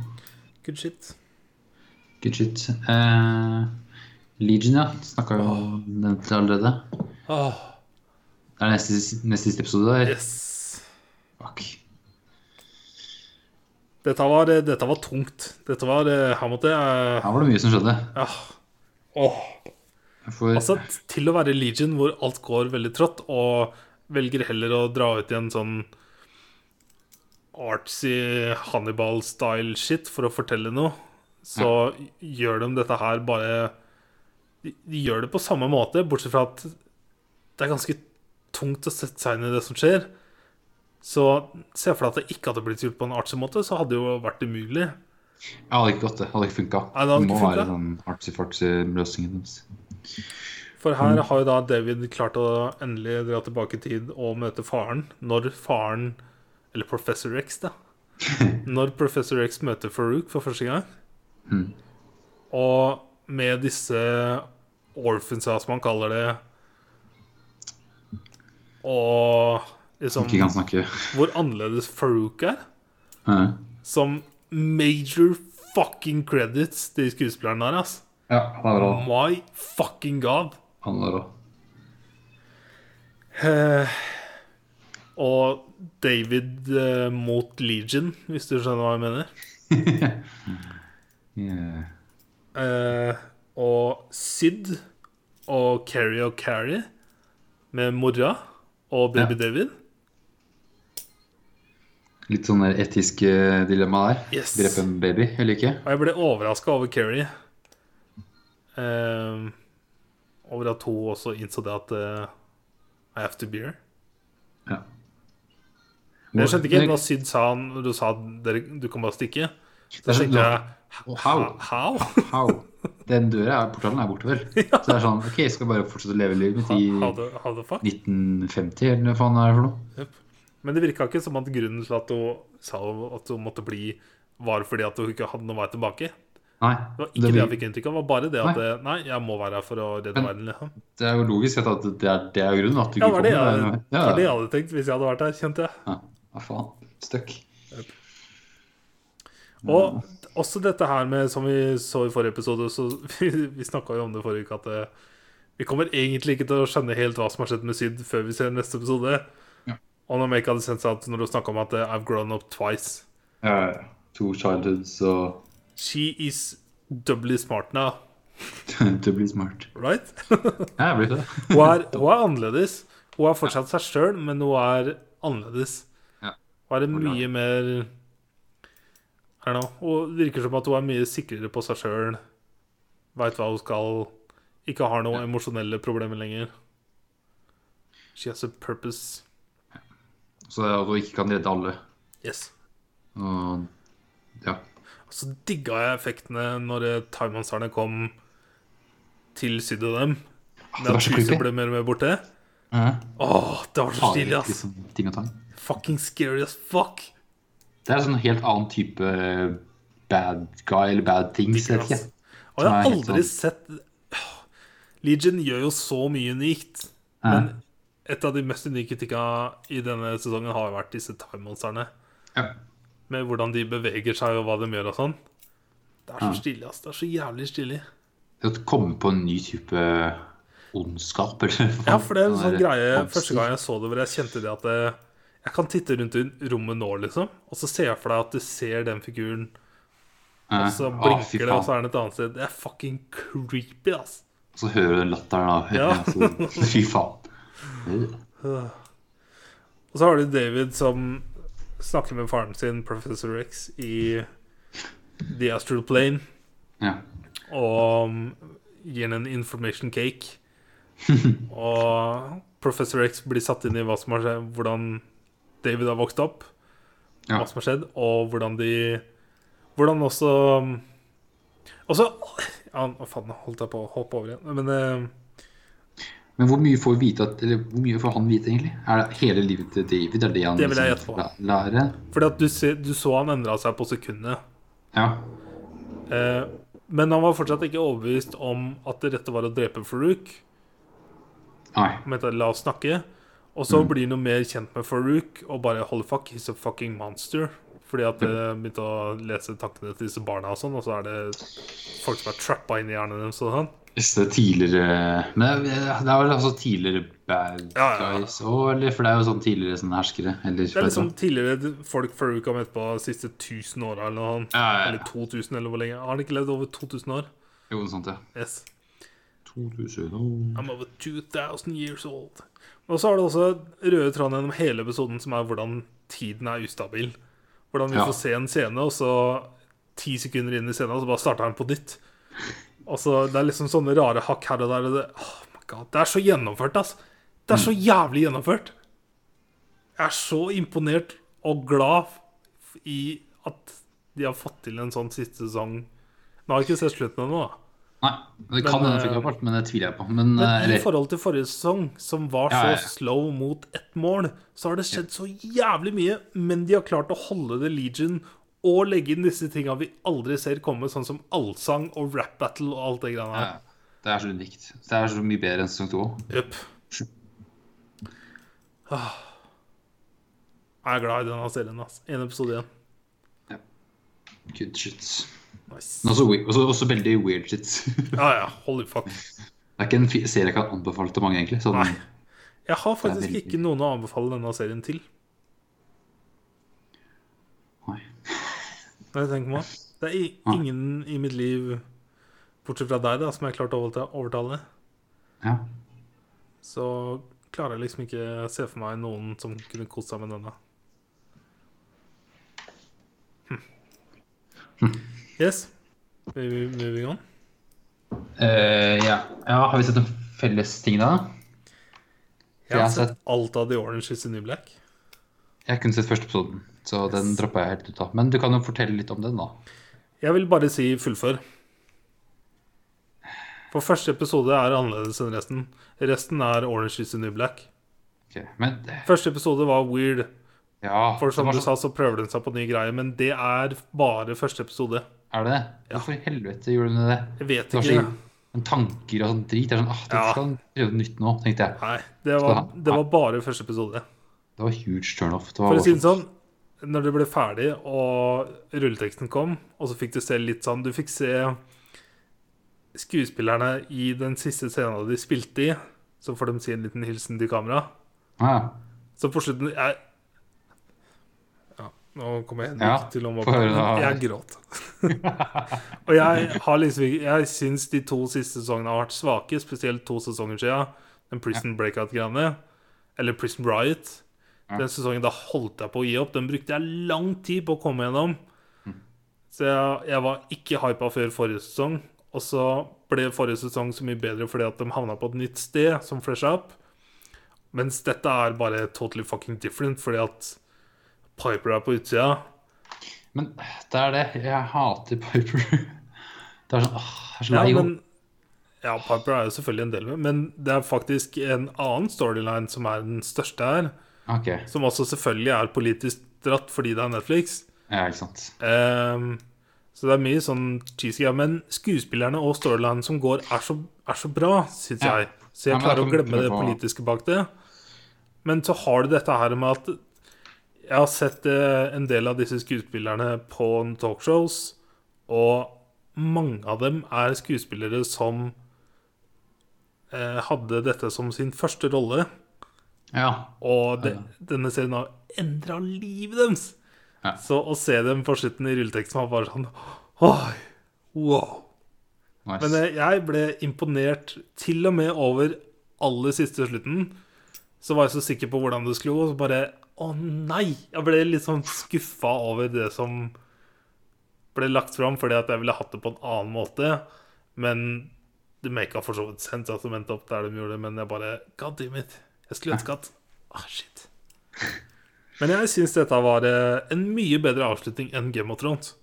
Good shit.
Good shit. Eh, Legion, ja. Snakka jo om den til allerede.
Åh,
Det er neste, neste siste episode der.
yes.
Fuck.
Dette var, eh, dette var tungt. Dette var eh, Her måtte jeg
Her var det mye som skjedde.
ah. Åh.
For,
Altså, t- til å være Legion, hvor alt går veldig trått, og velger heller å dra ut i en sånn artsy Hannibal-style shit for å fortelle noe, så gjør de dette her bare de, de gjør det på samme måte, bortsett fra at det er ganske tungt å sette seg inn i det som skjer. Så se for deg at det ikke hadde blitt gjort på en artsy måte, så hadde det jo vært umulig.
jeg hadde ikke gått det. Hadde ikke funka.
Nei, det hadde
må
ikke
være
funket.
den artsy-fartsy-løsningen deres.
For her har jo da David klart å endelig dra tilbake i tid og møte faren. Når faren Eller Professor X, da. Når Professor X møter Farouk for første gang. Og med disse orphansa, som han kaller det, og liksom
Ikke kan snakke.
Hvor annerledes Farouk er.
Ja.
Som major fucking credits til skuespilleren der, ass.
Ja, det er bra.
My fucking god.
Han der òg.
Eh, og David eh, mot Legion, hvis du skjønner hva jeg mener.
Yeah.
Eh, og Sid og Carrie og Carrie med mora og baby
Ja.
David.
Litt sånn der etisk eh, dilemma der.
Yes.
Drepe en baby eller ikke?
Og jeg ble overraska over Carrie. Eh, over at hun også innså det at eh, I have to be here.
Ja.
Men jeg skjønte ikke helt hva Syd sa når du sa at dere, du kan bare stikke. Så
Det er
tenkte jeg
sånn- How?
How?
How? Den døra, er- portalen er borte, vel? Så det er sånn, ok, jeg skal bare fortsette å leve livet mitt i
How the, how the fuck?
1950, eller hva faen er det for noe?
Men det virka ikke som at grunnen til at hun sa at hun måtte bli, var fordi at hun ikke hadde noen vei tilbake.
Nei,
Det var ikke
det,
det, jeg
blir,
fikk inntrykk av. Det var bare det at
Nei.
eh, Nei, jeg må være her for å redde
Men-
verden. Liksom.
det er jo logisk at det er, det er grunnen at du
Ja,
ikke
det var det jeg,
kommer.
det
ja,
var det jeg hadde tenkt hvis jeg hadde vært her, kjente jeg.
ja. ja, faen. Støkk.
Og også dette her med, som vi så i forrige episode, så vi, vi snakka jo om det forrige uke, at eh, vi kommer egentlig ikke til å skjønne helt hva som har skjedd med Syd før vi ser neste episode.
Ja.
Og når Make hadde sendt seg at når du snakka om at eh, I've grown up twice
Ja, ja, ja. to childhoods og
She is doubly smart now,
to bli smart.
right?
Ja, jeg blir det.
Hun er, hun er annerledes. Hun er fortsatt seg sjøl, men hun er annerledes.
Ja.
Hun er en
Hun er-
mye mer I don't know. Hun virker som at hun er mye sikrere på seg sjøl. Veit hva hun skal. Ikke har noen emosjonelle problemer lenger. She has a purpose.
Så det er at du ikke kan redde alle.
Yes.
Og, ja.
Så digga jeg effektene når eh, thaimonstrene kom til syd og dem.
Ah, det
Da
var så
Tusen
creepy.
ble mer og mer borte.
Ja.
Åh, det var så stilig, ass.
Liksom, ting og tang.
Fucking scary as fuck.
Det er en sånn helt annen type eh, bad guy eller bad things, jeg vet ikke.
Yes. Og jeg har
Nei, helt
aldri sett Legion gjør jo så mye unikt. Men et av de mest unike tinga i denne sesongen har vært disse time-monstrene.
Ja.
Med hvordan de beveger seg og hva de gjør og sånn. Det er så stilig, ass. Det er så jævlig stilig.
Det å komme på en ny type ondskap, eller hva
Ja,
faen,
for det er en
den
sånn
der
greie
angsten.
Første gang jeg så det, hvor jeg kjente det at eh, Jeg kan titte rundt i rommet nå, liksom, og så ser jeg for deg at du ser den figuren,
Ja.
og så
Ah, fy
blinker det, altså. og
faen.
så er den et annet sted. Det er fucking creepy, ass.
Og så hører du den latteren av
Ja.
så- Fy faen.
Og så har du David som snakker med faren sin, Professor X, i The Astral Plane,
Ja.
og gir ham en information cake. Og Professor X blir satt inn i hva som har skjedd, hvordan David har vokst opp.
Ja.
hva som har skjedd, og hvordan de Hvordan også Også ja, Å, faen, nå holdt jeg på å hoppe over igjen. Men eh,
Men hvor mye får, vi vite at, eller, hvor mye får han vite, egentlig? Er det hele livet til David? Er det han
Det vil jeg
liksom
gjette
la- lærer?
Fordi at du, ser, du så han endra seg på sekundet.
Ja.
Eh, men han var fortsatt ikke overbevist om at det rette var å drepe Farouk.
Nei.
Han mente la oss snakke. Og så
Mm.
blir han jo mer kjent med Farouk og bare holy fuck, he's a fucking monster. Fordi at jeg
Mm.
begynte å lese tankene til disse barna, og sånn Og så er det folk som er trappa inn i hjernen deres. og sånn.
Så det er tidligere Men det er det er vel altså tidligere bad
Ja, ja, ja.
guys òg, eller? For det er jo sånn tidligere sånne herskere. Eller,
Det er liksom tidligere folk Farouk har møtt på de siste 1000 åra, eller noe sånt.
ja, ja,
Eller
ja.
2000, eller hvor lenge. Har han ikke levd over 2000 år?
Jo, noe sånt, ja.
Yes.
2000
I'm over 2000 years old. Og så har du også røde tråden gjennom hele episoden, som er hvordan tiden er ustabil. Hvordan vi
Ja.
får se en scene, og så ti sekunder inn i scenen, og så bare starter den på nytt. Og så Det er liksom sånne rare hakk her og der. Og det, oh my God, det er så gjennomført, ass! Det er så jævlig gjennomført! Jeg er så imponert og glad f- i at de har fått til en sånn siste sesong. Nå har jeg ikke sett slutten ennå, da.
Nei, det kan
Men,
hende fikk
eh,
opp alt, men det tviler jeg på. Men, eh,
Men i
eller-
forhold til forrige sesong, som var så
Ja, ja, ja.
slow mot ett mål, så har det skjedd så jævlig mye, men de har klart å holde det legion og legge inn disse tinga vi aldri ser komme, sånn som allsang og rap battle og alt det greia
ja,
der.
ja. det er så unikt. Det er så mye bedre enn sesong to òg.
Jupp. Ah. Jeg er glad i denne serien. ass En episode igjen.
Good shit. Men
Nice.
også, we- også, også veldig weird shit. det
Ja, ja. Holy fuck.
er ikke en fi- serie jeg kan anbefale til mange, egentlig. Sånn,
Nei. Jeg har
Det er
faktisk
veldig-
ikke noen å anbefale denne serien til.
Nei.
Når jeg tenker meg om. Det er i-
Nei.
ingen i mitt liv, bortsett fra deg, da, som jeg har klart å overta- overtale.
Ja.
Så klarer jeg liksom ikke se for meg noen som kunne kost seg med denne. Hm.
Hm.
Yes. Maybe Moving on.
Eh, ja. ja, har vi sett noen felles ting da?
Jeg har sett alt av The Orange is the New Black.
Jeg kunne sett første episoden, så den droppa jeg helt ut av. Men du kan jo fortelle litt om den, da.
Jeg vil bare si fullfør. For første episode er annerledes enn resten. Resten er Orange is the New Black.
Ok, Men
Første episode var weird.
ja
For som
det var
du
så-
sa, så prøver den seg på nye greier, men det er bare første episode.
Er det det? Hvorfor i helvete gjorde du det?
Jeg vet
Det var
ikke.
så men tanker og sånn drit. Det er sånn, ah, du
Ja.
skal prøve noe nytt nå, tenkte jeg.
Nei, det var, det var bare første episode.
Det var huge turnoff. Det var
For å si det
bare
sånn, når det ble ferdig og rulleteksten kom, og så fikk du se litt sånn Du fikk se skuespillerne i den siste scenen de spilte i. Så får de si en liten hilsen til kamera.
sånn. Ja,
Så på slutten jeg, ja, Nå kommer jeg ikke
Ja,
til å
få høre da.
Jeg gråt. og jeg har liksom ikke- Jeg syns de to siste sesongene har vært svake, spesielt to sesonger siden. Den Prison Breakout-greiene. Eller Prison Riot.
Ja.
Den sesongen da holdt jeg på å gi opp. Den brukte jeg lang tid på å komme gjennom.
Mm.
Så jeg, jeg var ikke hypa før forrige sesong. Og så ble forrige sesong så mye bedre fordi at de havna på et nytt sted som fresha opp. Mens dette er bare totally fucking different fordi at Piper er på utsida.
Men det er det. Jeg hater Piper. Det er sånn åh, jeg er så
Ja,
lei
men,
henne.
ja, Piper er jo selvfølgelig en del med, men det er faktisk en annen storyline som er den største her.
OK.
Som også selvfølgelig er politisk dratt fordi det er Netflix.
Ja, ikke sant.
Ehm, så det er mye sånn cheesy greier. Men skuespillerne og storylinen som går, er så, er så bra, syns
Ja.
jeg. Så
Ja, men
jeg klarer
jeg
å
kan
glemme det
prøve å-
politiske bak det. Men så har du dette her med at jeg har sett eh, en del av disse skuespillerne på talkshows, og mange av dem er skuespillere som eh, hadde dette som sin første rolle.
Ja.
Og de, denne serien har endra livet deres.
Ja.
Så å se dem på slutten i rulleteksten var bare sånn Oi, wow.
Nice.
Men eh, jeg ble imponert til og med over aller siste slutten. Så var jeg så sikker på hvordan det skulle gå, og så bare Å nei! Jeg ble litt sånn skuffa over det som ble lagt fram, fordi at jeg ville hatt det på en annen måte. Men det maka for så vidt sense altså, at de endte opp der de gjorde, men jeg bare God damn it. Jeg skulle ønske at Ah, shit. Men jeg syns dette var eh, en mye bedre avslutning enn Game of Thrones.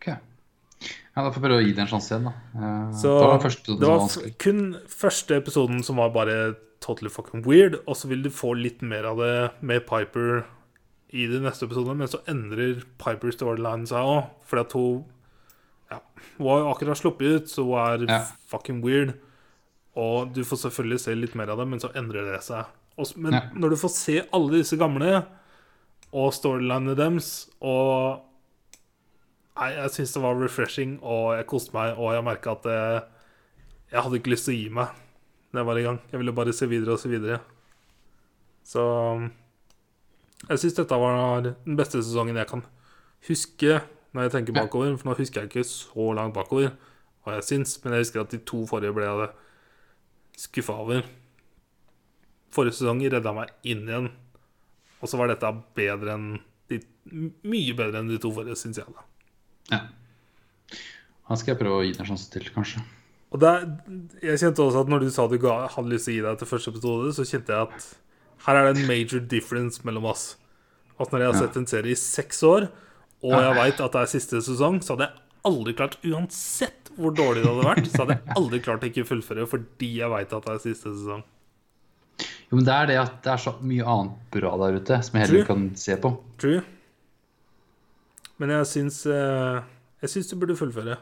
Ok. Ja, da får jeg prøve å gi det en sjanse igjen, da. Eh,
Så
da var den første som
det
var
var f-
vanskelig.
kun første episoden som var bare totally fucking weird, og så vil du få litt mer av det med Piper i de neste episodene, men så endrer Piper storyline seg òg, fordi at hun ja, Hun har jo akkurat sluppet ut, så hun er
Ja.
fucking weird. Og du får selvfølgelig se litt mer av det, men så endrer det seg. Og, s- men
Ja.
når du får se alle disse gamle, og storylinene deres, og Nei, jeg syns det var refreshing, og jeg koste meg, og jeg merka at eh, jeg hadde ikke lyst til å gi meg da jeg var i gang. Jeg ville bare se videre og se videre. Så um, jeg syns dette var den beste sesongen jeg kan huske når jeg tenker bakover, for nå husker jeg ikke så langt bakover hva jeg syns, men jeg husker at de to forrige ble jeg skuffa over. Forrige sesong redda meg inn igjen, og så var dette bedre enn de, mye bedre enn de to forrige, syns jeg. da
Ja. Da skal jeg prøve å gi det en sjanse til, kanskje.
Og der, jeg kjente også at når du sa du ga, hadde lyst til å gi deg til første episode, så kjente jeg at her er det en major difference mellom oss. At når jeg
Ja.
har sett en serie i seks år, og jeg veit at det er siste sesong, så hadde jeg aldri klart, uansett hvor dårlig det hadde vært, så hadde jeg aldri klart å ikke fullføre fordi jeg veit at det er siste sesong.
Jo, men det er det at det er så mye annet bra der ute som jeg heller ikke kan se på.
True. Men jeg syns eh, Jeg syns du burde fullføre.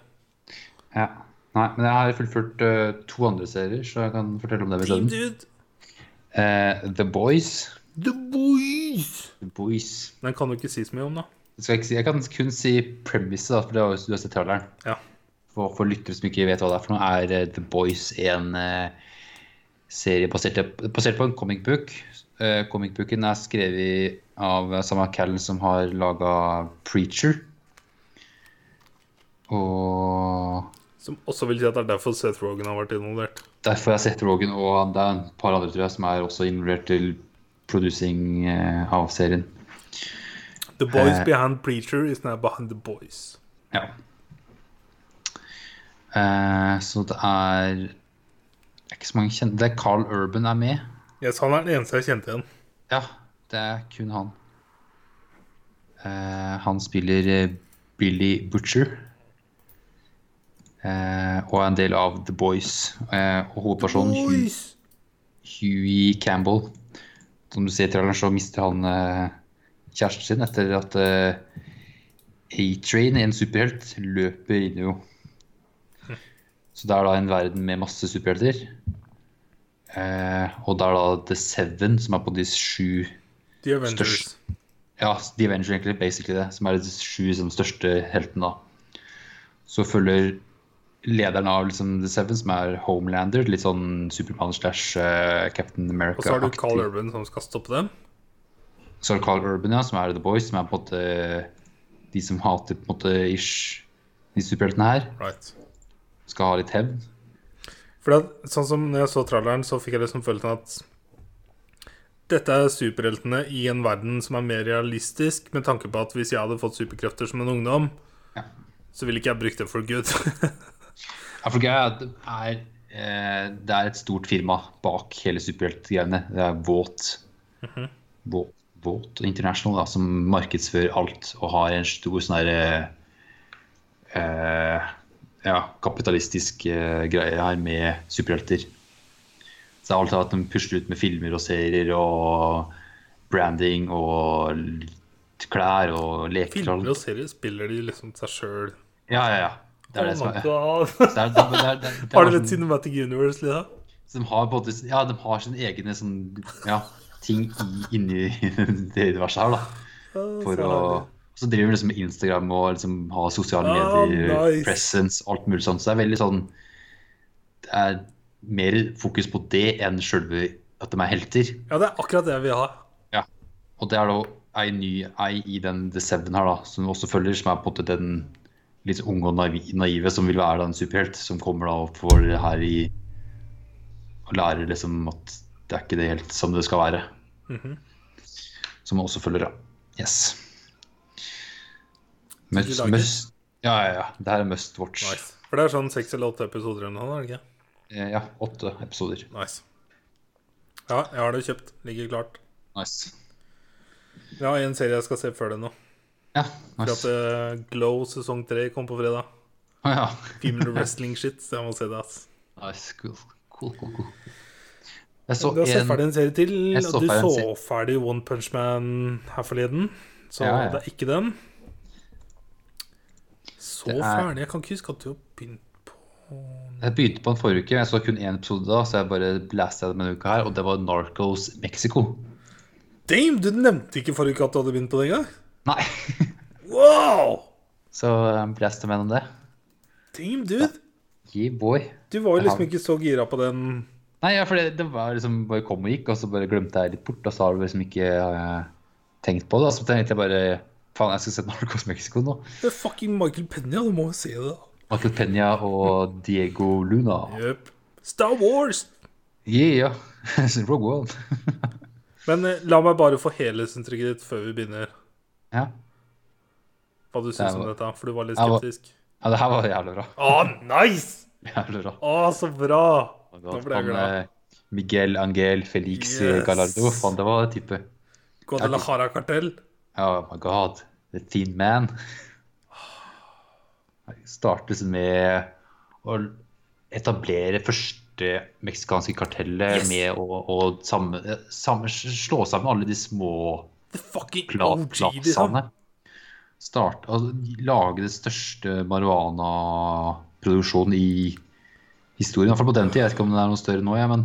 Ja. Nei, men jeg har fullført eh, to andre serier, så jeg kan fortelle om det.
Team
Med
Dude!
uh, The Boys.
The boys!
The Boys.
Den kan du ikke si så mye om, da.
Det skal jeg, ikke si. jeg kan kun si premisset, da, for det har jo du har sett traileren.
Ja.
For, for lyttere som ikke vet hva det er for noe, er eh, The Boys en eh, serie basert, basert på en comic book. Eh, comic booken er skrevet av eh, samme Callen som har laga Preacher. Og
Som også vil si at det er derfor Seth Rogen har vært involvert.
derfor har jeg sett Rogan, og det er et par andre tror jeg, som er også involvert til producing eh, av serien.
The boys
Eh.
behind preacher is now behind the boys.
Ja. Eh, så det er det er ikke så mange kjente. Det er Carl Urban er med.
Yes, han er den eneste jeg kjente igjen.
Ja, det er kun han. Eh, han spiller eh, Billy Butcher. Eh, og er en del av The Boys. Eh, og hovedpersonen Hu- Huey Campbell. Som du ser i traileren, så mister han eh, kjæresten sin etter at eh, A-Train, en superhelt, løper inn i henne. Så det er da en verden med masse superhelter. Eh, og det er da The Seven, som er på de sju
The Avengers.
Størst. ja, The Avenger egentlig, basically det, som er de sju liksom, største heltene da. Så følger lederen av liksom, The Seven, som er Homelander, litt sånn Superman slash eh, Captain America.
Og så har du Carl Urban som skal stoppe dem.
Så er det Carl Urban, ja, som er The Boys, som er på en måte eh, de som hater på en måte ish de superheltene her,
Right.
skal ha litt hevn.
For at, sånn som når jeg så tralleren, så fikk jeg liksom følelsen at dette er superheltene i en verden som er mer realistisk, med tanke på at hvis jeg hadde fått superkrefter som en ungdom,
Ja.
så ville ikke jeg brukt det for good.
Ja, for greia er at det er, eh, det er et stort firma bak hele superheltgreiene. Det er Vought.
Mhm.
Vought, Vought International, da, som markedsfører alt og har en stor sånn her eh, eh, ja, kapitalistisk eh, greie her med superhelter. Så det er alltid at de pusler ut med filmer og serier og branding og l- klær og leker. og alt.
Filmer og serier spiller de liksom seg sjøl.
Ja, ja, ja. Det er det som er det
Har
er- det er- det er- det er-
du
sånn-
litt Cinematic Universe, Lida?
Så de har, både, ja, de har sine egne sånn, ja, ting i, inni det universet her, da. For å, så driver de liksom med Instagram og liksom har sosiale
Ah,
medier,
nice.
presence, alt mulig sånt. Så det er veldig sånn Det er mer fokus på det enn sjølve at de er helter.
Ja, det er akkurat det jeg vil ha.
Og det er da ei ny ei i den The Seven her, da, som også følger, som er på en måte den litt unge og naiv- naive som vil være da en superhelt, som kommer da opp for det her i Og lærer liksom at det er ikke det helt som det skal være.
Mhm.
Som også følger, ja. Yes. Must,
lager?
must, ja, ja, ja. Det her er must watch.
Nice. For det er sånn seks eller åtte episoder eller noe, er det ikke?
Eh, Ja, åtte episoder.
Nice. Ja, jeg har det kjøpt. Ligger klart.
Nice.
Jeg har en serie jeg skal se før det nå.
Ja,
For at
nice.
eh, Glow sesong tre kom på fredag.
Å ja.
Female wrestling shit. Så jeg må se det, ass.
Nice, cool. Cool, cool, cool. Jeg så
Du har sett
en
ferdig en serie til.
Jeg så
du
ferdig en
så ferdig One Punch Man her forleden, så
Ja, ja.
det er ikke den. Så
Det er-
ferdig. Jeg kan ikke huske at du har begynt på
Jeg begynte på den forrige uke, men jeg så kun én episode da, så jeg bare blæste den denne uka her, og det var Narcos Mexico.
Damn, du nevnte ikke forrige uke at du hadde begynt på det engang!
Nei,
Wow!
så eh, jeg blæste meg gjennom det.
Damn, dude!
Yeah, boy.
Du var
Det har
jo liksom
vi.
ikke så gira på den
Nei, ja, for det, det var liksom bare kom og gikk, og så bare glemte jeg litt bort, og så har du liksom ikke eh, tenkt på det. Og så tenkte jeg bare faen, jeg skal se Narcos Mexico nå.
Det er fucking Michael Penya, du må jo se det. da
Michael Peña og Diego Luna.
Jøp. Star Wars!
Yeah, yeah. Rogue One.
Men eh, la meg bare få helhetsinntrykket ditt før vi begynner.
Ja.
Hva du syns om
var-
dette, for du var litt
Jeg var-
skeptisk.
ja, det her var jævlig bra.
Å, nice!
Jævlig bra.
Å, så bra! Nå ble jeg
Han,
glad.
eh, Miguel Angel Felix
Yes.
Gallardo. Faen, det var type.
Guadalajara-kartell.
Oh my god, the thin man. Jeg startes med å etablere første meksikanske kartellet
Yes.
med å, å samme, samme, slå sammen alle de små
The fucking
pla-
OG, liksom.
plazaene. Start, altså, lage det største marihuana-produksjonen i historien. Iallfall på den tid. Jeg vet ikke om den er noe større nå, jeg, men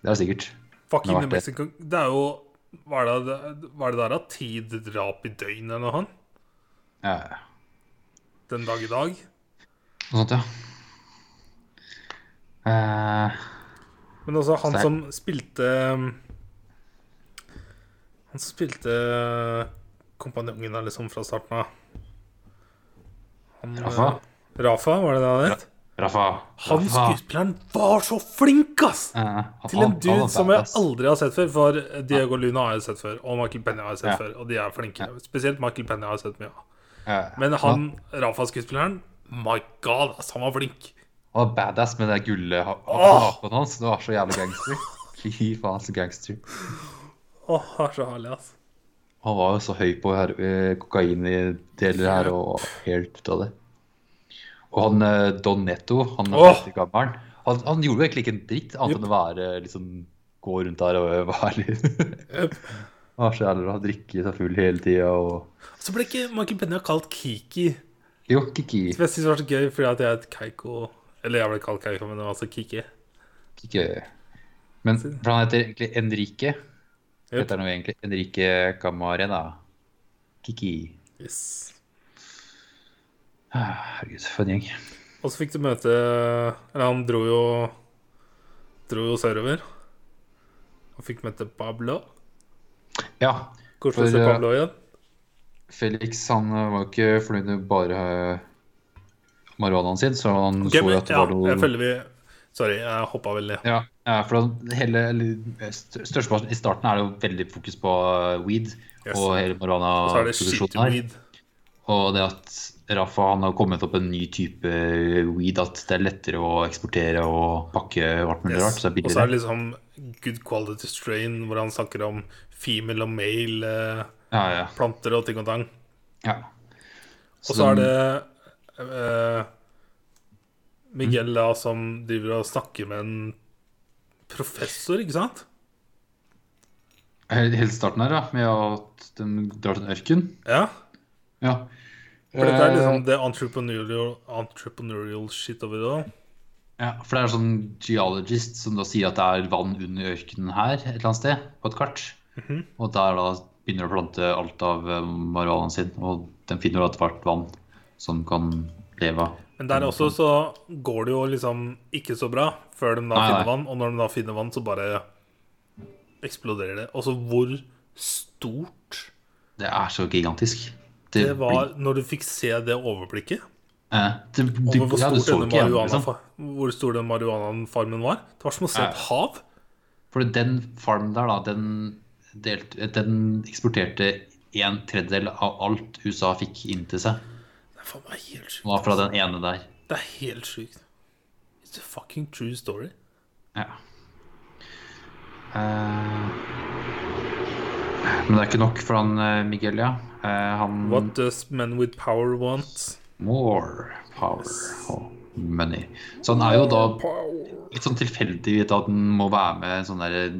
det er det sikkert.
Fucking
Det har vært
The Mexican Det er jo Hva er det, hva er det der, da? Ti drap i døgnet eller noe sånt?
Ja, ja, ja.
Den dag i dag?
Noe sånt, ja. Eh,
Men også han
Sterk.
som spilte Han som spilte uh, kompanjongen der liksom fra starten av. Han, eh,
Rafa?
Rafa, var det det han het?
Rafa.
Han
Rafa.
skuespilleren var så flink, ass!
Eh, han-
Til en
han- han
dude
var
som jeg
badass.
aldri har sett før. For Diego Luna har jeg sett før, og Michael Penny har jeg sett
Ja.
før. Og de er flinke. Spesielt Michael Penny har jeg sett mye av.
Ja,
Men han Rafa-skuespilleren, my god, ass, han var flink.
Han var badass med det gullet ha-
Åh!
haken hans. Det var så jævlig gangster. Fy faen, så gangster.
Åh, han er så herlig, ass.
Han var jo så høy på her, eh, kokain i deler her og helt ut av det. Og han eh, Don Netto, han
Åh!
oh. gammelen, han, han gjorde jo egentlig ikke en dritt annet enn å være liksom gå rundt der og eh, være litt
Yep.
Han var så jævlig bra. Drikke seg full hele tida og
Så ble ikke Michael Penny kalt Kiki.
Jo, Kiki.
Som jeg synes var så gøy, fordi at jeg er et Keiko Eller jeg ble kalt Keiko, men det var altså Kiki.
Ikke Men for han heter egentlig Enrique.
Jep.
Heter han jo egentlig Enrique Camarena. Kiki. Ah, Herregud, for en gjeng.
Og så fikk du møte Eller han dro jo Dro jo sørover. Og fikk møte Pablo.
Ja. For,
Koselig å se
eh,
Pablo igjen.
Felix han eh, var ikke fornøyd med bare eh, marihuanaen sin, så han
Ok,
så
men,
jo at det
ja,
var noe
jeg føler vi Sorry, jeg hoppa veldig.
Ja, ja, for da- hele eller, eh, st- størsteparten I starten er det jo veldig fokus på eh, weed
Yes.
og hele
Så er det shit
marihuana-produksjonen her.
weed.
Og det at Rafa han har kommet opp en ny type weed, at det er lettere å eksportere og pakke og alt mulig
Yes.
rart. Så det er
Og så
billigere.
er det liksom good quality strain, hvor han snakker om female og male eh,
Ja, ja,
planter og ting og tang.
ja.
Og så er
den-
det eh, Miguel da som driver og snakker med en professor, ikke sant?
Hele hele starten her, da, med at de drar til en ørken.
Ja.
Ja.
For dette er
Eh.
liksom det entrepreneurial, entrepreneurial shit over det. da.
ja, for det er en sånn geologist som da sier at det er vann under ørkenen her et eller annet sted, på et kart.
Mhm.
Og der da begynner de å plante alt av eh, marihuanaen sin, og de finner etter hvert vann som kan leve av.
Men der også så går det jo liksom ikke så bra før de da
Nei, nei.
finner vann. Og når de da finner vann, så bare eksploderer det. Altså hvor stort
Det er så gigantisk.
det var når du fikk se det overblikket
Eh, det, du,
over hvor
ja, du
stor
så
denne
ikke igjen,
marihuana-
liksom.
hvor stor den marihuanafarmen var. Det var som å se
Ja.
et hav.
For den farmen der, da, den, delt, den eksporterte en tredjedel av alt USA fikk inn til seg.
Det er faen meg helt sjukt.
Det var fra den ene der.
Det er helt sjukt. It's a fucking true story.
Ja. Eh, Men det er ikke nok for han eh, Miguel, ja. Eh, han
What does men with power want?
More power og money. Så han er jo da litt sånn tilfeldig vet du, at han må være med sånn der,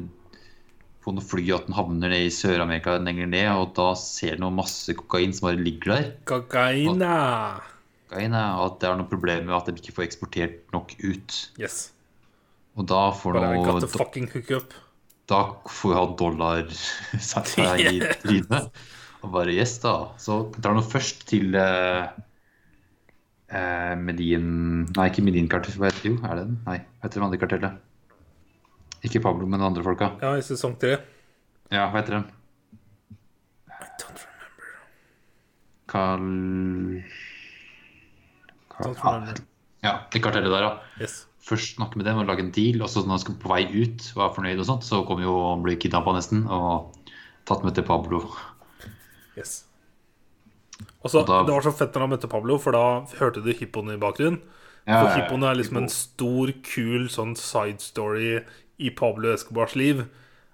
på noe fly, at han havner ned i Sør-Amerika lenger ned, og da ser han noe masse kokain som bare ligger der.
Gagaina.
Kokain, ja, og at det er noe problem med at de ikke får eksportert nok ut.
Yes.
Og da får
But I got
han
the
da,
fucking hookup.
da får han dollar seg seg i trynet. Og bare yes, da. Så drar han jo først til eh, eh, Medin Nei, ikke Medin-kartellet. Hva heter det? Jo, er det den? Nei, hva heter det andre kartellet? Ikke Pablo, men de andre folka.
Ja, i sesong tre.
Ja, hva heter de?
I don't remember.
Carl...
Don't
Carl...
remember.
Ja, det kartellet der, ja.
Yes.
først snakke med dem og lage en deal, og så når han skal på vei ut og er fornøyd og sånt, så kommer jo han blir kidnappa nesten og tatt med til Pablo.
Yes. Og så,
Og da-
Det var så fett når han møtte Pablo, for da hørte du hippoen i bakgrunnen.
Ja,
for hippoen er liksom
hippo.
en stor, kul sånn side story i Pablo Escobars liv.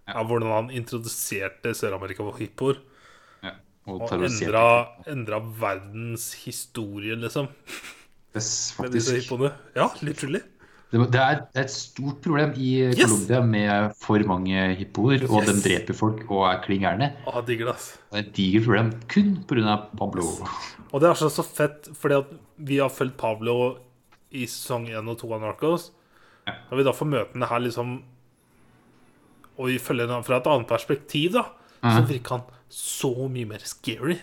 Av hvordan han introduserte Sør-Amerika for hippoer.
Ja, og
Og
terrorisert.
endra, endra verdens historie, liksom.
Yes,
Med disse
faktisk.
hippoene. Ja, literally.
Det det er det er et stort problem i
Yes!
Colombia med for mange hippoer, og
Yes.
de dreper folk og er klin gærne.
Ah, digger det, ass.
Det er et digert problem kun pga. Pablo.
Og det er så, så fett, fordi at vi har fulgt Pablo i sesong 1 og 2 av Narcos. Når vi da får møte henne her, liksom Og vi følger henne fra et annet perspektiv, da, så virker han så mye mer scary.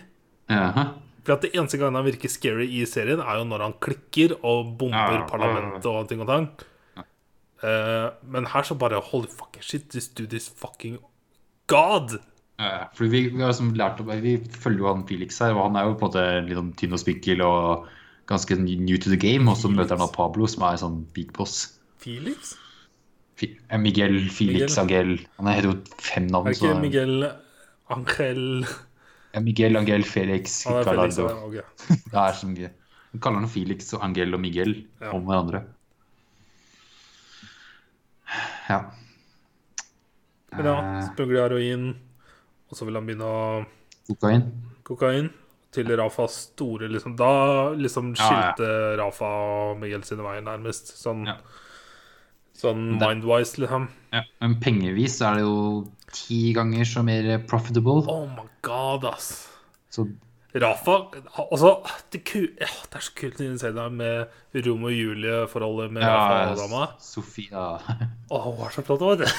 Jaha.
For at det eneste gangen han virker scary i serien, er jo når han klikker og bomber
Ja,
parlamentet og ting og tang. Eh, men her så bare Holy fucking shit, this dude is fucking god!
Ja, for vi, vi har liksom lært opp, vi følger jo han Felix her, og han er jo på en måte litt sånn tynn og spinkel og ganske new to the game. Og så møter han da Pablo, som er sånn big boss.
Felix?
Fi- eh, Miguel Felix
Miguel.
Angel. Han heter jo fem navn.
Er det ikke
så-
Miguel Angel
Ja, Miguel Angel Felix
Han er Felix,
Ricardo.
ja, ok.
Det er så mye. Han kaller han Felix og Angel og Miguel
Ja.
om hverandre. Ja.
Men
Eh.
ja, smugler heroin, og så vil han begynne å
Kokain.
kokain. Til Rafas store liksom Da liksom
Ja, ja.
skilte Rafa og Miguel sine veier, nærmest. Sånn,
Ja.
sånn
Det-
mind-wise, liksom.
Men pengevis er det jo ti ganger så mer profitable.
Oh my god, ass.
Så
Rafa Altså, det, ku, ja, det er så kult å se deg med Rom og Julie-forholdet med Rafa
ja,
og dama.
Sofia
Åh, hun er så flott, vet du.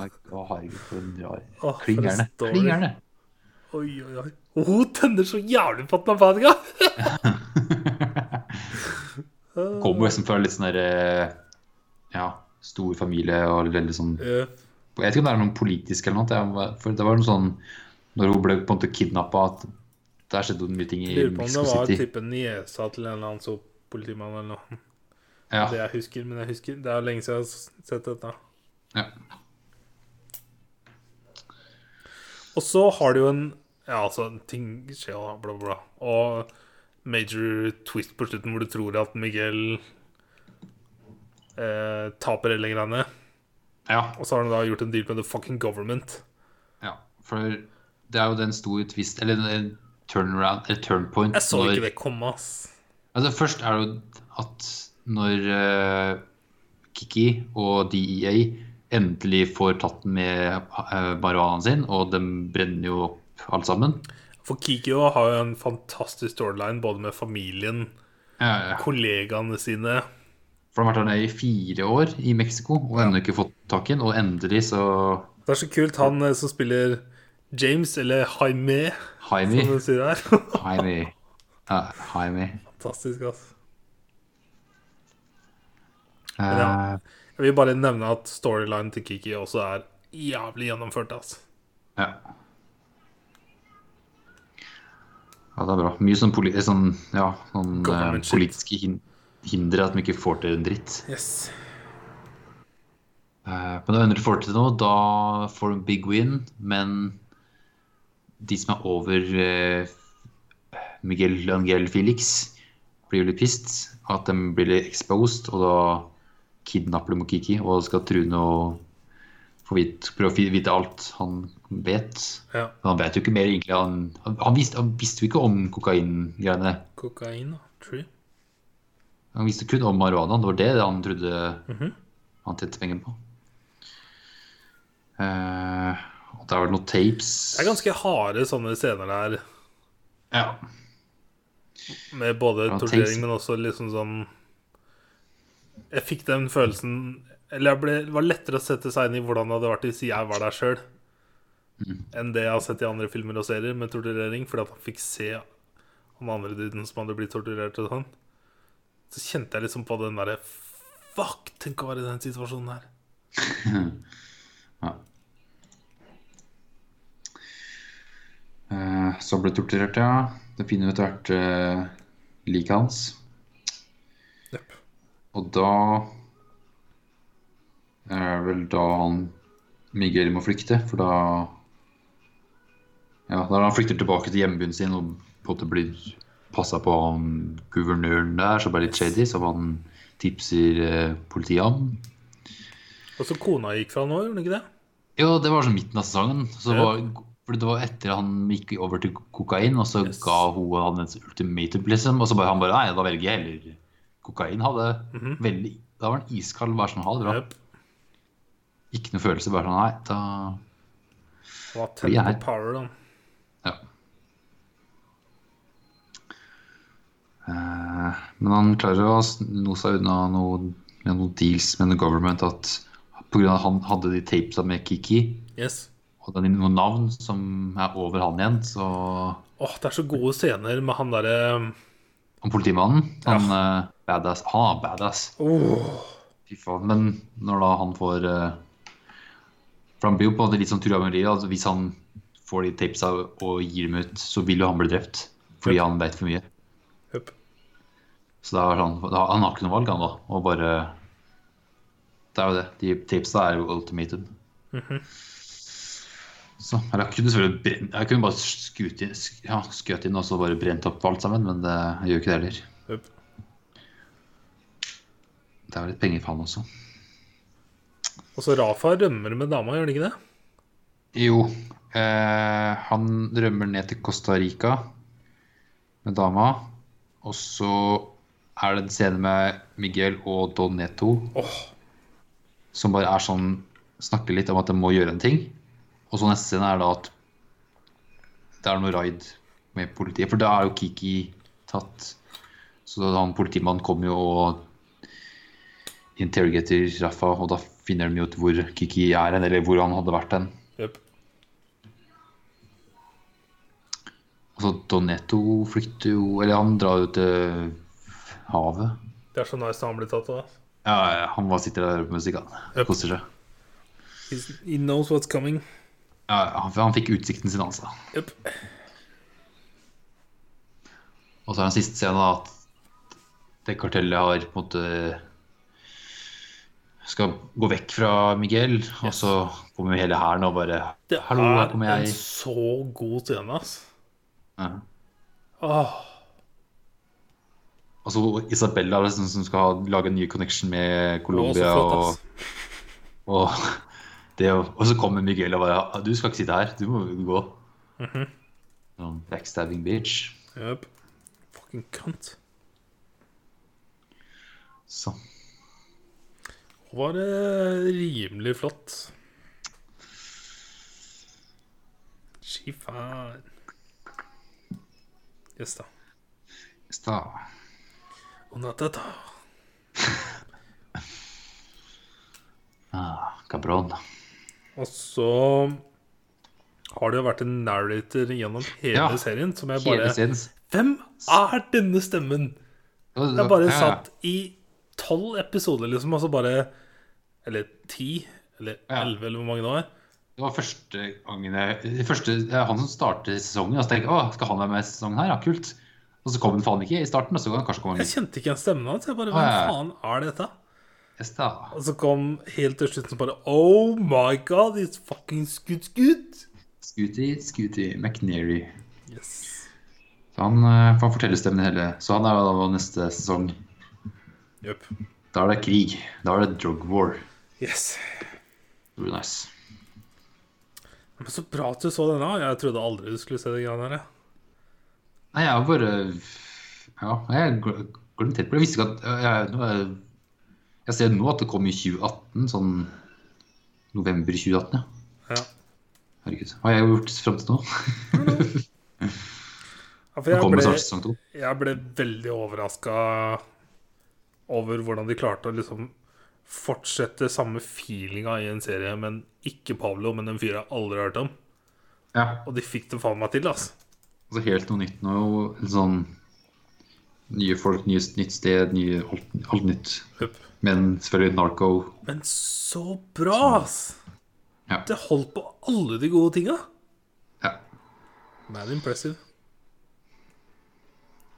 Å, herregud, for en rar
Åh, for en
Klingerne.
story.
Klingerne.
Oi, oi, oi. Og hun tenner så jævlig på at den er bad guy.
Kommer liksom fra litt sånn derre Ja, stor familie og veldig sånn
Eh,
Jeg vet ikke om det er noe politisk eller noe. det er- For det var noe sånn Når hun ble på en måte kidnappa, at der skjedde det mye ting i
Lurer på om
Mexico
det var
City.
type niesa til en eller annen så politimann eller noe.
Ja,
Det jeg husker, men jeg husker Det er lenge siden jeg har s- sett dette.
ja.
Og så har du jo en Ja, altså, ting skjer, da, bla, bla. bla. Og major twist på slutten hvor du tror at Miguel eh, taper hele greiene.
ja.
Og så har han da gjort en deal med the fucking government.
ja. For det er jo den store twist Eller en turnaround, eller turnpoint.
Jeg så
når-
ikke det komme, ass.
Altså Først er det jo at når eh, Kiki og DEA endelig får tatt den med eh, marihuanaen sin, og de brenner jo opp alt sammen
For Kikyo har jo en fantastisk storyline både med familien,
eh,
kollegaene sine
For de har vært der nede i fire år i Mexico og ennå ikke fått tak i den, og endelig så
Det er så kult, han eh, som spiller James, eller Jaime, som
Jaime
du sier her.
Jaime ja, Jaime
Fantastisk, altså.
Eh,
Jeg vil bare nevne at storylinen til Kiki også er jævlig gjennomført, altså.
Ja. Ja, det er bra. Mye sånn, poli sånn, ja, sånn eh,
Government shit.
politiske hin hindre at de ikke får til en dritt.
Yes.
Eh, Men når du får til noe, da får du en big win. Men de som er over eh, Miguel Angel Felix, blir jo litt pissed. At de blir litt exposed, og da kidnapper de Kiki og skal true noe få vite, prøve å fi- vite alt han vet.
Ja.
Men han vet jo ikke mer egentlig. Han, han, han, visste, han visste jo ikke om kokaingreiene.
Kokain og tree.
Han visste kun om marihuana. Det var det han trodde
Mhm.
han tjente penger på. Eh, og det er vel noen tapes.
Det er ganske harde sånne scener der,
Ja.
med både
Ja,
torturering,
tenk-
men også liksom sånn Jeg fikk den følelsen Eller jeg ble, det var lettere å sette seg inn i hvordan det hadde vært hvis jeg var der sjøl,
Mm.
enn det jeg har sett i andre filmer og serier med torturering, fordi at han fikk se han andre duden som hadde blitt torturert og sånn. Så kjente jeg liksom på den derre Fuck, tenk å være i den situasjonen her.
ja. Eh, så han ble torturert, ja. Det finner vi etter hvert uh, liket hans.
Jepp.
Og da er det vel da han Miguel må flykte, for da Ja, da han flykter tilbake til hjembyen sin og på en måte blir passa på av han guvernøren der, som er litt shady, som han tipser eh, politiet om.
Og så kona gikk fra nå, gjorde hun ikke det?
Jo, det var sånn midten av sesongen. Så
Ja.
var, for det var etter han gikk over til kokain, og så
Yes.
ga hun han et ultimatum, liksom. Og så bare han bare Nei, da velger jeg heller kokain. Hadde
Mhm.
veldig Da var han iskald, bare sånn ha det bra.
Jepp.
Ikke noe følelse, bare sånn nei, da
Han var
Vi
tett
er-
på power, da.
Ja. Eh, Men han klarer å sno seg unna noe- med noen deals med the government at pga. at han hadde de tapesa med Kiki,
Yes.
og det er noen navn som er over han igjen, så
Åh, det er så gode scener med han derre um,
Han politimannen, han eh, badass. Han er badass.
Åh,
Fy faen. Men når da han får eh, For han blir jo på en måte litt sånn Turid Amalie. Altså hvis han får de tapesa og gir dem ut, så vil jo han bli drept. Fordi han vet for mye.
Jep.
Så da er han, da, han har ikke noe valg, han da. Og bare Det er jo det. De tipsa er jo ultimatum. Så eller jeg kunne selvfølgelig brent, Jeg kunne bare skutt inn, sk- ja, skutt inn og så bare brent opp alt sammen, men det jeg gjør ikke det heller.
Jep.
Det er jo litt penger for han også.
Og så Rafa rømmer med dama, gjør han ikke det?
Jo, eh, han rømmer ned til Costa Rica med dama. Og så er det en scene med Miguel og Don Neto
Åh,
som bare er sånn snakker litt om at de må gjøre en ting. Og så neste scene er da at det er noe raid med politiet. For da er jo Kiki tatt. Så da han politimannen kommer jo og interrogater Rafa, og da finner de jo ut hvor Kiki er hen, eller hvor han hadde vært hen.
jep.
Altså, Donetto flykter jo Eller han drar jo til havet.
Det er så nice da han blir tatt av.
Ja, ja, han bare sitter der og hører på musikk, han.
Yep.
Koser seg.
He's- He knows what's coming.
Ja, ja, han, han fikk utsikten sin, altså.
Jep.
Og så er den siste scenen da at det kartellet har på en måte skal gå vekk fra Miguel, og så kommer hele hæren og bare
Det
Hallo, her
er
kommer jeg.
en så god scene, ass.
ja.
Åh,
Og så Isabella liksom, som skal lage en ny connection med
det var så
Colombia.
flott,
Og,
ass.
og, det, og så kommer Miguel og bare «Ah, Du skal ikke sitte her, du må gå.
Mhm.
Sånn Backstabbing bitch.
Jep. Fucking cunt.
Så.
Det var eh, rimelig flott. She fine. Yes da.
Sta.
Una tata.
Ah, cabron.
Og så har det jo vært en narrator gjennom hele
Ja,
serien som jeg bare
Hele siden.
Hvem er denne stemmen? Jeg bare satt i tolv episoder, liksom, og så bare Eller ti, eller
Ja.
elleve, eller hvor mange det var.
Det var første gangen jeg det første, det er Han som starter sesongen. Og så tenker jeg, å, skal han være med i sesongen her? Ja, kult. Og så kom han faen ikke i starten. Og så kan han kanskje komme
Jeg
litt
kjente ikke igjen stemmen hans. Jeg bare
Ja,
Hvem
ja, ja.
faen er dette?
test, da.
Og så kom helt til slutt så bare Oh my god, it's fucking skutt skutt!
Scooty, Scooty, McNeary.
Yes.
Så han eh, får fortellerstemmen i hele. Så han er da vår neste sesong.
Jøp.
Da er det krig. Da er det drug war.
Yes.
Det blir nice.
Men så bra at du så denne. Jeg trodde aldri du skulle se de greiene her. jeg.
Nei, jeg har bare Ja, jeg gl- glemte helt på det. Jeg visste ikke at Jeg, nå er- jeg ser nå at det kom i 2018, sånn november 2018, ja.
Ja.
Herregud. Hva har jeg gjort frem til nå?
Ja, for
Nå
jeg
kommer
ble,
snart sesong to.
jeg ble veldig overraska over hvordan de klarte å liksom fortsette samme feelinga i en serie, men ikke Pablo, men en fyr jeg aldri har hørt om.
Ja.
Og de fikk det faen meg til, altså.
Altså helt noe nytt nå. en Sånn nye folk, nye, nytt sted, nye, alt, alt nytt.
Hup.
Men selvfølgelig Narco.
Men så bra, ass!
Ja.
Det holdt på alle de gode tinga.
Ja.
Man impressive.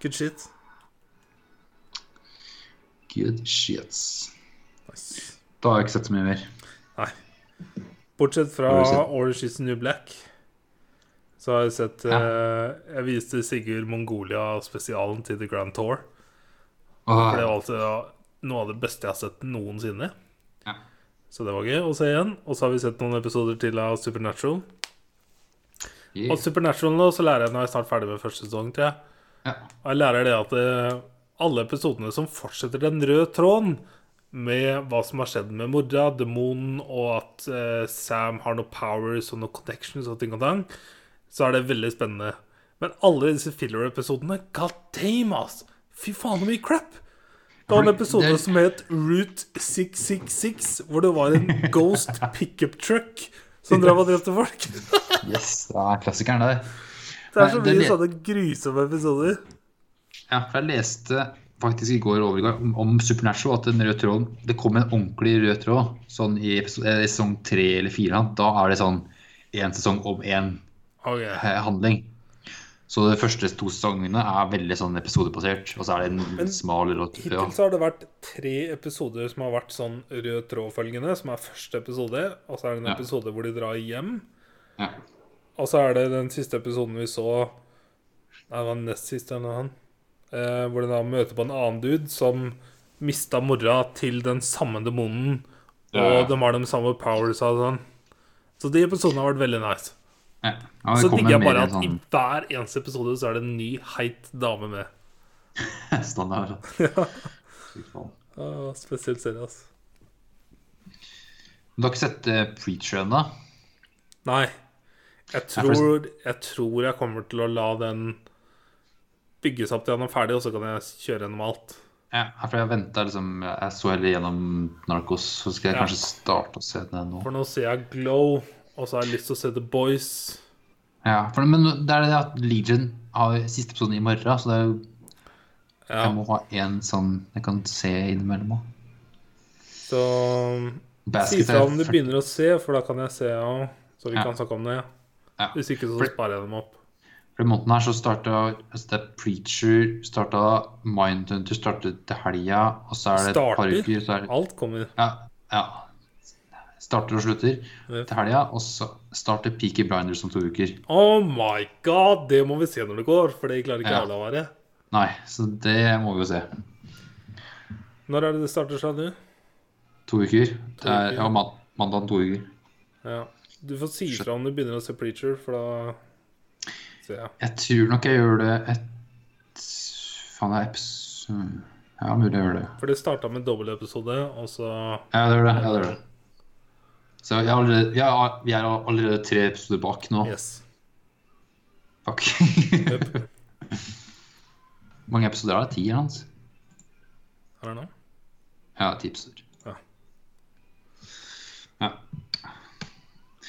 Good shit.
Good shits.
Nice.
Da har jeg ikke sett så mye mer.
Nei. Bortsett fra
Har du sett-
Orange is the New Black, så har jeg sett
Ja.
eh, Jeg viste Sigurd Mongolia-spesialen til The Grand Tour. For det
Åh,
var altså noe av det beste jeg har sett noensinne.
Ja.
Så det var gøy å se igjen. Og så har vi sett noen episoder til av Supernatural.
yeah.
Og Supernatural nå, så lærer jeg når jeg er snart ferdig med første sesong, tror jeg.
ja.
Og jeg lærer det at eh, alle episodene som fortsetter den røde tråden med hva som har skjedd med mora, demonen, og at eh, Sam har noe powers og noe connections og ting og tang, så er det veldig spennende. Men alle disse filler-episodene God damn, ass! Fy faen, så mye crap! Det var en episode
Det er-
som het Route 666, hvor det var en ghost pickup truck som drev og drepte folk.
Yes, det er klassikeren, det der.
Det er så
Nei, det
mye
vet-
sånne grusomme episoder.
Ja, for jeg leste faktisk i går over i går om, om Supernatural at den røde tråden Det kom en ordentlig rød tråd sånn i episode, eh, sesong tre eller fire. Da er det sånn én sesong om én
Okay.
handling. Så de første to sesongene er veldig sånn episodebasert, og så er det en smal rød
Hittil
tråd.
så har det vært tre episoder som har vært sånn rød tråd-følgende, som er første episode, og så er det en
Ja.
episode hvor de drar hjem,
Ja.
og så er det den siste episoden vi så Nei, det var den nest siste eller noe han eh, Hvor de da møter på en annen dude som mista mora til den samme demonen, og
Ja, ja.
de har de samme powers og sånn. Så de episodene har vært veldig nice.
Ja. Ja,
Så
det kommer
digger jeg
mer
bare at i
sånn
hver eneste episode så er det en ny heit dame med.
standard. Fy faen.
Ah, spesielt serie, altså.
Men Du har ikke sett eh, Preacher ennå?
Nei. Jeg tror, jeg tror jeg kommer til å la den bygges opp til han er ferdig, og så kan jeg kjøre gjennom alt.
Ja, for jeg ventet liksom Jeg så heller gjennom Narcos, så skal jeg
Ja.
kanskje starte å se det nå.
For nå ser jeg Glow, og så har jeg lyst til å se The Boys.
Ja, for, men det er det at Legion har siste episoden i morgen, så det er jo,
Ja,
jeg må ha en sånn jeg kan se innimellom òg.
så um, si
Basket
fra
er
om du
fyr-
begynner å se, for da kan jeg se, ja. Så vi
Ja.
kan snakke om det.
Ja.
Hvis ikke, så
For-
sparer jeg dem opp.
For i måneden her så starta altså det er Preacher, starta Mindhunter, startet til helga, og så er det et par
Starter?
uker så er det,
Alt kommer.
ja, ja. Starter og slutter
Ja.
til helga, og så starter Peaky Blinders om to uker.
Oh my god! Det må vi se når det går, for det klarer ikke
Ja.
jeg å la være.
Nei, så det må vi jo se.
Når er det det starter seg nå?
To uker. Det er,
uker.
ja, man, mandag om to uker.
Ja. Du får si fra om du begynner å se Preacher, for da ser jeg.
Jeg tror nok jeg gjør det et Faen, det er episode Ja, mulig jeg gjør det.
For det starta med dobbeltepisode, og så
Ja, det gjør det. Ja, det, gjør det. Så jeg har allerede, jeg har, vi er allerede tre episoder bak nå.
Yes.
Fuck.
Yep.
Hvor mange episoder er det? Ti, hans?
Er det nå?
Ja, ti episoder.
Ja.
Ja,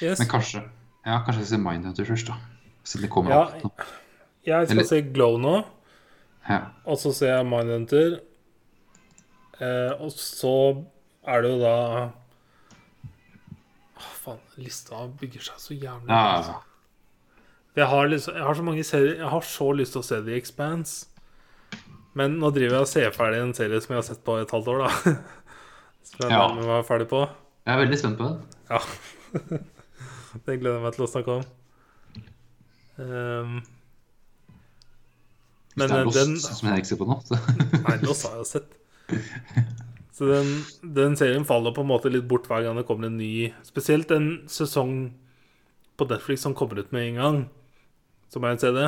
Yes.
Men kanskje Ja, kanskje jeg ser Mindhunter først, da. Siden det kommer
Ja.
opp. nå.
Jeg skal
Eller-
se Glow nå,
Ja.
og så ser jeg Mindhunter. Eh, og så er det jo da Åh, faen. Lista bygger seg så jævlig
ja.
altså. Jeg har, liksom, jeg har så mange serier Jeg har så lyst til å se The Expanse Men nå driver jeg og ser ferdig en serie Som jeg har sett på et halvt år da Som jeg
Ja.
nærmere var ferdig på
Jeg er veldig spent på den.
Ja Det gleder jeg meg til å snakke om Ehm,
Hvis
Men
det
eh,
er Lost,
den
som Henrik ser på nå. Så.
Nei, Lost har jeg jo sett Så den, den serien faller på en måte litt bort Hver gang det kommer en ny Spesielt en sesong på Netflix som kommer ut med en gang, som er en CD.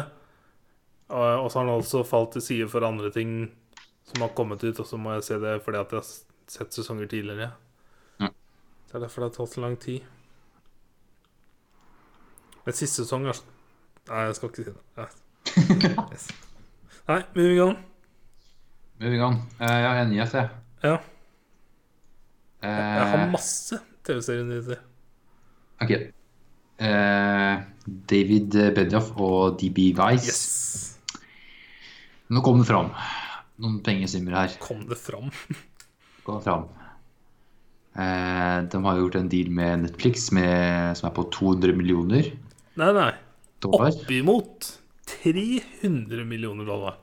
Og og så har den altså falt til side for andre ting som har kommet ut, og så må jeg se det fordi at jeg har s- sett sesonger tidligere.
Ja.
Det er derfor det har tatt så lang tid. Men siste sesong er så- Nei, jeg skal ikke si det. Nei, yes. Nei moving on.
Moving on. Eh, jeg har en nyhet, jeg.
Ja. Jeg har
Eh,
masse TV-serienyheter.
ok. Eh, David Bedjoff og DB Weiss.
Yes!
Nå kom det fram. Noen pengesummer her.
Kom det fram?
gå fram. Eh, de har gjort en deal med Netflix med, som er på 200 millioner
Nei, nei.
dollar.
Oppimot 300 millioner dollar.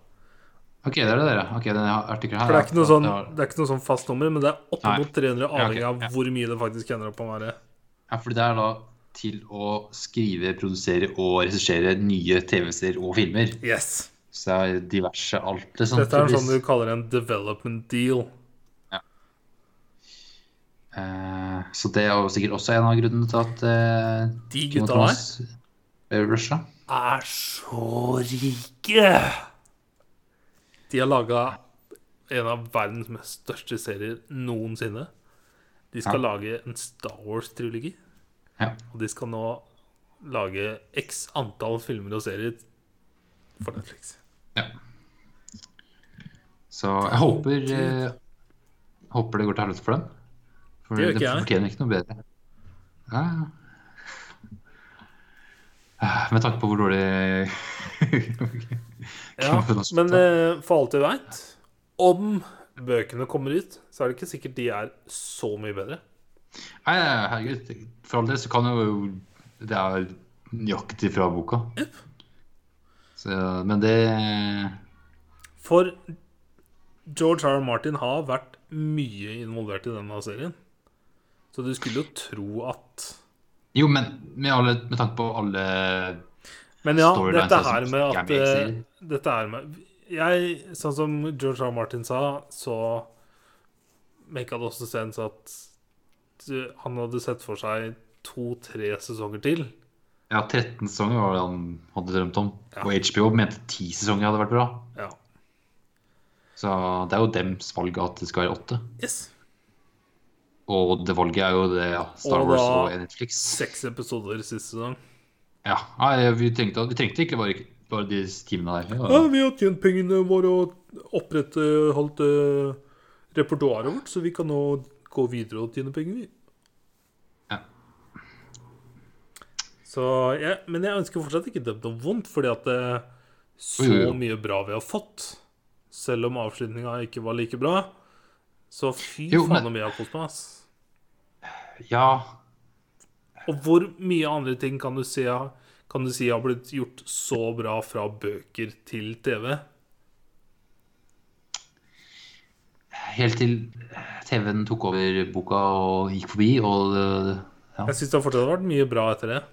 Ok, det er det dere. Ok, denne artikkelen her
For det er ikke noe sånn,
Ja,
det er ikke noe sånn fast nummer, men det er oppimot 300,
Ja, ok,
avhengig av
ja.
hvor mye det faktisk ender opp å være.
fordi det er da til å skrive, produsere og regissere nye TV-serier og filmer.
Yes.
Så det er diverse alt, liksom.
Dette er en sånn
tydeligvis.
du kaller en development deal.
eh, Så det er jo sikkert også en av grunnene til at eh,
De
Game of
gutta der
Thrones, eh, Russia.
er så rike! De har laga en av verdens mest største serier noensinne. De skal
Ja.
lage en Star Wars-trilogi.
Ja.
Og de skal nå lage x antall filmer og serier for Netflix.
Så jeg håper eh, Håper det går til helvete for dem. For
Det gjør ikke
de
jeg.
fortjener ikke noe bedre. Ja. Ah, Med tanke på hvor dårlig
Ja,
Knappen også.
men eh, for alt jeg veit, om bøkene kommer ut, så er det ikke sikkert de er så mye bedre.
Nei, nei, herregud. For all del så kan jo Det er nøyaktig fra boka.
Jepp.
Så, men det
For George R. R. Martin har vært mye involvert i denne serien. Så du skulle jo tro at
Jo, men med, alle, med tanke på alle
Men ja,
Storylines
dette
er
her
som
med
ikke
at
er med i
eh,
serien.
Dette her med Jeg, sånn som George R. R. Martin sa, så Make hadde også sens at eh, han hadde sett for seg to-tre sesonger til.
Ja, 13 sesonger var det han hadde drømt om.
Ja.
Og HBO mente 10 sesonger hadde vært bra.
Ja.
Så det er jo dems valg at det skal være åtte.
Yes.
Og det valget er jo det, ja. Star
Og
Wars
da-
og Netflix.
Seks episoder siste sesong.
Ja, Nei, vi trengte, vi trengte ikke bare, bare de timene der.
Ja,
Ja.
vi har tjent pengene våre og opprettholdt uh, repertoaret vårt, så vi kan nå gå videre og tjene penger, vi.
Ja.
Så, ja, men jeg ønsker fortsatt ikke dem noe vondt, fordi at det er så
Jo, jo, jo.
mye bra vi har fått. Selv om avslutninga ikke var like bra. Så fy
Jo, men-
faen om jeg har kost meg, ass.
ja.
Og hvor mye andre ting kan du si, kan du si har blitt gjort så bra fra bøker til TV?
Helt til TV-en tok over boka og gikk forbi, og det- ja.
Jeg syns det har fortsatt vært mye bra etter det.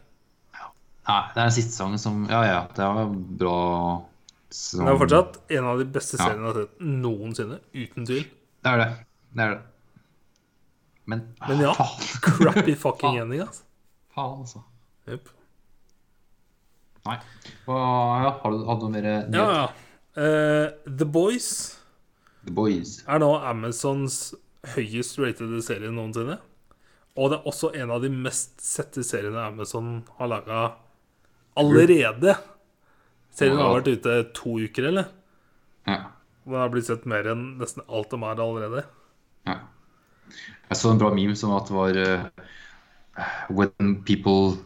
Nei, det er den siste sangen som Ja, ja, det var bra som,
Men det er fortsatt en av de beste
Ja.
seriene jeg har sett noensinne. Uten tvil.
Det er det. Det er det. Men,
Men ja.
faen,
Crappy fucking ending, altså.
faen, altså.
Jep.
Nei. Hva, ja, har du hatt noe mer nyhet?
Ja, ja. Eh, The Boys
The Boys.
er nå Amazons høyest ratede serie noensinne. Og det er også en av de mest sette seriene Amazon har laga allerede. Serien har vært ute to uker, eller?
Ja.
Og den har blitt sett mer enn nesten alt de er allerede.
Ja. Jeg så en bra meme som at det var eh, When people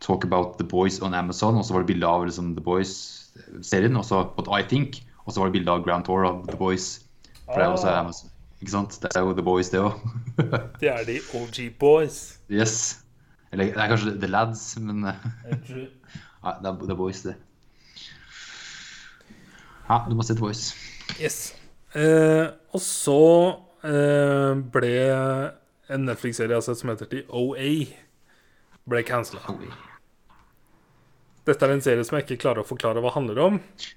talk about The Boys on Amazon, og så var det bilde av liksom, The Boys-serien, og så What I Think, og så var det bilde av Grand Tour av The Boys. For det er jo også Amazon. Ikke sant? Det er jo The Boys, det òg.
Det er de OG Boys.
yes. Eller det er kanskje The Lads, men eh,
Jeg
nei, det er The Boys, det. Ja, du må si The Boys.
Yes. Eh, og så eh, ble en Netflix-serie jeg har sett som heter The OA, ble cancela. Dette er en serie som jeg ikke klarer å forklare hva handler om,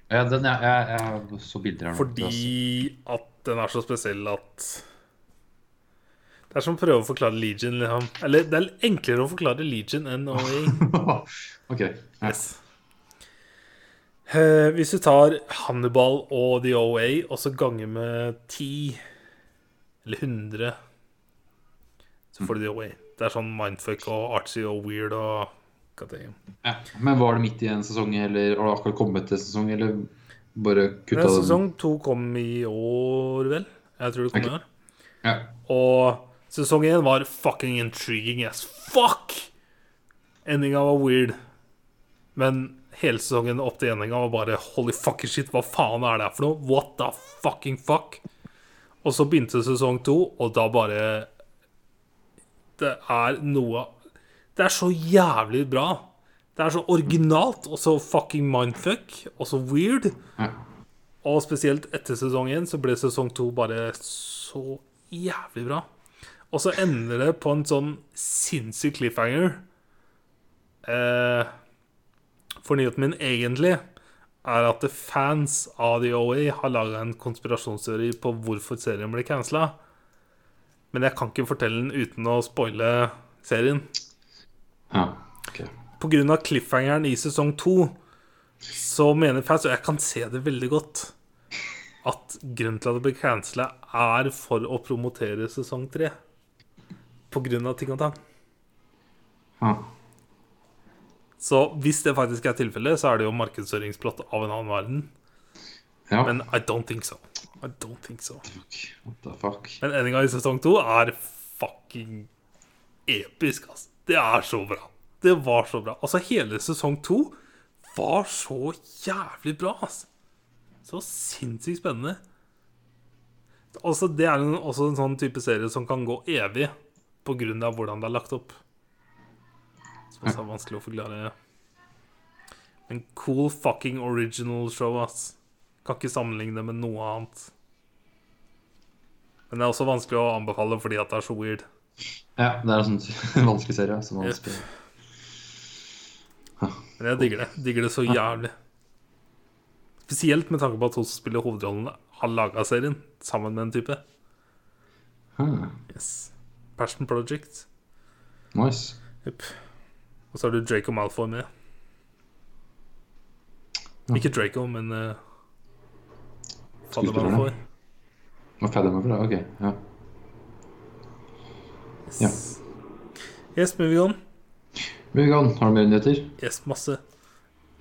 Ja, den, jeg, jeg, jeg så bilder her nå.
fordi at den er så spesiell at Det er som å prøve å forklare Legion. Liksom. Eller det er enklere å forklare Legion enn OA.
ok. Ja.
Yes. Eh, hvis du tar Hannibal og The OA, og så ganger med 10 eller 100, så får du The OA. Det er sånn mindfuck og artsy og weird og hva tenker jeg?
Ja. Men var det midt i en sesong, eller har det akkurat kommet til sesong, eller bare
Men
kutta den?
Sesong to kom i år, vel? Jeg tror det kom
Ok.
i år.
Ja.
Og sesong én var fucking intriguing as fuck! Endinga var weird. Men hele sesongen opp til endinga var bare holy fucking shit, hva faen er det her for noe? What the fucking fuck? Og så begynte sesong to, og da bare Det er noe Det er så jævlig bra. Det er så originalt, og så fucking mindfuck, og så weird.
Ja.
Og spesielt etter sesong 1 så ble sesong 2 bare så jævlig bra. Og så ender det på en sånn sinnssyk cliffhanger. Eh, for nyheten min egentlig er at fans av The OA har laga en konspirasjonsteori på hvorfor serien ble cancela. Men jeg kan ikke fortelle den uten å spoile serien.
ja. ok.
På grunn av cliffhangeren i sesong 2 så mener fans, og jeg kan se det veldig godt, at grunnen til at det ble cancela, er for å promotere sesong 3. På grunn av ting og tang.
Ja.
Så hvis det faktisk er tilfellet, så er det jo markedsføringsplott av en annen verden.
ja.
Men I don't think so. I don't think so.
Fuck. What the fuck?
Men endinga i sesong 2 er fucking episk, altså. Det er så bra. Det var så bra. Altså, hele sesong 2 var så jævlig bra, altså. Så sinnssykt spennende. Altså, det er en, også en sånn type serie som kan gå evig på grunn av hvordan det er lagt opp. Som også er vanskelig å forklare. Men cool fucking original show, ass. Kan ikke sammenligne det med noe annet. Men det er også vanskelig å anbefale fordi at det er så weird.
Ja, det er en sånn vanskelig serie. Som man
Ja.
spiller.
Men jeg digger det. Digger det så jævlig. Spesielt med tanke på at hun som spiller hovedrollen, har laga serien sammen med en type.
Huh.
Yes. Passion Project.
Nice.
Yep. Og så har du Draco Malfoy med. Ikke Draco, men uh, Fader
Skuespilleren.
Malfoy.
Nå feiler jeg meg for det. Ok. Ja.
Yes. yes, moving on.
Vegan, har du mer nyheter?
Yes, masse.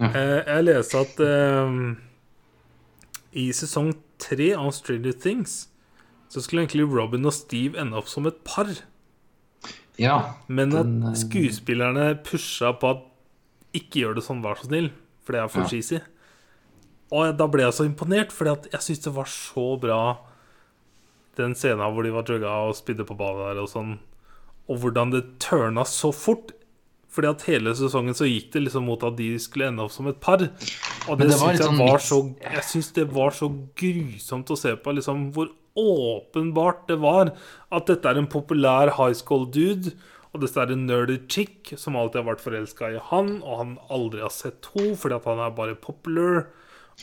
Ja.
Eh, jeg leste at ehm, i sesong tre av Stranger Things så skulle egentlig Robin og Steve ende opp som et par.
Ja.
Men
Den, eh,
at skuespillerne pusha på at ikke gjør det sånn, vær så snill, for det er for
Ja.
cheesy. Og jeg- da ble jeg så imponert, for jeg syns det var så bra den scenen hvor de var drugga og spydde på badet der og sånn, og hvordan det tørna så fort. Fordi at hele sesongen så gikk det liksom mot at de skulle ende opp som et par. Og det,
det var
syns
litt
jeg
sånn
var
mix-
så Jeg syns det var så grusomt å se på liksom hvor åpenbart det var at dette er en populær high school dude, og dette er en nerdy chick som alltid har vært forelska i han, og han aldri har sett henne fordi at han er bare popular,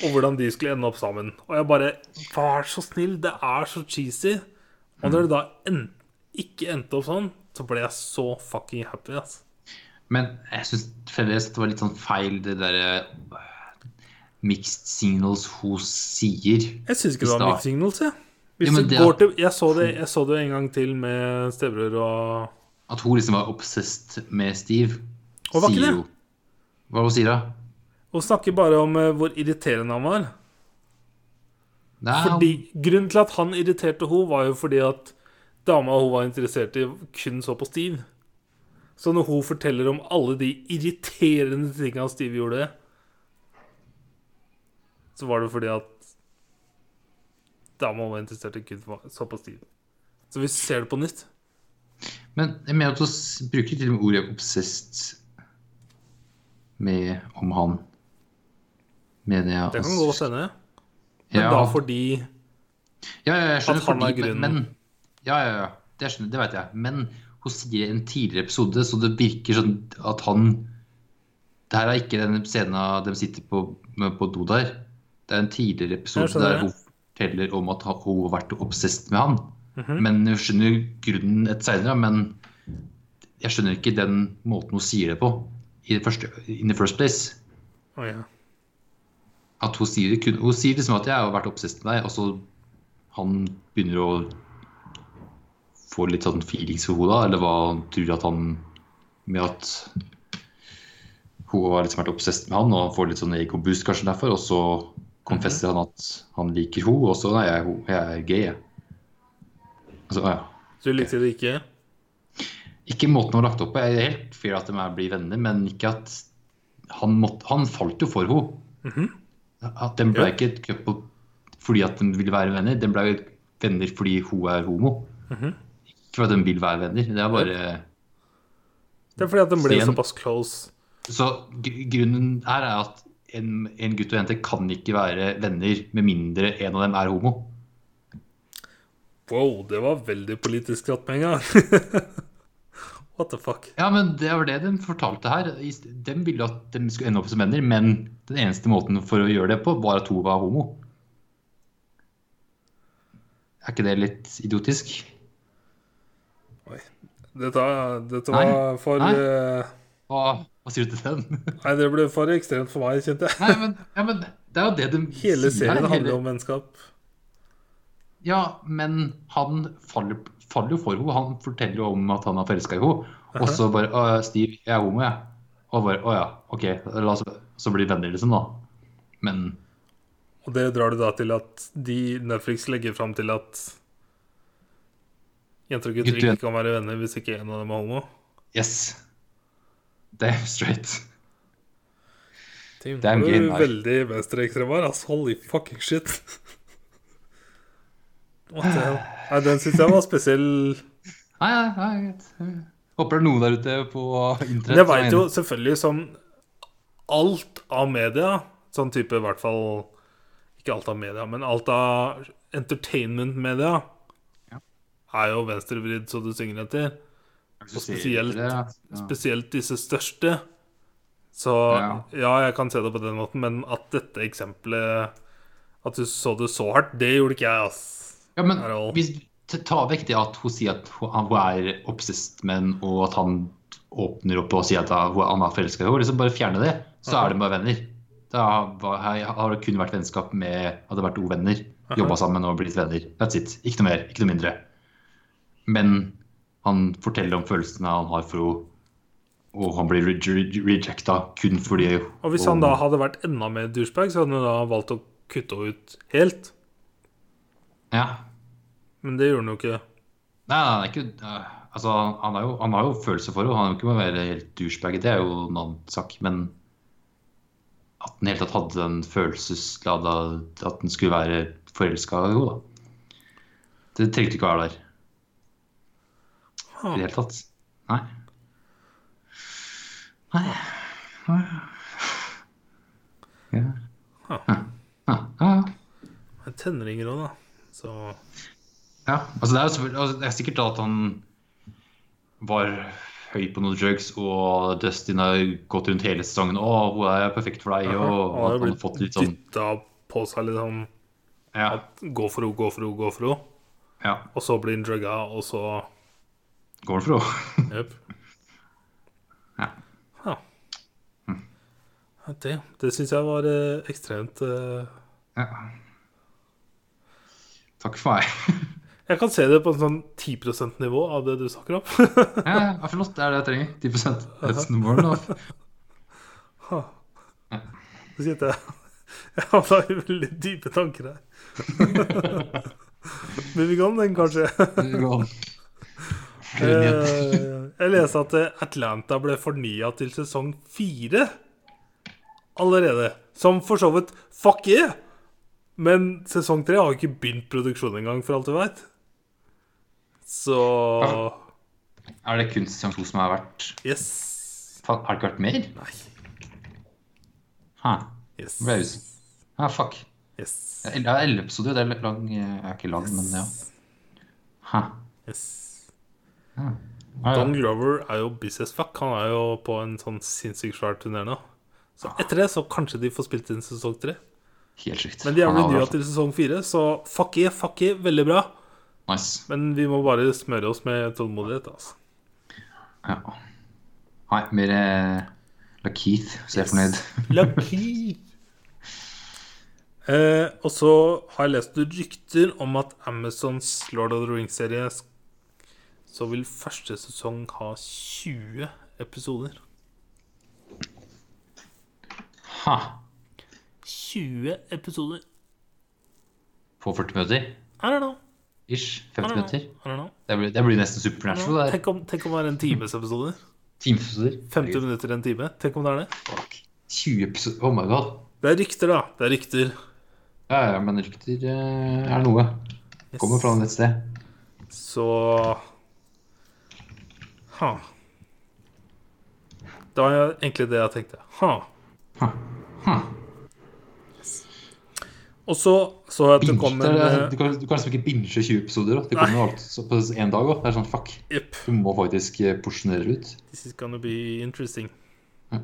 og hvordan de skulle ende opp sammen. Og jeg bare Vær så snill, det er så cheesy. Og når det da en, ikke endte opp sånn, så ble jeg så fucking happy, altså.
Men jeg syns fremdeles at det var litt sånn feil, det derre eh, Mixed signals hos sier.
Jeg syns ikke det var
Hvis da-
mixed signals, jeg. Hvis
Ja, men
det
det
går
er- Mm.
til, jeg, så det, jeg så det en gang til med stebror og
At hun liksom var obsessed med Steve.
Og var ikke
sier
det?
hun. Hva hun sier da?
Hun snakker bare om eh, hvor irriterende han var.
Nei,
Fordi, grunnen til at han irriterte henne, var jo fordi at dama hun var interessert i, kun så på Steve. Så når hun forteller om alle de irriterende tingene Steve gjorde, så var det fordi at dama hun var interessert i, kun så på Steve. Så vi ser det på nytt.
Men jeg mener at hun s- bruker til og med ordet obsessed med om han. Mener jeg.
Det kan
altså.
godt hende. Men
ja,
da fordi
ja, ja, jeg skjønner
at han er
fordi- men-
grunnen.
Men, ja, ja, ja. Det, skjønner, det vet jeg. Men hun sier i en tidligere episode, så det virker sånn at han Det her er ikke den scenen av de sitter på, med- på do der. Det er en tidligere episode
Jeg skjønner
der
det.
hun forteller om at han- hun har vært obsessed med han.
Mhm.
Men jeg skjønner grunnen etter senere, men jeg skjønner ikke den måten hun sier det på i det første, in the first place.
Å, ja.
At hun sier, det kun, hun sier liksom at 'jeg har vært obsess med deg', og så han begynner å få litt sånn feelings for henne, da, eller hva han tror at han Med at hun har liksom vært obsess med han, og han får litt sånn ego-boost kanskje derfor, og så konfesser han at han liker henne, og så 'nei, jeg, er ho- jeg er gay', jeg. Altså, ja.
Så du likte det ikke?
Ikke måten hun har lagt opp på. Jeg er helt fair at de er blir venner, men ikke at Han, måtte, han falt jo for henne. At Den ble
Mhm. Ja.
ikke et couple fordi at de ville være venner, den ble venner fordi hun er homo.
Mhm.
Ikke fordi de vil være venner. Det er bare
Det er fordi at den ble
Sten.
såpass close.
Så gr- grunnen her er at en, en gutt og en jente kan ikke være venner med mindre en av dem er homo.
Wow, det var veldig politisk ratt med en gang. What the fuck?
Ja, men det var det de fortalte her. I st- De ville at de skulle ende opp som venner, men den eneste måten for å gjøre det på, var at hun var homo. Er ikke det litt idiotisk?
Dette, dette
Nei.
var for
Nei.
eh,
Hva, hva sier du til den?
Nei, det ble for ekstremt for meg, kjente jeg.
Nei, men, ja, men det er jo det de
Hele
sier
serien
her.
handler om vennskap.
Ja, men han faller, faller jo for henne. Han forteller jo om at han er forelska i henne. Og så bare Å, Steve, jeg er homo, jeg. Og bare Å ja, OK. La oss så bli venner, liksom, da. Men
Og det drar du da til at de Netflix legger fram til at jenter og gutter
Gutter-
ikke kan være venner hvis ikke en av dem er homo.
yes. Det er straight.
Tim,
Det er en
nå du
gay
veldig venstreekstrem her. Altså, holy fucking shit. What the hell? Nei, den syns jeg var spesiell.
Nei, nei, nei, greit. Håper det er noen der ute på internett.
Men jeg
som er
veit jo
enig.
selvfølgelig som alt av media, sånn type i hvert fall Ikke alt av media, men alt av entertainment-media
Ja.
er jo venstrevridd så du synger etter.
Hvis du
og
ser
spesielt-
det, ja.
Spesielt disse største. Så ja.
Ja.
jeg kan se det på den måten, men at dette eksempelet At du så det så hardt, det gjorde ikke jeg, ass.
Ja, men
Errol.
hvis t- ta vekk det at hun sier at hun, han- hun er obsessed med henne, og at han åpner opp og sier at han hun- han er forelska i henne, liksom bare fjerne det, så er de bare venner. Da var, har det kun vært vennskap med Hadde vært uvenner, jobba sammen og blitt venner. That's it. Ikke noe mer, ikke noe mindre. Men han forteller om følelsene han har for henne, og han blir re- rejecta kun fordi
Og hvis han da hadde vært enda mer douchebag, så hadde han da valgt å kutte henne ut helt.
Ja,
Men det gjorde han jo ikke.
Nei, han er ikke øh, Altså, han, er jo, han har jo følelser for henne. Han er jo ikke med å være helt douchebag, det er jo en annen sak. Men at han i det hele tatt hadde den følelseslada At han skulle være forelska i henne, da. Det trengte ikke å være der i det hele tatt. Nei. Nei. Ja.
Huh.
Ja, ja, ja.
Men Tenringer òg, da. Så
Ja, altså det er jo selvfølgelig- altså det er sikkert da at han var høy på noen drugs, og Dustin har gått rundt hele sesongen og hun er perfekt for deg, og
har
at
jo
han har
blitt
fått litt sånn
dyttet dytta på seg, liksom.
Ja.
Gå for henne, gå for henne, gå for henne.
ja
Og så blir han drugga, og så
går han for henne?
Jepp.
Ja.
Ja. Ja, Det, det syns jeg var eh, ekstremt eh,
ja. Takk for meg.
Jeg kan se det på en sånn 10 %-nivå av det du snakker om.
Ja, ja, flott. Det er det jeg trenger. 10 That's more than enough.
Så sitter jeg Jeg havna i veldig dype tanker her. Moving on, den, kanskje.
Gå an.
Eh, Jeg leste at eh, Atlanta ble fornya til sesong fire allerede. Som for så vidt Fuck yeah! Men sesong tre har jo ikke begynt produksjonen engang, for alt du veit. Så Eh.
Er det kun sesong to som har vært
Yes.
Faen, Har det ikke vært mer?
Nei.
Hæ.
Yes.
Ble jeg usikker. Ja, fuck.
Yes.
Det er elleve episoder. Det er lang Jeg er ikke lang, men ja. Hæ.
yes.
Ja, ja.
Don Glover er jo busy as fuck. Han er jo på en sånn sinnssykt svær turné nå. Så etter det så kanskje de får spilt inn sesong tre.
Helt sykt.
Men de er
Han
vel
har
nye
vært-
til sesong fire, så fuck yeah, fuck yeah, veldig bra.
Nice.
Men vi må bare smøre oss med tålmodighet. altså.
Ja. Nei, mer eh, Lakeith, så jeg er fornøyd.
Lucky! Eh, og så har jeg lest rykter om at Amazons Lord of the Rings-serie sk- Så vil første sesong ha 20 episoder.
Ha!
20 episoder!
På 40 minutter?
I don't know.
Ish. 50
I don't know.
minutter?
I don't know.
Det blir, det blir nesten supernatural. Det er
Tenk om, tenk om det er en times episoder.
timeepisoder.
50 minutter, en time. Tenk om det er det.
Fuck. 20 episoder. Oh my god.
Det er rykter, da. Det er rykter.
Ja, ja, men rykter eh, er noe. Kommer fra et sted.
Så Ha. Det var jo egentlig det jeg tenkte. Ha.
Ha. Ha.
Og så så jeg at det
Binge,
kom
det
en
er- du,
eh,
kan, du kan liksom ikke binge 20 episoder. Da. Det kommer jo alt så- på én dag òg. Det er sånn fuck.
eh, Jepp.
Du må faktisk eh, porsjonere ut.
This is gonna be interesting. Mm.
Ja.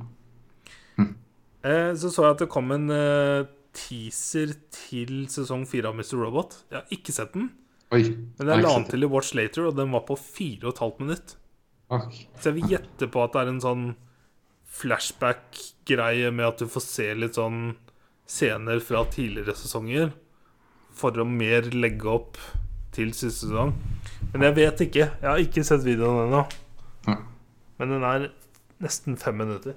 Mm.
Eh, så så jeg at det kom en eh, teaser til sesong fire av Mr. Robot. Jeg har ikke sett den,
Oi.
men jeg la den til i Watch Later, og den var på fire og et halvt minutt.
Fuck.
Så jeg vil gjette på at det er en sånn flashback-greie med at du får se litt sånn scener fra tidligere sesonger for å mer legge opp til siste sesong. Men jeg vet ikke. Jeg har ikke sett videoen ennå.
Ja.
Men den er nesten fem minutter.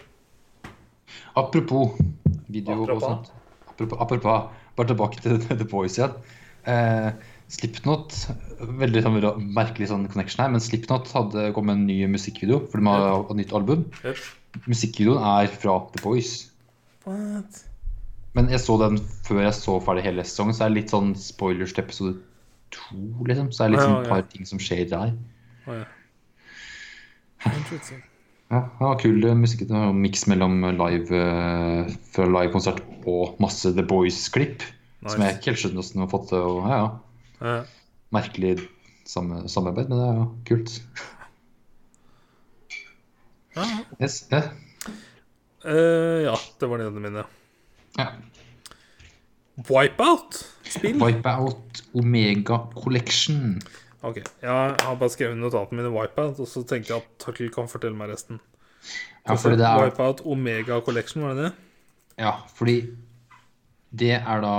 Apropos video
Apropos.
og sånt. Apropos, apropos. Bare tilbake til The Boys igjen. Eh, Slipknot Veldig sånn, ra- merkelig sånn connection her, men Slipknot hadde kommet med en ny musikkvideo. For de har et nytt album. Musikkvideoen er fra The Boys.
What?
Men jeg så den før jeg så ferdig hele sesongen, så er det litt sånn spoilers til episode to, liksom. Så er det litt
Ja,
sånn
ja.
et par ting som skjer der.
Å, ja. Interesting.
Ja, det var kul eh, musikk. Det var en Miks mellom live eh, fra livekonsert og masse The Boys-klipp. Som jeg
Nice.
ikke helt skjønner hvordan de har fått til. å- Ja, ja.
Ja.
Merkelig samme, samarbeid, men det er jo kult.
Ja.
Yes. Ja.
Eh, ja, det var det mine.
Ja.
Wipeout? Spill?
Wipeout Omega Collection.
Ok, jeg har bare skrevet notatene mine Wipeout, og så tenkte jeg at Turtle kan fortelle meg resten.
Ja, fordi det er
Wipeout Omega Collection, var det det?
Ja, fordi det er da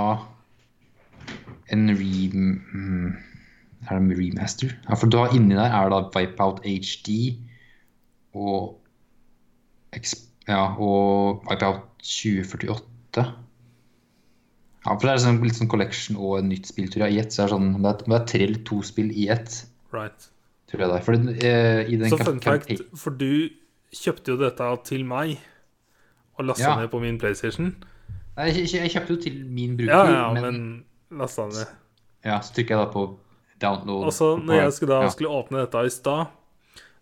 en rem... mm, Er det en remaster? Ja, for da inni der er det da Vipeout HD og Ex- Ja, og Vipeout 2048. Ja, for det er sånn, litt sånn collection og en nytt spill, tror jeg, i ett. Så er det sånn, det er, det er tre eller to spill i ett,
Right.
tror jeg det er. For den, eh, i den
Så fun fact,
kampanjen-
for du kjøpte jo dette til meg og lasta
Ja.
ned på min PlayStation.
Nei, jeg, jeg- jeg kjøpte jo til min bruker,
Ja, ja,
men,
men lasta ned.
ja, så trykker jeg da på download.
Og så Altså, når jeg skulle, da,
Ja.
skulle åpne dette i stad,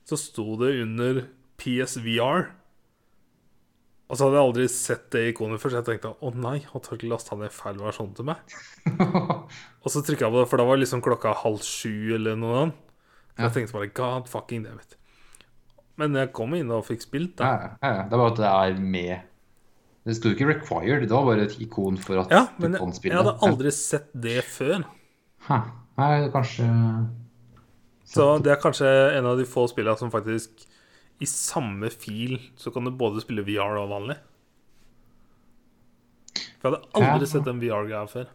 så sto det under PSVR. Og så hadde jeg aldri sett det ikonet før, så jeg tenkte å nei, har Torkel lasta ned feil versjon til meg? Og så trykka jeg på det, for da var liksom klokka halv sju eller noe annet. Så jeg tenkte bare God fucking damn it. Men jeg kom inn og fikk spilt, da.
Ja, ja, ja. Det er bare at det er med Det sto jo ikke 'required', det var bare et ikon for at
Ja, men
du
jeg,
kan
jeg
spille.
hadde aldri sett det før.
Hæ. Nei, kanskje
Så det er kanskje en av de få spillene som faktisk I samme fil så kan du både spille VR og vanlig. For jeg hadde aldri
Ja.
sett en VR-greia før.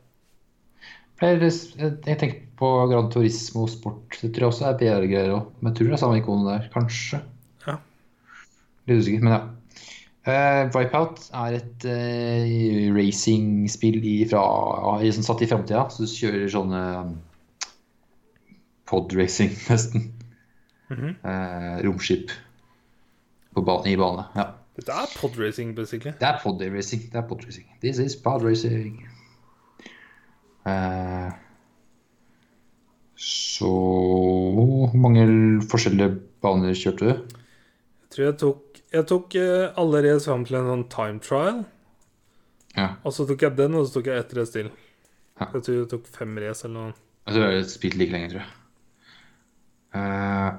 Pleier det- Jeg tenker på Gran Turismo og sport. Det tror jeg også er PR-greier òg. Men jeg tror det er samme ikonet der, kanskje.
Ja.
Litt usikker, men ja. Eh, Wipeout er et eh, racingspill i fra- i- som satt i framtida. Så du kjører sånne pod-racing, nesten.
Mhm.
Eh, romskip på bane, i bane. Ja.
Dette er podracing, basically.
Det er pod-racing. Det er pod-racing. This is pod-racing. Eh, så Hvor mange forskjellige baner kjørte du?
Jeg tror jeg tok, jeg tok eh, alle race fram til en sånn time trial.
Ja.
Og så tok jeg den, og så tok jeg ett race til.
Ja.
Jeg tror jeg tok fem race eller noe.
Altså, Jeg tror jeg har spilt like lenge, tror jeg. Eh,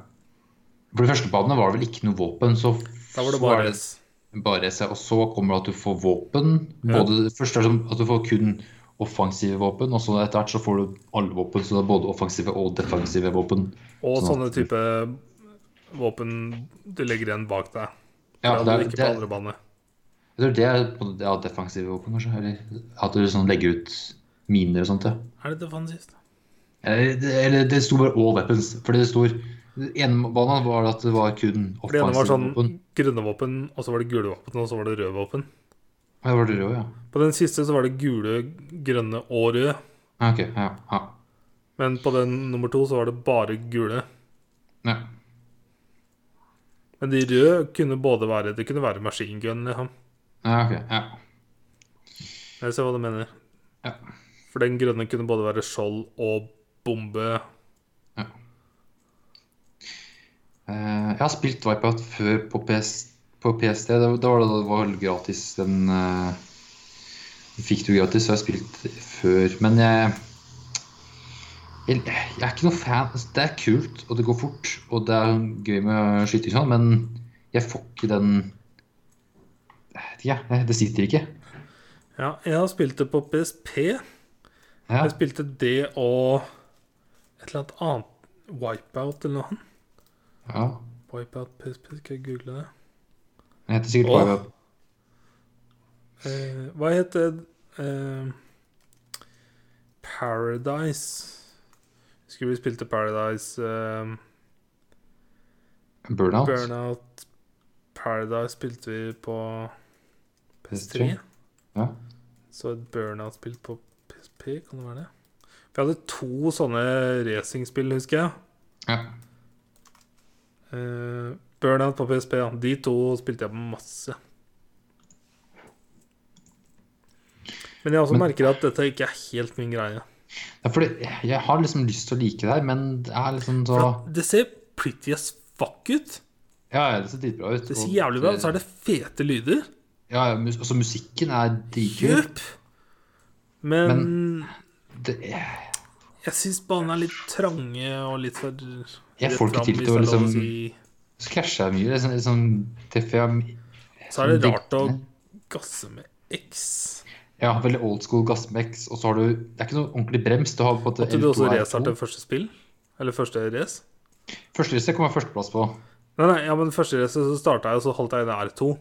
for de første banene var det vel ikke noe våpen, så
Da var
så
det
er
bare race.
bare se, og så kommer det at du får våpen.
Ja.
Både, Først er det sånn at du får kun offensive våpen, og så etter hvert så får du alle våpen, så det er både offensive og defensive våpen.
Og
Sånn
sånne
at-
type våpen du legger igjen bak deg.
Ja,
Ja,
det er,
ikke
det
på
er,
andre bane.
jeg tror det er på- ja, defensive våpen, kanskje. Eller at du sånn legger ut miner og sånt. Ja.
Er det defensivt?
Eller, det- eller det sto bare 'all weapons'. Fordi det står ene banen var at det var kun
For det ene
offensive
var sånn
våpen.
grønne våpen, og så var det gule våpen, og så var det røde våpen.
Ja, det var det røde, ja.
På den siste så var det gule, grønne og røde.
ja. Ok, ja, ja.
Men på den nummer to så var det bare gule.
ja.
Men de røde kunne både være Det kunne være machine gun, liksom.
ja ok, ja.
Jeg ser hva du mener.
Ja.
For den grønne kunne både være skjold og bombe.
Eh, jeg har spilt Wipeout før på, PS, på PST. Da, da var det, det var gratis. Den eh, fikk du gratis, så jeg har spilt før. Men jeg, jeg, jeg er ikke noe fan. Altså, Det er kult, og det går fort, og det er gøy med skyting, og sånn, men jeg får ikke den Jeg vet ikke, jeg. Det sitter ikke.
Ja, jeg har spilt det på PSP.
Ja,
Jeg spilte det og et eller annet annet Wipeout eller noe annet.
ja.
Wipeout PSP, skal jeg google det?
Den heter sikkert
Åh.
Wipeout.
Eh, hva heter eh, Paradise Husker vi spilte Paradise eh,
Burnout.
Burnout Paradise spilte vi på PS3.
PS3. Ja.
Så et Burnout-spill på PSP, kan det være det? Vi hadde to sånne racingspill, husker jeg.
Ja.
Eh, Burnout på PSP, ja. De to spilte jeg masse. Men jeg også
Men-
merker at dette ikke er helt min greie.
Ja, fordi jeg har liksom lyst til å like det her, men det er liksom så
For at det ser pretty as fuck ut.
Ja, ja, det ser dritbra ut.
Det ser
og-
jævlig bra ut, så er det fete lyder.
Ja, ja, mus altså musikken er dritkul.
Kjøp! Men,
Det- Jeg
jeg syns banene er litt trange og litt for
Jeg får ikke
rett fram,
til til
hvis
å
det er lov
liksom-
si.
så krasjer jeg mye. Liksom, liksom, treffer jeg
Så er det
Sånn
rart å
diktene.
gasse med X.
Ja, veldig old school gassmex, og så har du Det er ikke noe ordentlig brems. Du har på en måte
Måtte du også
L2 R2.
restarte første spill? Eller første race?
Første lyset kom jeg førsteplass på.
Nei, nei, ja, men første race så starta jeg, og så holdt jeg inn i R2.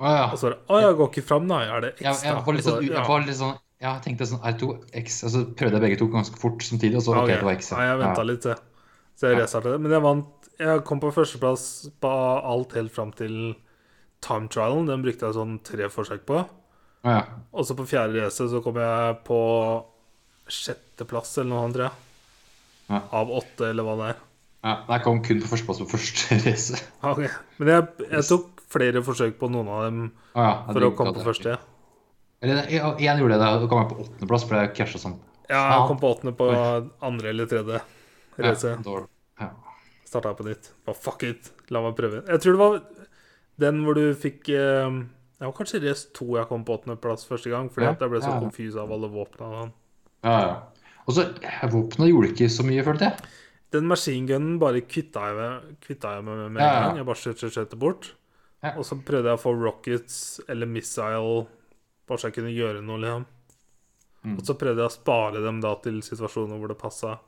Å ja.
Og så er det Å, jeg går ikke fram, da. Er det X,
Jeg,
da?
jeg, var litt
Og så-
sånn, jeg var litt sånn Jeg tenkte sånn R2X, og så prøvde jeg begge to ganske fort samtidig, og så
Ja,
OK,
ok.
det var X. ja.
Nei, jeg venta
Ja.
litt, jeg. Så jeg
Ja.
restarta det. Men jeg vant Jeg kom på førsteplass på alt helt fram til time trialen. Den brukte jeg sånn tre forsøk på.
Å ja.
Og så på fjerde race så kom jeg på sjetteplass eller noe annet, tror jeg.
Ja.
Av åtte, eller hva det er.
ja. Nei, Jeg kom kun på førsteplass på første race.
Ja, ok. Men jeg, jeg tok flere forsøk på noen av dem
Å ja. jeg
for å
driver
komme
med
på
det.
første.
Eller ja, én gjorde det, da kom jeg på åttendeplass, for jeg krasja sånn.
Ja, jeg kom på åttende på andre eller tredje
Ja,
race.
dårlig. ja.
Starta på nytt. Bare fuck it, la meg prøve. Jeg tror det var den hvor du fikk eh, Det var kanskje race to jeg kom på åttendeplass første gang, fordi
Ja,
at jeg ble så
ja.
confused av alle sånn. våpna.
Ja, ja. Og så eh, Våpnene gjorde ikke så mye, følte jeg.
Den maskingunnen bare kvitta jeg med, kvitta jeg meg med med en
Ja, ja.
gang. Jeg bare skjøt, skjøt, skjøt det bort.
Ja.
Og så prøvde jeg å få rockets eller missile, bare så jeg kunne gjøre noe, liksom.
Mm.
Og så prøvde jeg å spare dem da til situasjoner hvor det passa.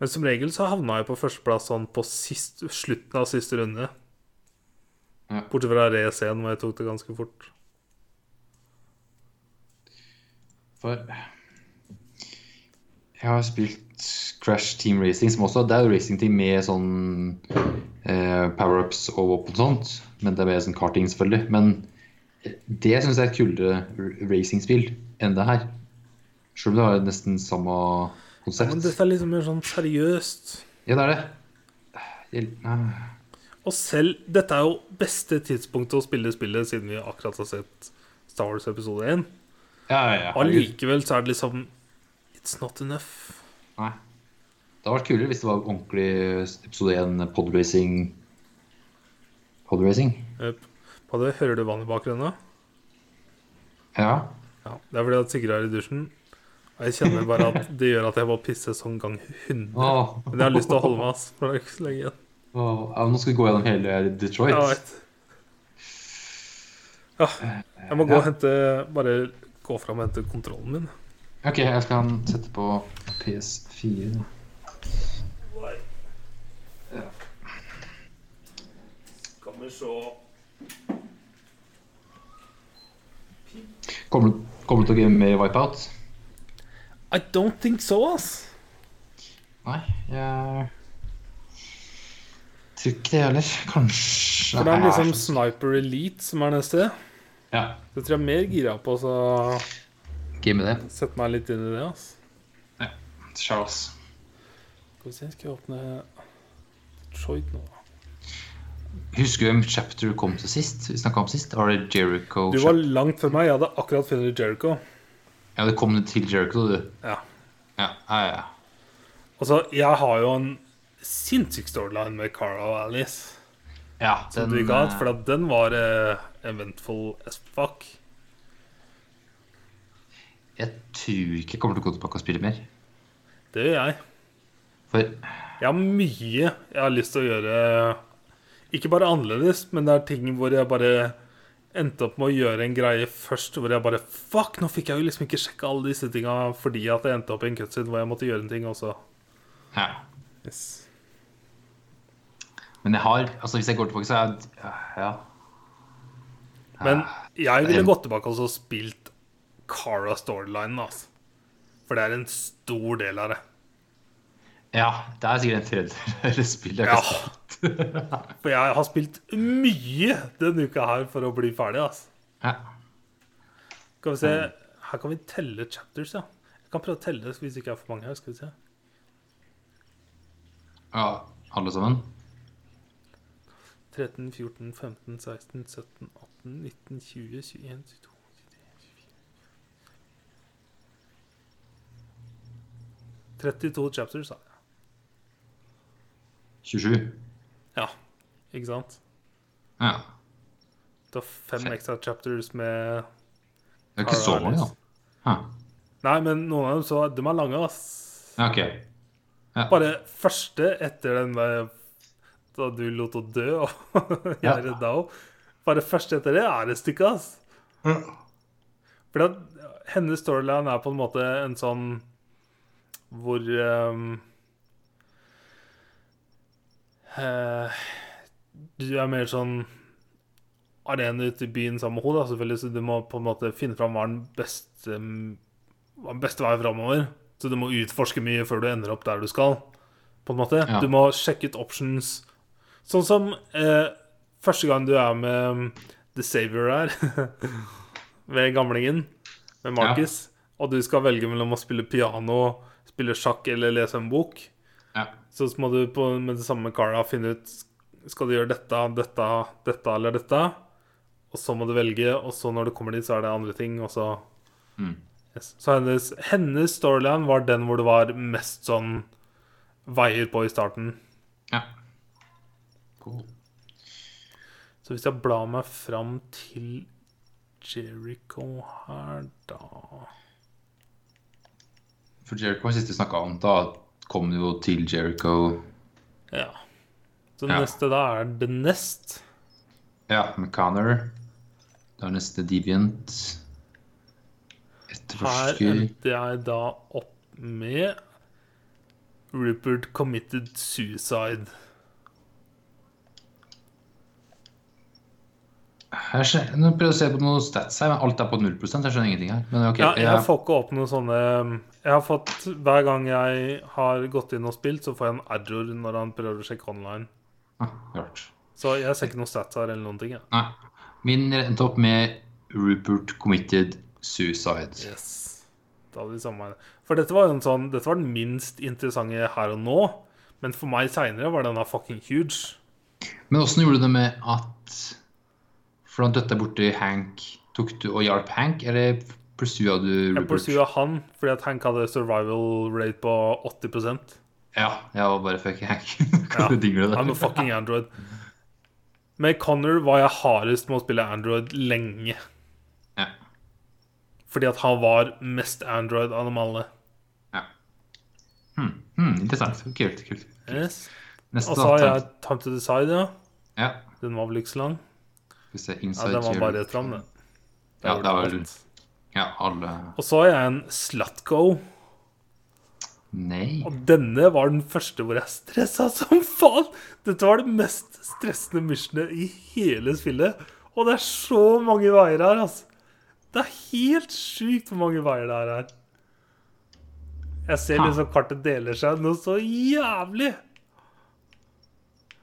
Men som regel så havna jeg på førsteplass sånn på sist, slutten av siste runde.
Ja.
Bortsett fra race 1, hvor jeg tok det ganske fort.
For jeg har spilt Crash Team Racing, som også det er jo racingteam med sånn eh, power-ups og våpen og sånt. Men det er mer sånn karting, selvfølgelig. Men det syns jeg er et kulere r- racingspill enn det her. Selv om det har nesten samme konsept.
Men dette er liksom mer sånn seriøst.
Ja, det er det. Hjel- nei.
Og selv Dette er jo beste tidspunktet å spille spillet, siden vi akkurat har sett Star Wars episode 1.
Ja, ja, ja. herregud.
Allikevel så er det liksom It's not enough.
Nei. Det hadde vært kulere hvis det var ordentlig episode 1 podracing. Podracing?
Yep. Padde, hører du vann i bakgrunnen? da?
Ja.
Ja, Det er fordi at Sigrid er i dusjen. Og jeg kjenner bare at det gjør at jeg må pisse sånn gang 100.
Åh.
Men jeg har lyst til å holde meg, ass. For det er ikke så lenge igjen.
Åh, ja, nå skal vi gå gjennom hele Detroit.
Jeg vet. Ja, jeg må gå og hente Bare gå fram og hente kontrollen min.
OK, jeg skal sette på PS4.
Kan vi se
Kommer du kommer du til å game med Wipeout?
I don't think so, ass.
Nei, jeg tror ikke det heller. Kanskje
For det er
Nei,
liksom
jeg er
Sniper Elite som er neste.
så- Ja,
Det tror jeg er mer gira på, så
game med det.
sette meg litt inn i det, ass.
Charles.
Skal vi se, skal jeg åpne Detroit nå?
Husker du hvem Chapter kom til sist? Vi snakket om sist? Var det Jericho?
Du var langt før meg. Jeg hadde akkurat funnet Jericho.
Chap- Ja, det kom det til Jericho, du.
Ja.
Ja, ja, ja.
Altså, jeg har jo en sinnssyk storyline med Cara og Alice.
ja
Som du ikke har hatt, for at den var eh, eventful as fuck.
Jeg tror ikke jeg kommer til å gå tilbake og spille mer.
Det gjør jeg.
For
Jeg har mye jeg har lyst til å gjøre. Ikke bare annerledes, men det er ting hvor jeg bare endte opp med å gjøre en greie først, hvor jeg bare Fuck, nå fikk jeg jo liksom ikke sjekka alle disse tinga fordi at jeg endte opp i en cutscene hvor jeg måtte gjøre en ting også.
ja. Men jeg har Altså, hvis jeg går tilbake, så er jeg Ja.
Men jeg ville gått tilbake og så spilt Cara storylinen, altså. For det er en stor del av det.
ja det er sikkert en tredjedel av det spillet. jeg
Ja.
kan si.
For jeg har spilt mye denne uka her for å bli ferdig, altså.
Ja.
Skal vi se Her kan vi telle chapters, ja. Jeg kan prøve å telle det hvis det ikke er for mange her. Skal vi se.
ja. Alle sammen?
13, 14, 15, 16, 17, 18, 19, 20, 21, 22 32 chapters, sa jeg.
27?
Ja, ikke sant?
Ja.
Det var fem ekstra chapters med
Det er ikke så mange, da. Ja.
Nei, men noen av dem så De er lange, ass.
Ja, OK.
Bare første etter den der Da du lot henne dø og jeg
Ja.
redda henne. Bare første etter det er et stykke, ass. For da, hennes storyline er på en måte en sånn hvor ehm, eh, Du er mer sånn arena ute i byen sammen med henne, da, selvfølgelig, så du må på en måte finne fram hva er den beste, hva er den beste veien framover. Så du må utforske mye før du ender opp der du skal, på en måte.
Ja.
Du må sjekke ut options. Sånn som eh, første gang du er med The Savior her, ved gamlingen, med Marcus, og du skal velge mellom å spille piano, spille sjakk eller lese en bok,
Ja.
så må du på, med det samme Cara finne ut Skal du gjøre dette, dette, dette eller dette? Og så må du velge, og så når du kommer dit, så er det andre ting, og så
Mm.
yes. Så hennes, hennes storyline var den hvor det var mest sånn veier på i starten.
ja. Cool.
Så hvis jeg blar meg fram til Jericho her, da
For Jericho var sist vi snakka om, da kom det jo til Jericho
Ja. Så
Ja.
neste da er The Nest.
Ja, med Connor. Da er neste Deviant.
Her
Etterforsker.
endte jeg da opp med Rupert committed suicide.
Her skjer, nå prøver jeg å se på noen stats her, men alt er på 0 jeg skjønner ingenting her. Men ok,
Ja, jeg
jeg,
får ikke opp noen sånne um, Jeg har fått Hver gang jeg har gått inn og spilt, så får jeg en error når han prøver å sjekke online.
ah, rart.
Så jeg ser ikke noen stats her eller noen ting. Jeg.
Nei. Min endte opp med Rupert committed suicide.
Yes. Da hadde vi samme For dette var jo en sånn Dette var den minst interessante her og nå. Men for meg seinere var denne fucking huge.
Men åssen gjorde du det med at For da døtte jeg borti Hank. Tok du og hjalp Hank, eller pursua du
Jeg
Rupert?
pursua han fordi at Hank hadde survival rate på 80
Ja, jeg var bare fuck Hank. Kan du dingle det?
I'm a fucking Android. Med Connor var jeg hardest med å spille Android lenge.
Ja.
Fordi at han var mest Android av dem alle.
Hmm, hmm, interessant. Kult. kult.
Yes.
Neste,
Og så har
da.
jeg Time to Decide, ja.
Ja.
Den var vel ikke så lang?
Skal vi se
Ja,
Inside
den var bare
Jericho.
rett fram, den.
Ja, det var vel- Ja, alle
Og så har jeg en Slutgo.
Nei.
Og denne var den første hvor jeg stressa som faen! Dette var det mest stressende missionet i hele spillet. Og det er så mange veier her, altså. Det er helt sjukt hvor mange veier det er her. Jeg ser
Ha.
liksom kartet deler seg noe så jævlig.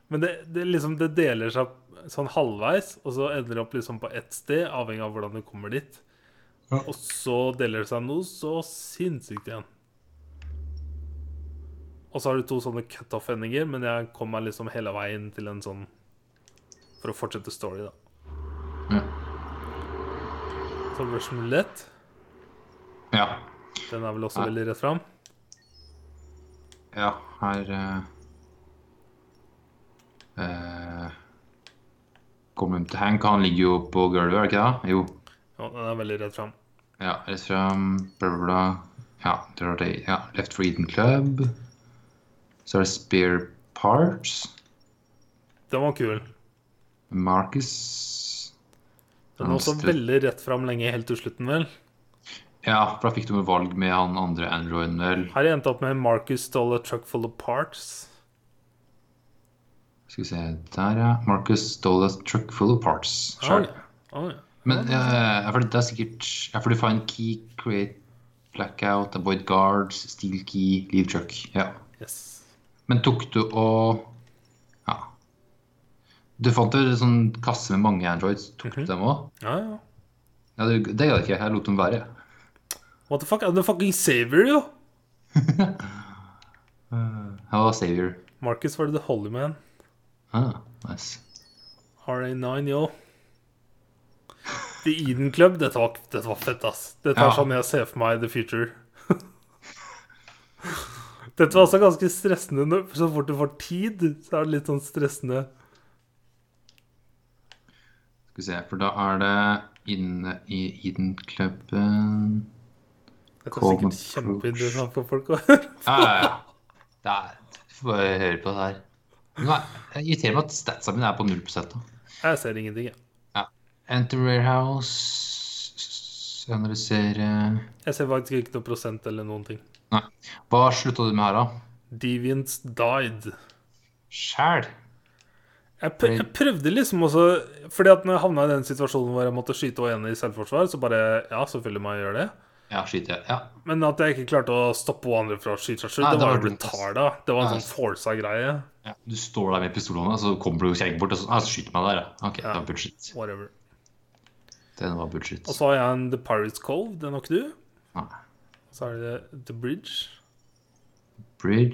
Men det, det liksom det deler seg sånn halvveis, og så ender det opp liksom på ett sted, avhengig av hvordan du kommer dit.
Ja.
Og så deler det seg noe så sinnssykt igjen. Og så har du to sånne cutoff-endinger, men jeg kom meg liksom hele veien til en sånn For å fortsette story, da.
Ja.
Så Russian Roulette,
Ja.
den er vel også
Ja.
veldig rett fram.
ja her eh, eh, Kommer de til Hank? Han ligger jo på gulvet, er det ikke det? Jo.
Ja, den er veldig rett fram.
Ja, rett fram, bla, bla, bla. Ja, det var det. Ja, Left for Eden Club. Så er det Spare Parts.
Den var kul.
Marcus
Den var også
Hamster.
veldig rett fram lenge helt til slutten, vel.
Ja, for da fikk du med valg med han andre androiden, vel.
Her har jeg endt opp med Marcus stole a truck full of parts.
Skal vi se Der, ja. Marcus stole a truck full of parts. Sure.
ja. Å, ja.
Men eh, ja, for det er sikkert ja, for du fant key, create blackout, avoid guards, steal key, leave truck. Ja.
Yes.
Men tok du og Ja. Du fant jo en sånn kasse med mange androids. Tok du
Mhm.
dem òg?
Ja, ja.
Ja, det, det gjør jeg ikke. Jeg lot dem være.
What the fuck? I'm the fucking savior, jo!
Jeg var savior.
Marcus var det The Holy Man.
Ah, nice.
RA9, yo. The Eden Club, dette var, dette var fett, ass. Dette
Ja.
er sånn jeg ser for meg The Future. dette var altså ganske stressende. når- Så fort du får tid, så er det litt sånn stressende.
Skal vi se, for da er det inne i Eden-klubben
Dette er
Cold
sikkert
approach.
kjempeinteressant for folk å høre.
Ja, ja, ja. Det er Får bare høre på det her. Nå er, jeg irriterer meg at statsa mine er på 0 da.
Jeg ser ingenting, jeg.
Enter warehouse Analysere
Jeg ser faktisk ikke noe prosent eller noen ting.
Nei. Hva slutta du med her, da?
Deviants died.
Sjæl?
Jeg, pr jeg prøvde liksom også Fordi at når jeg havna i den situasjonen hvor jeg måtte skyte og ene i selvforsvar, så bare Ja, selvfølgelig må jeg gjøre det.
Ja, skyter jeg. Ja.
Men at jeg ikke klarte å stoppe hun andre fra å skyte seg selv,
Nei,
det
det
var
var
jo
dumt, ass.
brutalt. da. Det var en
Nei.
sånn forsa greie.
ja. Du står der med pistolene, så kommer du kjerringa bort og så, ah, så skyter du meg der, ja. OK,
Ja.
det var bullshit.
Whatever.
Den var bullshit.
Og så har jeg en The Pirates Cove, den har ikke du.
Nei.
Og så er det The Bridge.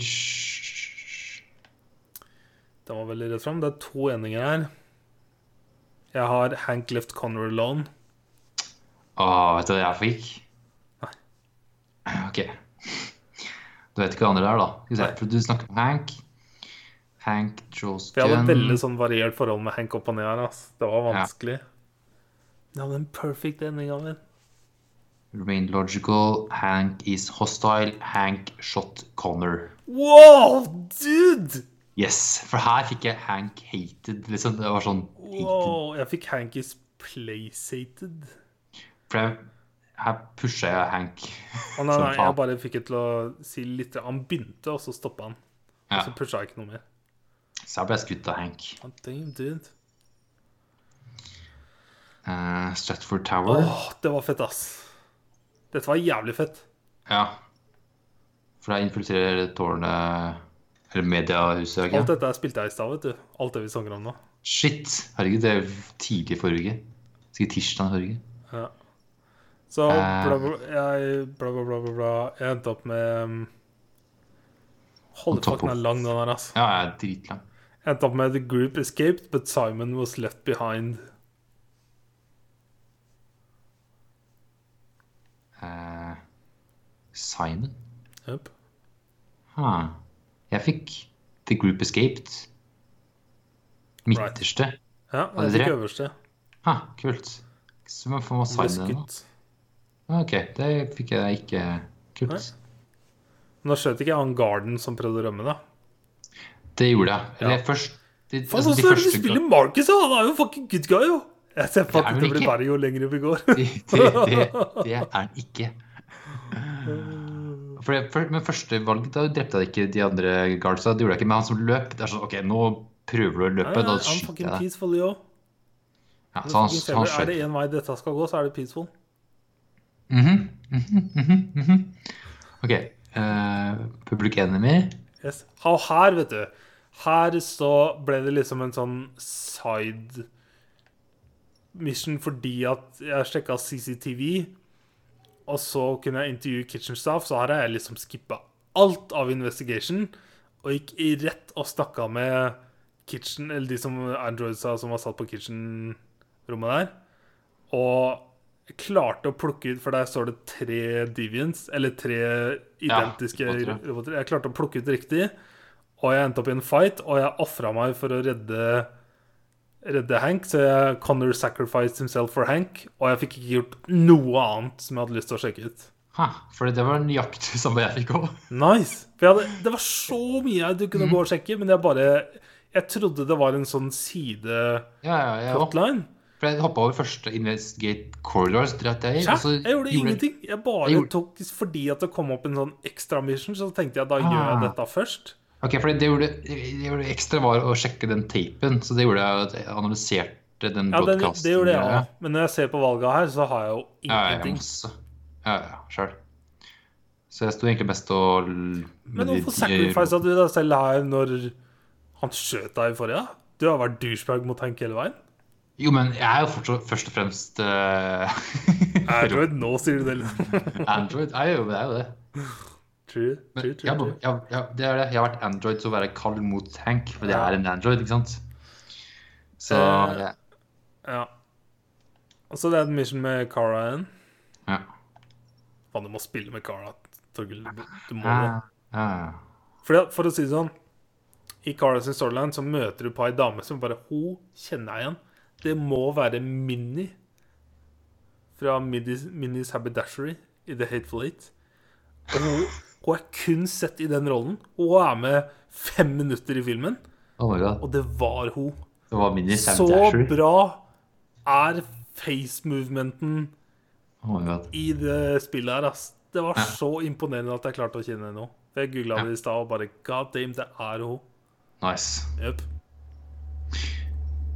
Bridge
Den var veldig rett fram. Det er to endinger her. Jeg har Hank left Conor alone.
Åh, Ah, vet du hva jeg fikk?
Nei.
Ok. Du vet ikke hva andre det er, da? Skal vi se,
Nei.
for du snakker om Hank. Hank draws
For jeg hadde
gun.
et veldig sånn variert forhold med Hank opp og ned her. ass. Det var vanskelig. Jeg hadde en perfect endinga min.
Remain logical. Hank is hostile. Hank shot Connor.
Wow, dude!
Yes, for her fikk jeg Hank hated. Liksom, det var sånn hated.
Wow, jeg fikk Hank is placated.
For jeg, her pusha jeg Hank.
Å, nei,
Som
nei,
faen.
jeg bare fikk det til å si litt Han begynte, og så stoppa han.
Ja,
Og så pusha jeg ikke noe mer.
så her ble jeg skutt av Hank.
Ah, Damn, dude.
Eh, Stratford Tower.
Åh, det var fett, ass. Dette var jævlig fett.
Ja. For der infiltrerer tårnet Eller mediehuset. ikke?
Alt dette spilte jeg i stad, vet du. Alt det vi snakker om nå.
Shit! Herregud, det er tidlig forrige uke. Sikkert tirsdag forrige uke.
Ja. Så
Eh.
bla, bla, jeg, bla, bla, bla, bla, bla. Jeg endte opp med um,
On
Hold
top
fuck, den
of-
er lang, den her, ass.
Ja, jeg er dritlang.
Jeg endte opp med The group escaped, but Simon was left behind.
Eh, Simon?
Yep.
Ha. Jeg fikk The Group Escaped. Midterste.
Ja,
det
jeg fikk
drept?
øverste.
Ha, kult. Så man får
Ble
Simon nå.
skutt.
Ok, det fikk jeg ikke. Kult.
Nå skjøt ikke jeg han Garden som prøvde å rømme, da.
Det gjorde jeg. Eller
Ja.
først de,
Faen,
altså,
så
de
søren, du
første
spiller Marcus, ja! Han er jo fucking good guy, jo! Jeg ser på
Det er
at
vel
det blir
ikke-
verre jo lenger vi går.
Det, det, det, det er han ikke. For det, for, men første valg, da drepte jeg ikke de andre guardsa. Det gjorde jeg ikke. Men han som løp, det er sånn OK, nå prøver du å løpe, da
I'm
skyter
fucking
jeg deg.
peaceful, yo.
Ja,
Men
altså. så han,
fucking
han
Saber, Er
skjøt.
det én vei dette skal gå, så er det peaceful.
Mhm, mhm, mhm, mhm. OK. eh, public enemy.
Yes. Og her, vet du Her så ble det liksom en sånn side mission fordi at jeg sjekka CCTV, og så kunne jeg intervjue kitchen staff, så her har jeg liksom skippa alt av investigation og gikk i rett og snakka med kitchen, eller de som Android sa som var satt på kitchen-rommet der, og klarte å plukke ut For der står det tre deviants, eller tre identiske
roboter, ja.
roboter. Jeg klarte å plukke ut riktig, og jeg endte opp i en fight, og jeg ofra meg for å redde redde Hank, så jeg Connor sacrificed himself for Hank, og jeg fikk ikke gjort noe annet som jeg hadde lyst til å sjekke ut.
Ha, for det var nøyaktig samme jeg fikk òg.
Nice! For jeg hadde, det var så mye jeg du
Mhm.
kunne gå og sjekke, men jeg bare Jeg trodde det var en sånn side-hotline.
Ja, ja, jeg også. For jeg hoppa over første Investigate Corridors. Dratt jeg, Altså, i, og så
Hæ? Jeg gjorde ingenting. Jeg bare
Jeg gjorde-
tok Fordi at det kom opp en sånn ekstra mission, så tenkte jeg da gjør jeg
Ah.
dette først.
Ok, for det jeg gjorde, det jeg gjorde ekstra var å sjekke den tapen. Så det gjorde jeg at jeg analyserte den
Ja, det,
broadcasten.
det gjorde jeg
greia.
òg. Men når jeg ser på valga her, så har jeg jo
Ja, ja, ja,
ingenting.
masse. Ja, ja, sjøl. Så jeg sto egentlig best og l-
Men hvorfor sacrifica du deg selv her når han skjøt deg i forrige? Du har vært douchebag mot Hank hele veien.
Jo, men jeg er jo fortsatt først og fremst eh,
Android, nå sier du det. liksom.
Android. Jeg er jo, jeg er jo det.
True,
Men
true,
jeg,
true,
har-
true.
jeg, har- jeg, har- det er det. jeg har vært Android, så å være kald mot Hank, for det
Ja.
er en Android, ikke sant? Så
Eh,
ja.
Ja. Og så det er en mission med Cara igjen.
ja.
Faen, du må spille med Cara. Torgil. Du må det.
Ja, ja.
Fordi, at- for å si det sånn, i Cara sin storyline så møter du på ei dame som bare Hun kjenner jeg igjen. Det må være Minni fra Midis- Minnis Haberdashery i The Hateful Eight. Og hun, hun er kun sett i den rollen. Hun er med fem minutter i filmen,
Oh my god.
og det var hun.
Det var mini
Så
Samdasher.
bra er face-movementen
Oh my god.
i det spillet her, ass. Det var
Ja.
så imponerende at jeg klarte å kjenne henne nå. For Jeg googla
Ja.
det i stad og bare God damn, det er hun.
Nice.
Jøp.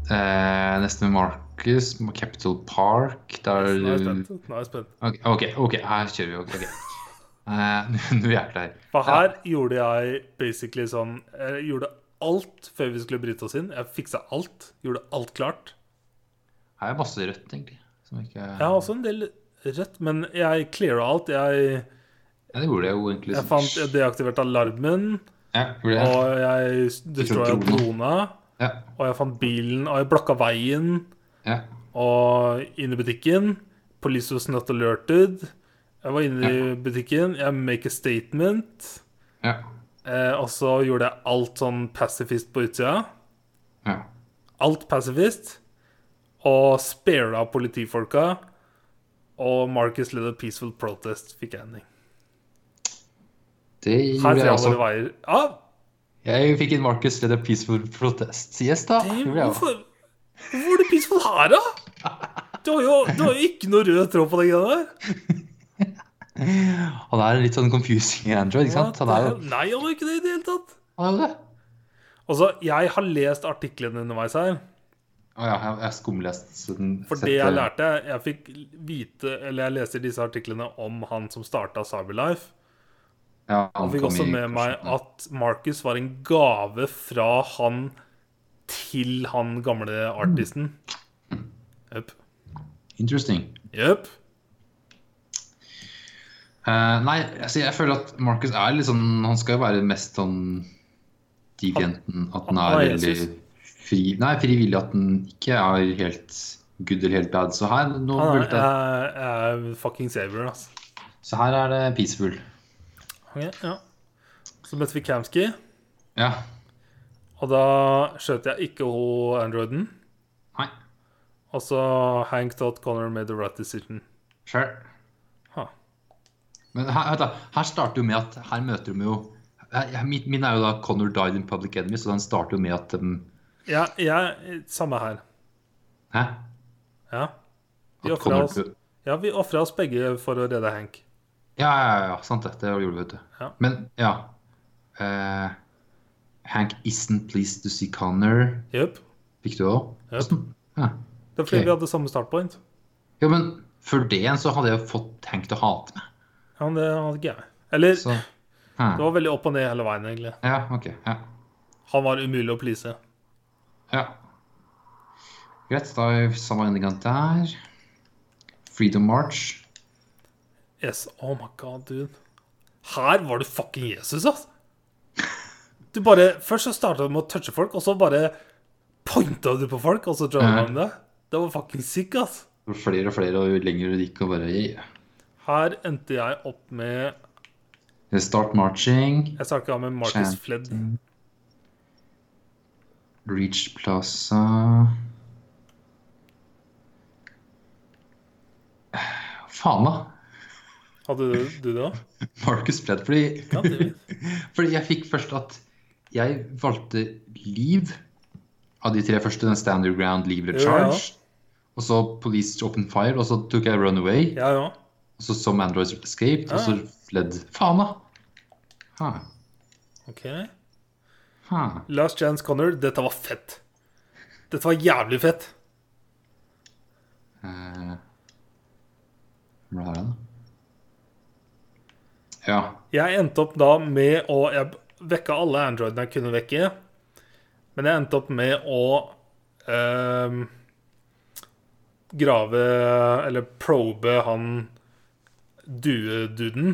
Eh, neste med Marcus, Capital Park. Der
Nå er jeg spent. Nå er jeg spent.
Ok, OK, ok, her kjører vi. ok, ok. Eh, Nå er jeg klar.
For her gjorde jeg basically sånn Jeg gjorde alt før vi skulle bryte oss inn. Jeg fiksa alt. Gjorde alt klart.
Her er masse rødt, egentlig. Som ikke
Jeg har også en del rødt, men jeg cleara alt. Jeg,
Ja, det gjorde jeg jo egentlig.
jeg fant jeg deaktiverte alarmen,
Ja, gjorde jeg.
og jeg destroya
Ikke
drona,
Ja,
og jeg fant bilen, og jeg blokka veien.
ja.
Og inn i butikken. Police was not alerted. Jeg var inne i butikken. Jeg make a statement.
Ja.
Eh, og så gjorde jeg alt sånn pacifist på utsida.
ja.
Alt pacifist. Og spara politifolka. Og Marcus led a peaceful protest, fikk jeg ending.
Det
Her
gjorde
tror
jeg
jeg
også.
våre veier Ja,
Jeg fikk en Marcus led a peaceful protest. Yes, da.
det-
Gjorde jeg også.
hvorfor Hvorfor er det peaceful her, da? Du har jo, du har jo ikke noe rød tråd på den greia der.
Han er litt sånn confusing android, ikke sant? Han er jo
Nei, han er ikke det i det hele tatt.
Han er jo det.
Altså, jeg har lest artiklene underveis her.
Å ja, jeg- jeg har skumlest. siden-
For
sett
det jeg lærte Jeg fikk vite, eller jeg leste disse artiklene om han som starta Cyberlife.
Ja, han
Og fikk
kom
også
i
med meg
kursen.
at Marcus var en gave fra han til han gamle artisten. Jepp.
Interesting.
Jepp.
Eh, nei, altså jeg føler at Marcus er litt sånn Han skal jo være mest sånn devianten. At han
han
er
er
veldig
Jesus.
fri, nei, frivillig. At han ikke er helt good eller helt bad. Så her, nå
Han er,
burde det,
er, er fucking savior, altså.
så her er det peaceful.
Ok, ja. Så møtte vi Kamsky,
Ja.
og da skjøt jeg ikke hun androiden.
Nei.
Og så Hank thought Connor made the right decision.
Sure.
Huh.
Men her, vent da, her starter jo med at Her møter de jo her- Min min er jo da Connor died in public um, enemy, så den starter jo med at de
Ja, jeg, samme her.
Hæ?
Ja. Vi
At
ofra
Connor
oss,
døde.
ja, vi ofra oss begge for å redde Hank.
Ja, ja, ja, sant det. Det gjorde vi, vet du.
Ja.
Men ja Eh, Hank isn't pleased to see Connor.
Jepp.
Fikk du òg?
Jepp.
Ja.
Det er fordi
Ok.
vi hadde samme startpoint.
ja, men før det igjen så hadde jeg fått Hank til å hate meg.
Ja, men det hadde ikke jeg. Eller
Så
det
hm.
var veldig opp og ned hele veien, egentlig.
Ja, OK. Ja.
Han var umulig å please.
ja. Greit, da er vi samme endinga der. Freedom March.
Yes. Oh my god, dude. Her var du fucking Jesus, ass! Du bare, Først så starta du med å touche folk, og så bare pointa du på folk, og så drama du det. Det var fucking sick, ass.
Det var Flere og flere, og jo lenger det gikk, og bare yeah.
Her endte jeg opp med
Start marching.
Jeg starta med Marcus
Chant.
Fledd.
Reach Plaza Faen, da.
Hadde du, du det òg?
Marcus Pledd. Fordi,
Ja, det vet.
fordi jeg fikk først at jeg valgte Liv av de tre første. Den Stand Your Ground, Leave
Ja,
eller
ja.
Charge. Og så Police Open Fire. Og så tok jeg Runaway.
Jeg òg.
Og så Some Androids Escaped. Og så
Ja.
Fledd. Faen, da. Ha.
OK.
Ha.
Last Chance Connor. Dette var fett. Dette var jævlig fett.
Eh, Hva er det, da? Ja.
Jeg endte opp da med å Jeg vekka alle androidene jeg kunne vekke. Men jeg endte opp med å ehm, grave Eller probe han dueduden.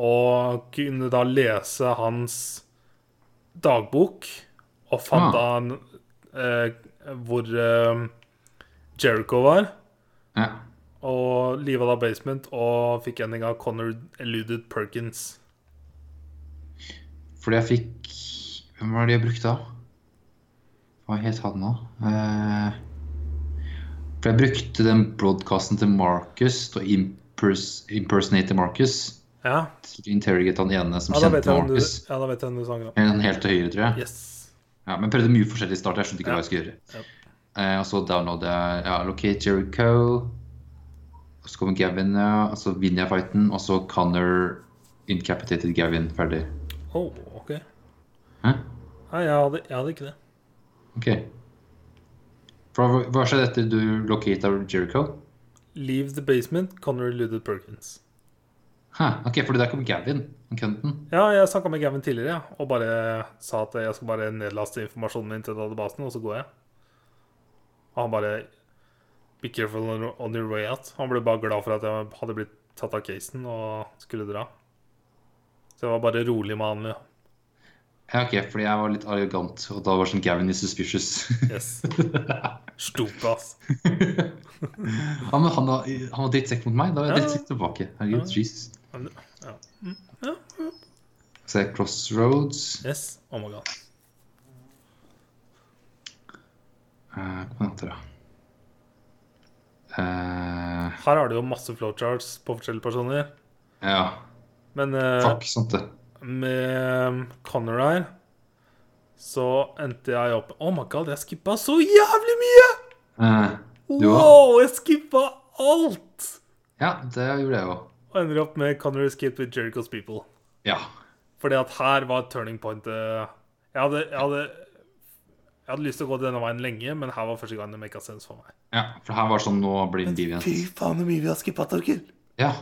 Og kunne da lese hans dagbok, og fant da han, eh, hvor eh, Jericho var.
ja.
Og liva da basement og fikk ending av Connor eluded Perkins.
Fordi jeg fikk Hvem var det jeg brukte da? Hva het han da? Eh, For jeg brukte den broadcasten til Marcus til å impers impersonate Marcus.
Ja,
Til å interrogate han ene som
ja, da, vet
kjente
jeg hvem du,
Marcus.
ja da vet jeg hvem du snakker om.
Eller han helt til høyre, tror jeg.
Yes.
Ja, men jeg prøvde mye forskjellig i starten. Jeg skjønte ikke
Ja.
hva jeg skulle gjøre.
Ja.
Eh, og så downloader jeg ja, Locate Jericho. Og så kommer Gavin, ja. Og så vinner jeg fighten. Og så Connor incapitated Gavin. Ferdig.
Oh, ok.
Hæ?
Nei, jeg hadde, jeg hadde ikke det.
Ok. For hva- hva skjedde etter du locata Jericho?
Leave the basement, Connor eluded Perkins.
Hæ, ok, for der kom Gavin. Han kønten.
Ja, jeg snakka med Gavin tidligere ja, og bare sa at jeg skal bare nedlaste informasjonen min til databasen, og så går jeg. Og han bare Be careful on your- on your way out. Han ble bare glad for at jeg hadde blitt tatt av casen og skulle dra. Så jeg var bare rolig med han. Ja.
Ja, ok, fordi jeg var litt arrogant, og da var sånn Gavin is suspicious.
Yes. Stupe, ass.
ja, men han var, han var drittsekk mot meg, da var jeg
Ja.
drittsekk tilbake. Herregud,
Ja.
Jesus.
Ja.
Så jeg Crossroads.
Yes. Oh my god.
Eh, Hva heter det? Eh,
Her har du jo masse flowcharts på forskjellige personer.
ja,
Men eh,
fuck, sant det.
med Connor her så endte jeg opp Oh my god, jeg skippa så jævlig mye!
Eh, Du òg?
Wow, jeg skippa alt!
ja, det gjorde jeg òg.
Og ender opp med Connor Escape with Jericho's People.
Ja.
Fordi at her var turning pointet jeg hadde, jeg hadde Jeg hadde lyst til å gå denne veien lenge, men her var første gang det make a sense for meg.
ja, for her var sånn, nå blir det liv igjen.
faen, hvor mye vi har skippa, Torkil!
Ja,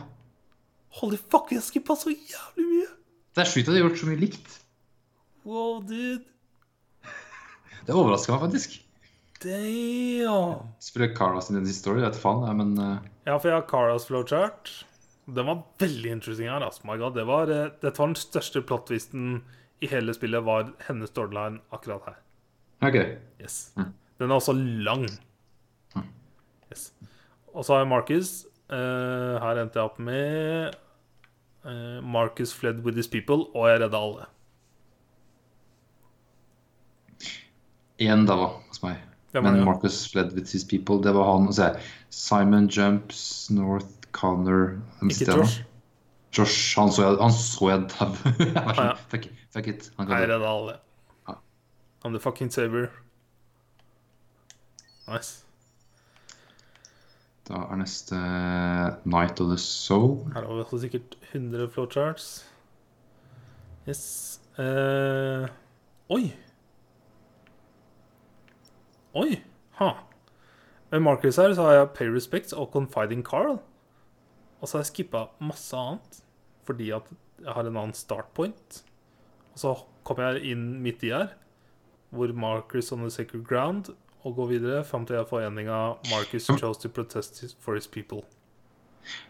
Holy fuck, jeg skippa så jævlig mye!
det er sjukt at de har gjort så mye likt.
Wow, dude.
Det overrasker meg faktisk.
Damn.
Spør Carla sin historie, vet faen, ja, men eh,
Ja, for jeg har Caras flowchart. Den var veldig interesting her. Altså. My God, det var, eh, dette var den største plottvisten i hele spillet, var hennes storyline akkurat her.
OK.
Yes.
Mm.
Den er også lang. Yes. Og så har jeg Marcus. Eh, her endte jeg opp med eh, Marcus fled with his people, og jeg redda alle.
Én da var hos meg.
Hvem var
Men
det?
Marcus fled with his people. Det var han. Og så er Simon Jumps, North Connor hvem
Ikke
sitter jeg nå?
Josh.
Josh, Han så jeg, han så jeg dau. Jeg var
Ah, ja.
sånn, fuck, it, fuck it. Han
Jeg
kan dø.
redda alle.
Ja.
I'm the fucking saver. Nice.
Da er neste eh, Night of the Soul.
Her har vi også sikkert 100 flowcharts. Yes. Eh, oi! Oi! Ha. Med Marcus her så har jeg Pay Respects og Confiding Carl. Og så har jeg skippa masse annet fordi at jeg har en annen startpoint. Og så kom jeg inn midt i her, hvor Marcus on the sacred ground, og går videre fram til jeg får endinga Marcus chose to protest his- for his people.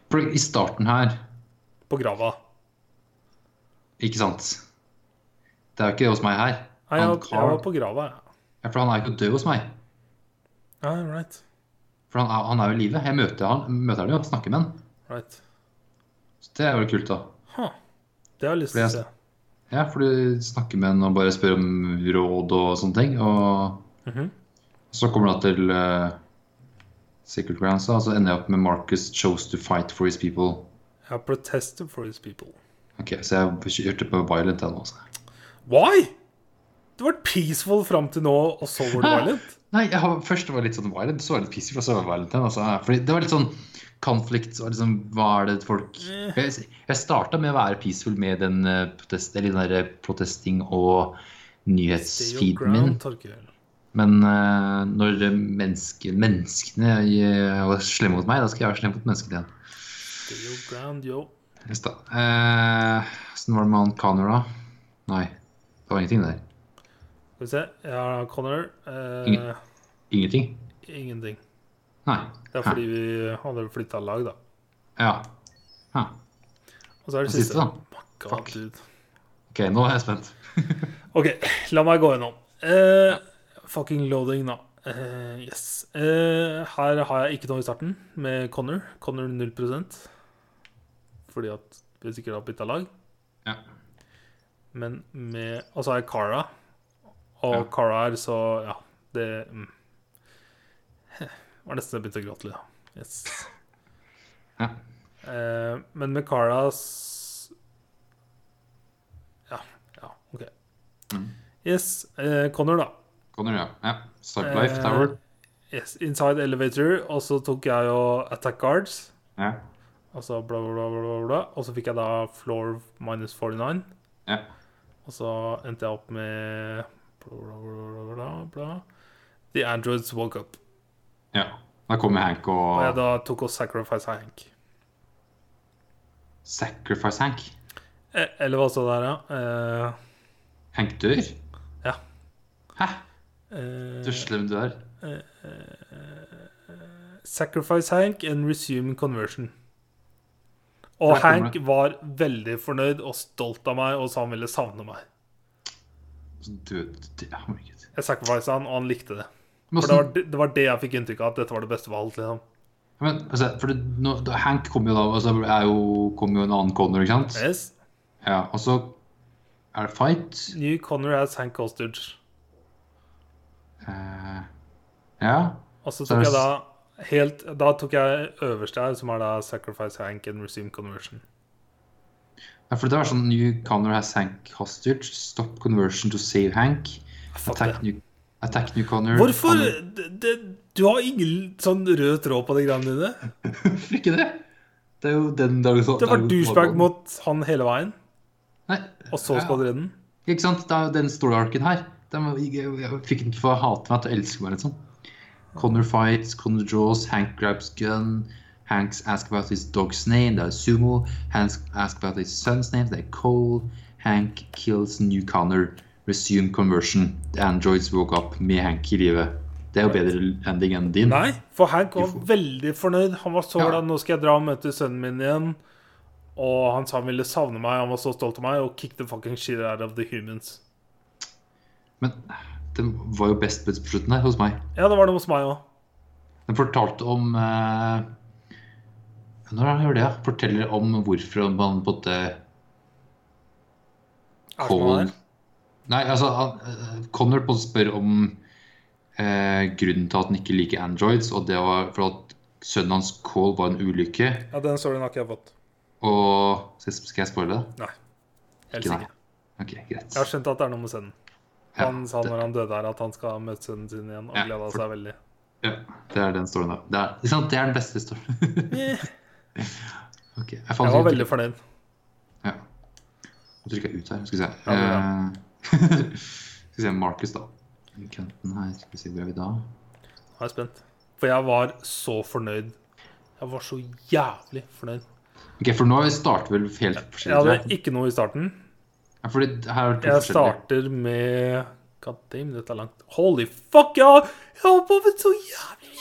For i starten her,
På grava.
ikke sant Det er jo ikke det hos meg her. Han
Nei, jeg, jeg var
Carl-
på grava, jeg.
Ja, for han er jo ikke død hos meg.
Ja, Ah, right.
For han er, han er jo i live. Jeg møter han, møter han jo, snakker med han.
right.
Så det er jo kult, da.
Ha. Det har jeg lyst til å
For
se.
jeg- Ja, for du snakker med han og bare spør om råd og sånne ting. Og
Mhm.
så kommer du da til eh, Secret Grounds, da, og så ender jeg opp med Marcus chose to fight for his people.
Jeg har protested for his people.
Ok, Så jeg kjørte på Violent jeg nå. altså.
Why? Det har vært peaceful fram til nå, og så var det
Hæ?
violent?
Nei, jeg har, først var det litt sånn Violent, så var det litt pissig, og så var det Violent igjen. Altså. Fordi det var litt sånn konflikt og liksom Hva er det folk
Eh.
Jeg, jeg starta med å være peaceful med den, eh, protest, eller den der protesting og
Stay your
nyhetsfeeden min.
ground, Torkel.
Men eh, når menneske, menneskene eh, var slemme mot meg, da skal jeg være slem mot menneskene igjen.
Stay your ground, yo.
Just da. Eh, Åssen var det med han Connor, da? Nei, det var ingenting der.
Skal vi se. Jeg har Connor. Eh,
Ingen- Ingenting?
ingenting.
Nei.
Det er fordi vi hadde flytta lag, da.
Ja. Hæ.
Og så er det
Og siste,
siste. Oh
da.
My God,
Fuck.
dude.
OK, nå er jeg spent.
OK, la meg gå gjennom. Eh, fucking loading, da. Eh, yes. Eh, her har jeg ikke noe i starten med Connor. Connor 0 Fordi at vi sikkert har bytta lag.
Ja.
Men med Og så har jeg Cara. Og
Ja.
Cara her, så ja. Det mm. var nesten jeg begynte å gråte litt. da. Yes.
Ja.
Eh, men med Cara s- Ja. Ja, OK.
Mm.
Yes. Eh, Connor, da.
Connor, ja. ja. Start
Eh,
Life Tower.
Yes, Inside Elevator. Og så tok jeg jo Attack Guards.
Ja.
Og så bla, bla, bla, bla, bla. Og så fikk jeg da Floor minus 49.
ja.
Og så endte jeg opp med bla, bla, bla, bla, bla, bla. The Androids Woke Up.
ja. Da kommer Hank
Og jeg
og
da tok og sacrifice Hank.
Sacrifice Hank.
Eh, Eller hva så der, ja. Eh,
Hank dør?
Ja.
Hæ?
Eh, eh,
Så slem du er.
sacrifice Hank and resume conversion. Og
Der kommer
Hank var veldig fornøyd og stolt av meg og sa han ville savne meg.
Så døde du. Herregud.
Jeg sacrificed han, og han likte det.
Men
For det
åssen-
var det, det, var det jeg fikk inntrykk av, at dette var det beste valget. Liksom.
Ja, Men, altså, for det, nå, da, Hank kom jo da altså, er jo, kom jo en annen Connor, ikke sant?
Yes.
Ja, og så er det fight.
New Connor has Hank hostage.
Eh, ja.
Og så
Så
tok
er det
jeg da helt Da tok jeg øverste her, som er da Sacrifice Hank and Resume Conversion.
ja, for det var sånn New Connor has Hank hostage. Stop conversion to save Hank.
Ah, Fuck
Attack
det.
new, attack new Connor.
Hvorfor
Connor-
det, det, Du har ingen sånn rød tråd på de greiene dine.
Hvorfor ikke det? Det er jo den dagen
Det var douchebag mot han hele veien,
Nei,
og så skal du redde den.
ikke sant? Det er jo den story-arken her. Den, var- jeg, jeg, jeg fikk den for å hate meg til å elske meg, liksom. Connor fights, Connor draws, Hank grabs gun. Hanks asks about his dog's name, det er Sumo. Hanks asks about his son's name, det er Cole. Hank kills new Connor. Resume conversion. The androids woke up med Hank i livet. Det er jo bedre ending enn din.
Nei, for Hank var
Hvorfor?
veldig fornøyd. Han var så
Ja.
glad. 'Nå skal jeg dra og møte sønnen min igjen.' Og han sa han ville savne meg, han var så stolt av meg, og kick the fucking shit out of the humans.
Men den var jo best på slutten her hos meg.
Ja, det var det hos meg òg.
Den fortalte om eh, Når han gjør det, ja. Forteller om hvorfor han på en måte
Er det
Cole
meg der?
Nei, altså han, eh, Connor på en måte spør om eh, grunnen til at han ikke liker Androids, og det var for at sønnen hans Cole var en ulykke.
Ja, den storyen har ikke jeg fått.
Og Skal jeg- skal jeg spoile det?
Nei. Helt
Ikke nei.
sikkert.
OK, greit.
Jeg har skjønt at det er noe med sønnen.
Ja,
Han sa
det-
når han døde her, at han skal møte sønnen sin igjen, og
Ja,
gleda
for-
seg veldig.
Ja, det er den storyen, da. Det er, ikke sant? det er den beste storyen.
Eh,
Ok, Jeg, fant
Jeg var
ut-
veldig fornøyd.
Ja. Nå trykker jeg ut her. Skal vi se.
Ja, det
Eh, skal vi se Marcus, da. Kønten her. Skal vi se hvor er vi da?
Nå er jeg spent. For jeg var så fornøyd. Jeg var så jævlig fornøyd.
Ok, For nå starter vi vel helt
Jeg
forskjellig. tror
hadde
Jeg
ikke noe i starten.
Ja, fordi her er det to
Jeg
forskjellige.
starter med God damn, dette er langt. Holy fuck, ja! Jeg har bobbet så jævlig!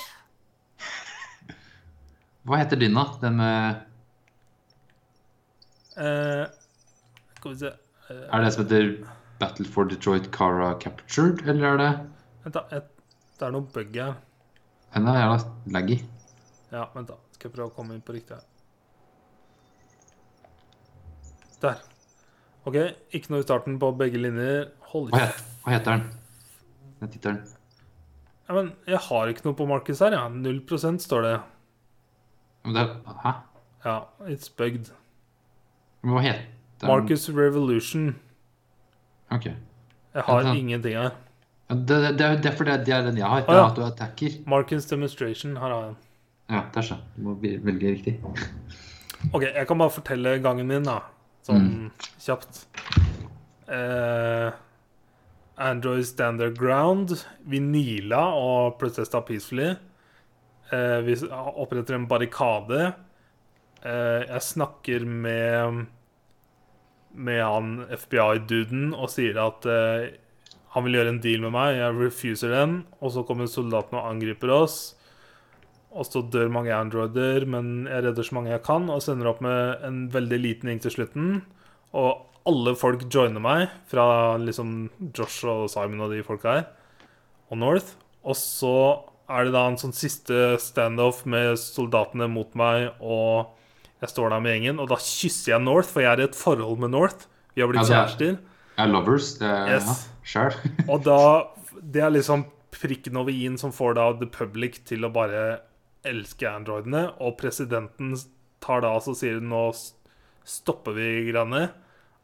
Hva heter din, da? Den med
Eh, skal vi se Eh,
Er det som heter Battle for Detroit Cara Captured, eller er det
Vent, da. Jeg, det er noe bug her.
Den er jævla laggy.
Ja, vent, da. Skal jeg prøve å komme inn på riktig her. Der. OK, ikke noe i starten på begge linjer. Holy
Hva heter, hva heter den? Den tittelen.
Ja, men jeg har ikke noe på Marcus her, ja. 0 står det.
Men det er- Hæ?
Ja, it's bugged.
Men Hva heter den?
Marcus Revolution.
Ok.
Jeg har
Vent da.
ingenting her.
Ja, Det, det, det er derfor det, det er den jeg har. Det
ja.
er at du attacker.
Marcus Demonstration. Her har jeg den.
Ja, det er så. Du må vi- velge riktig.
OK, jeg kan bare fortelle gangen min, da. Sånn kjapt. Eh, Android Stand Their Ground. Vi nila og protesta peacefully. Eh, vi s- oppretter en barrikade. Eh, jeg snakker med med han FBI-duden og sier at eh, han vil gjøre en deal med meg. Jeg refuser den. Og så kommer soldatene og angriper oss. Og så dør mange androider, men jeg redder så mange jeg kan, og sender opp med en veldig liten gjeng til slutten. Og alle folk joiner meg, fra liksom Josh og Simon og de folka her, og North. Og så er det da en sånn siste standoff med soldatene mot meg, og jeg står der med gjengen, og da kysser jeg North, for jeg er i et forhold med North. Vi har blitt
Ja, det
kjærester.
Ja, lovers. Det er
Yes.
ja, sjøl.
Og da Det er liksom prikken over i-en som får da the public til å bare elske androidene. Og presidenten tar da altså og sier nå s- stopper vi greiene.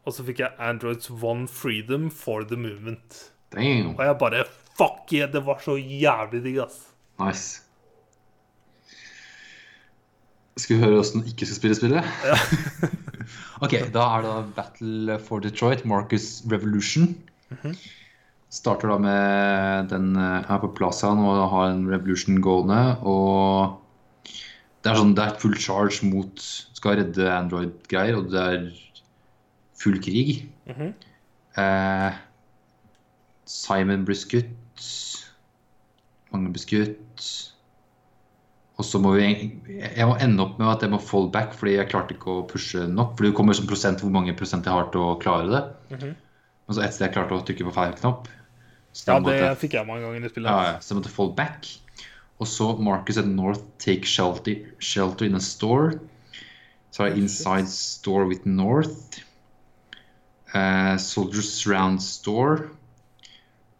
Og så fikk jeg Androids One Freedom for the Movement.
Damn.
Og jeg bare Fuck yeah, det var så jævlig digg, ass.
Nice. Skal vi høre åssen du ikke skal spille spillet? ok, da er det da Battle for Detroit, Marcus Revolution. Starter da med den eh, her på plazaen og har en revolution gående. Og det er sånn det er full charge mot skal redde Android-greier, og det er full krig.
Mhm.
eh, Simon blir skutt. Mange ble skutt. Og så må vi Jeg må ende opp med at jeg må fall back fordi jeg klarte ikke å pushe nok. For det kommer som prosent hvor mange prosent jeg har til å klare det.
Mhm.
Men så etter jeg klarte å trykke på feil knapp så
Ja,
måtte jeg-
det fikk jeg mange ganger i spillet.
ja, ja, så jeg måtte fall back. Og så Marcus at North take shelter, shelter in a store. Så er det inside store with North. Eh, soldiers surround store.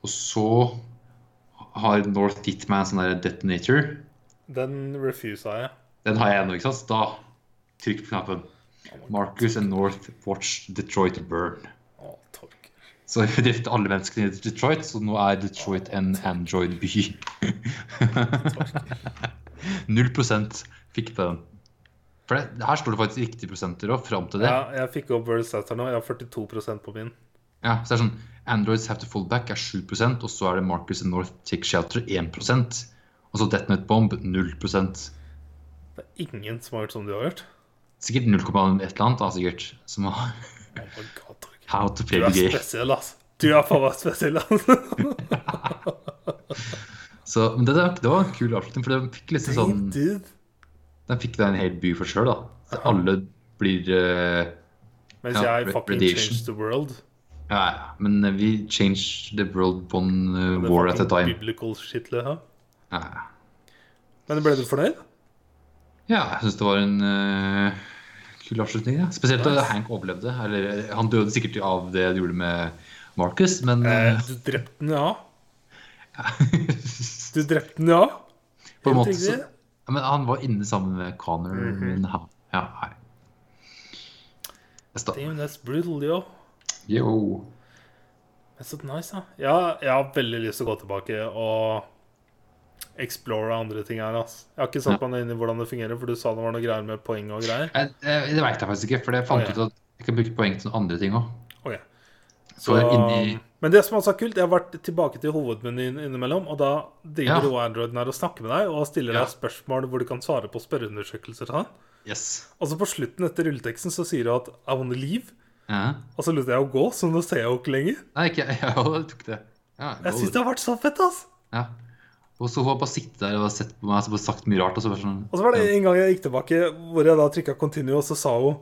Og så har North gitt meg en sånn der detonator.
Den refusa jeg.
Den har jeg ennå, ikke sant? Så Da trykk på knappen. Marcus and North watch Detroit burn.
Å, tork.
Så vi drepte alle menneskene i Detroit, så nå er Detroit en Android-by. 0 fikk den. For det, her står det faktisk riktige prosenter òg, fram til det. Ja.
Ja, jeg fikk opp World Satter nå. Jeg har 42 på min.
så det er sånn Androids have to fall back er 7 og så er det Marcus and North take shelter 1 og så Detonate Bomb 0 Sikkert
Det er ingen som har gjort som du har gjort.
0,1 et eller annet, da, sikkert. Som har
Oh my God, tork.
How to play
Du er
the game.
spesiell, ass. Du er faen meg spesiell, ass.
Så, men det, det var en kul avslutning, for den fikk liksom sånn
Dude.
Den fikk da en hel by for sjøl, da. Så alle blir eh,
Mens
Ja,
jeg fucking
Radiation.
changed the world.
Ja, ja. Men eh, vi changed the world one eh,
Det er
war at a
fucking
time.
Biblical shit, det her.
Ja, ja.
Men ble du fornøyd?
ja jeg syns det var en eh, kul avslutning. Ja. Spesielt da
Nice.
Hank overlevde. Eller eh, han døde sikkert av det du gjorde med Marcus, men eh,
Eh, du drepte den, ja. Du drepte den, ja.
på en
Helt
måte så
riktig. Mhm.
ja, Men han var inne sammen med Connor. ja, ja, nei. Jeg sta-
Damn, that's brutal, yo.
Yo.
That's so nice, da. Ja, jeg har veldig lyst til å gå tilbake og explore andre ting her. ass Jeg har ikke satt meg inn i hvordan det fungerer, for du sa det var noe greier med poeng og greier.
Jeg, jeg, det veit jeg faktisk ikke, for jeg fant
Å, ja.
ut at jeg kan bruke poeng til andre ting òg.
Ok.
Så,
Så- um,
inni
Men det som også er kult, jeg har vært tilbake til hovedmenyen innimellom, og da
Ja.
driver jo androiden her og snakker med deg og stiller
Ja.
deg spørsmål hvor du kan svare på spørreundersøkelser. Sånn.
Yes.
Og så på slutten etter rulleteksten så sier du at 'I wanna leave',
Ja.
og så lot jeg jo gå, så nå ser jeg jo ikke lenger.
Nei, ikke jeg. Ja, jeg tok det. Ja,
Jeg syns det har vært så fett, ass.
Ja. Og så hun har bare sittet der og sett på meg og så bare sagt mye rart. Og så bare sånn
Og så var det
ja.
en gang jeg gikk tilbake, hvor jeg da trykka 'continue', og så sa hun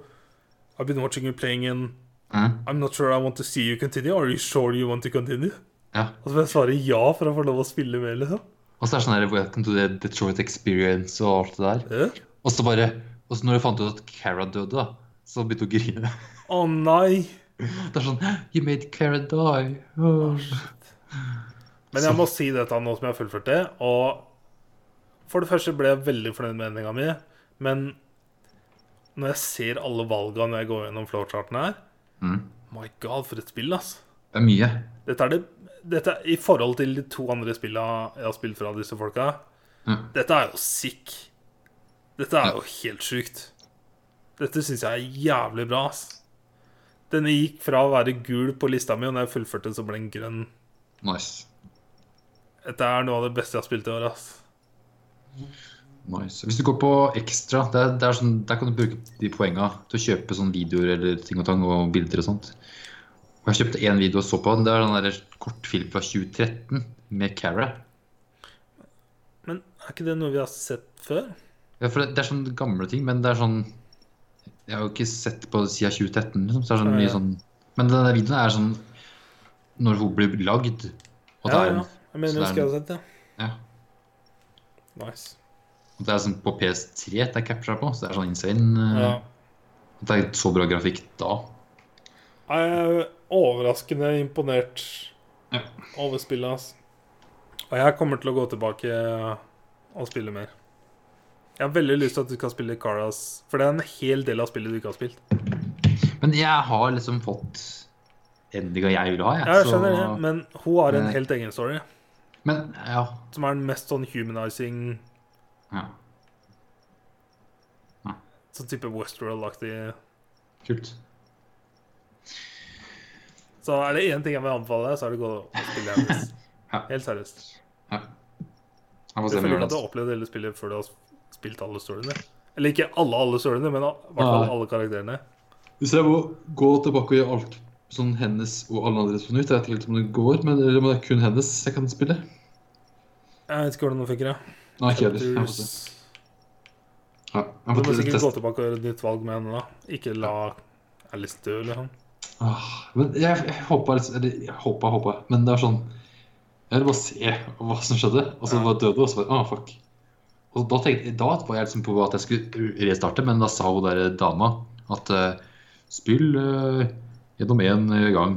I've been watching you playing and
Ja.
I'm not sure I want to see you continue. Are you sure you want to continue?
ja.
Og så får jeg svare ja for å få lov å spille med, liksom.
Og så er det sånn der Welcome to the Detroit Experience og alt det der.
Ja.
Og så bare Og så når jeg fant ut at Cara døde, da, så begynte hun å grine.
Å nei.
Det er sånn You made Cara die. Oh, Åh.
Men jeg må si dette nå som jeg har fullført det. Og for det første ble jeg veldig fornøyd med endinga mi. Men når jeg ser alle valga når jeg går gjennom flowcharten her
Mm.
My god, for et spill, ass.
Det er mye.
Dette er det dette, er- I forhold til de to andre spilla jeg har spilt fra disse folka
Mm.
Dette er jo sick. Dette er jo helt sjukt. Dette syns jeg er jævlig bra, ass. Denne gikk fra å være gul på lista mi, og når jeg fullførte, så ble den grønn.
Nice.
Dette er noe av det beste jeg har spilt i år, ass.
Nice. Hvis du går på ekstra, der, der, sånn, der kan du bruke de poenga til å kjøpe sånne videoer eller ting og tang og bilder og sånt. Og jeg kjøpte én video og så på den. Det er den der kortfilm fra 2013 med Cara.
Men er ikke det noe vi har sett før?
Ja, for det, det er sånne gamle ting, men det er sånn Jeg har jo ikke sett på det siden 2013, liksom. Så det er sånn
Ja, ja.
mye sånn Men den der videoen er sånn når hun blir lagd. Og det
ja,
er,
ja. Jeg
så det
mener jeg
er
husker jeg har sett det.
ja.
Nice.
Og det er sånn på PS3 det er capture på, så det er sånn insane. eh,
Ja.
At det er så bra grafikk da.
Jeg er overraskende imponert
Ja.
over spillet hans. Og jeg kommer til å gå tilbake og spille mer. Jeg har veldig lyst til at du skal spille Caras, for det er en hel del av spillet du ikke har spilt.
Men jeg har liksom fått endinga jeg ville ha. Jeg,
Jeg
så-
skjønner det, men hun har en
Nei.
helt egen story,
Men ja.
som er den mest sånn humanizing,
ja.
sånn type Westworld-aktig
Kult.
Så er det én ting jeg vil anbefale deg, så er det å gå og spille hennes.
Ja.
Helt seriøst.
Ja. Jeg får
Du
se om jeg
føler ikke
gjør
at du har
det.
opplevd hele spillet før du har spilt alle storyene? Eller ikke alle alle storyene, men i hvert fall
Nei.
alle karakterene.
Hvis jeg må gå tilbake og gjøre alt sånn hennes og alle andres på nytt, jeg vet ikke helt om det går, men eller om det er kun hennes jeg kan spille.
Jeg vet ikke hvordan det funker, jeg.
Nei, ikke heller. Jeg får se.
Du
Ja. Jeg
må
får
sikkert
teste.
gå tilbake og gjøre et nytt valg med henne, da. Ikke la Alice dø, liksom.
Ah, Men jeg, jeg håpa liksom Eller jeg håpa, håpa. Men det er sånn Jeg ville bare se hva som skjedde. Og så
Ja.
bare døde, og så bare ah, fuck. Og da, tenkte, da var jeg liksom på at jeg skulle restarte, men da sa hun der dama at eh, spill eh, gjennom én gang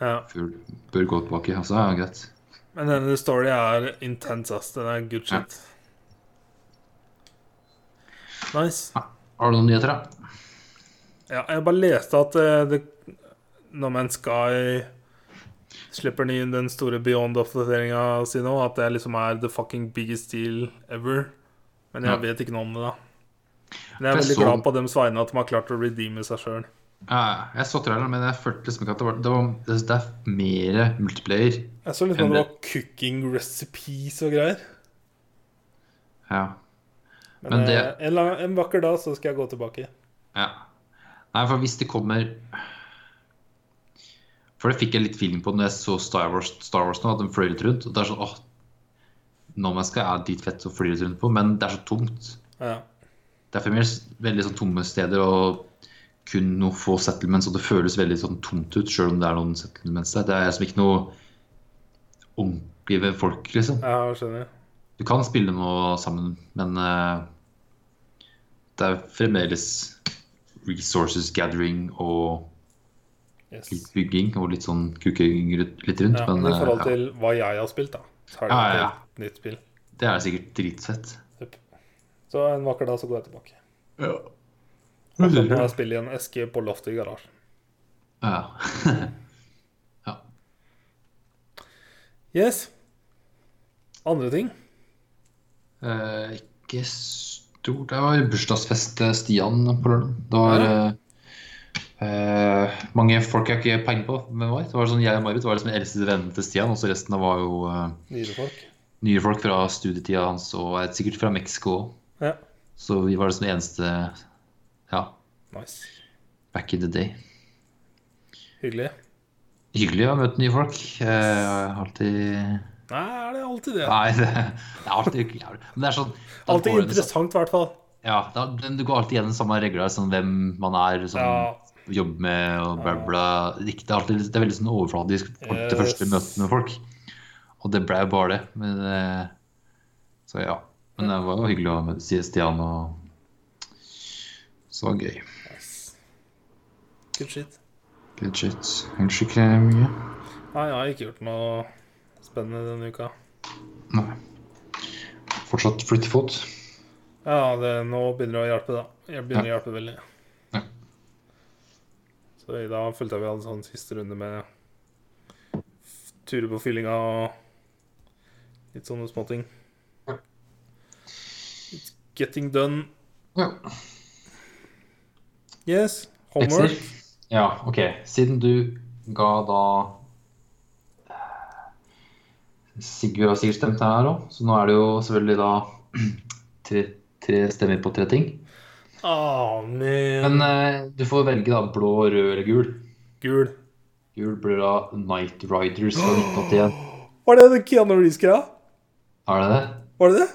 Ja.
før du bør gå tilbake. Altså, ja, greit.
Men denne storyen er intens, ass. Den er good shit. Nice.
Har du noen nyheter, da?
Ja, jeg bare leste at eh, det, No Man's Sky slipper eh, ny den store Beyond-oppdateringa si nå. At det liksom er the fucking biggest deal ever. Men jeg
Ja.
vet ikke noe om det, da. Men jeg er
Jeg
veldig
så-
glad på dems vegne at de har klart å redeeme seg sjøl.
Ja, jeg så traileren, men jeg følte liksom ikke at det var Det, var, det, det er mer multiplayer.
Jeg så
om det
liksom det
var
var cooking recipes og greier.
Ja.
Men,
Men det-
eh, en, la- en vakker dag så skal jeg gå tilbake.
Ja. Nei, for hvis det kommer For det fikk jeg litt feeling på når jeg så Star Wars, Star Wars nå, at den fløy litt rundt. Og det er sånn åh, nå man skal er dit fett å fly litt rundt på, men det er så tomt.
Ja.
Det er for meg veldig sånn tomme steder og kun noen få settlements, og det føles veldig sånn tomt ut, sjøl om det er noen settlements der. Det er liksom ikke noe ordentlig ved folk, liksom.
ja, skjønner.
Du kan spille noe sammen, men eh, det er fremdeles resources gathering og
Yes.
litt bygging og litt sånn kuking rundt- litt rundt.
Ja,
men
men i
eh,
forhold
ja,
til hva jeg har spilt, da, så er det
Ja, ja, ja.
et helt nytt spill.
det er sikkert dritfett.
Yep. Så en vakker dag så går jeg tilbake.
Ja.
Og så
Mhm.
må jeg spille i en eske på loftet i garasjen.
Ja.
Yes. Andre ting?
Eh, ikke stort. Det var bursdagsfest til Stian på lørdag. Det var eh, eh, mange folk jeg ikke peiling på hvem var. Det var sånn, jeg og Marit var liksom eldste vennen til Stian, og så resten av var jo eh,
Nyere folk.
nye folk fra studietida hans, og eh, sikkert fra Mexico òg.
Ja.
Så vi var liksom de eneste ja,
Nice.
back in the day.
Hyggelig.
Hyggelig å møte nye folk. Eh, alltid
Nei, er det alltid det?
Nei, det, det er alltid jævlig. Men det er sånn
Alltid interessant, i hvert fall.
Ja, da, men du går alltid gjennom samme regler, sånn hvem man er, sånn,
Ja.
jobber med og bla, bla. Det er ikke- det er, alltid, det er veldig sånn overfladisk for det første
Yes.
møtet med folk. Og det ble jo bare det. Men, eh, så ja. Men det var jo hyggelig å møte Sti- Stian, og så var det gøy.
Nice. Good shit.
Good shit. Kanskje ikke mye.
Nei, jeg har ikke gjort noe spennende denne uka.
Nei. Fortsatt flyttefot.
Ja, det, nå begynner det å hjelpe, da. Jeg begynner å hjelpe veldig.
Ja.
Så i dag følte jeg vi hadde en sånn siste runde med f- turer på fyllinga og litt sånne småting.
Ja.
It's getting done.
Ja.
Yes.
Lekser?
Homework.
Ja, ok. Siden du ga da eh, Sigurd har sikkert stemt her òg, så nå er det jo selvfølgelig da tre, tre stemmer på tre ting.
Ah,
Men
man.
eh, du får velge da blå, rød eller gul.
Gul.
Gul blir da Night Riders fra 1981.
Var det det Keanu Reeves-greia?
Er det det?
Var det det?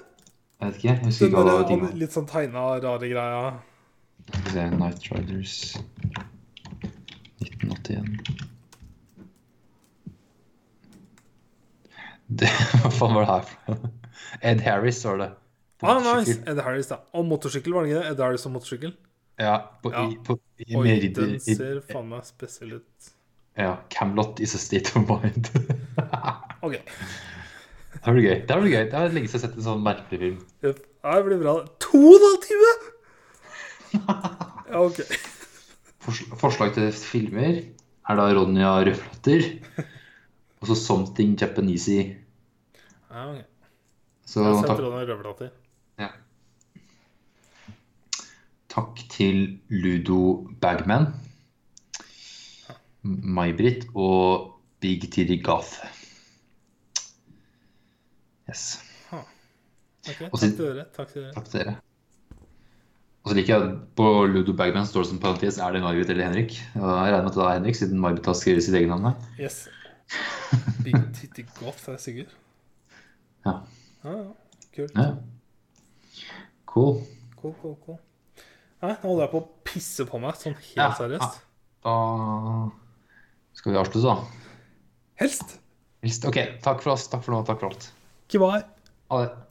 Jeg vet ikke. Jeg husker
Den
ikke hva det
der,
var.
han,
tinget.
litt sånn tegna, rare greia.
Skal vi se, Night Riders 1981 det, Hva faen var det her for noe? Ed Harris var det. På
Ah, nice.
motorsykkel.
Ed Harris, da. Og motorsykkel, var det ikke det? Ed Harris og motorsykkel?
Ja, på,
Ja.
I, på, i,
Oi,
med ridder-
den
i,
ser faen meg spesiell ut.
ja, Camelot is a state of mind. det
OK.
blir gøy. Det blir gøy. Det er lenge siden jeg har sett en sånn merkelig film.
Jep. Ja, Det blir bra. To og en halv time! Ja, OK.
Fors forslag til filmer er da Ronja Rødflatter og så Something Japanesey.
Ja, ok.
Så
Jeg
takk-
sendte Ronny Røverdatter.
Ja. Takk til Ludo Bagman, May-Britt og Big Titty Goth. Yes.
Ok,
Og
takk
siden-
til dere. Takk til dere.
Takk til dere. Og så liker jeg at På Ludo Bagman står det som parentes er det May-Britt eller Henrik. Og jeg regner med at det er Henrik, siden May-Britt har skrevet sitt eget navn her.
Yes. Big Titty Goth, det er Sigurd.
Ja.
Ja, ja. Kult.
ja. Cool.
Cool, cool, cool. Nei, nå holder jeg på å pisse på meg, sånn helt
Ja.
seriøst.
Da skal vi avslutte, da.
Helst.
Helst. OK. Takk for oss. Takk for nå. Takk for alt.
Goodbye.
Ha det.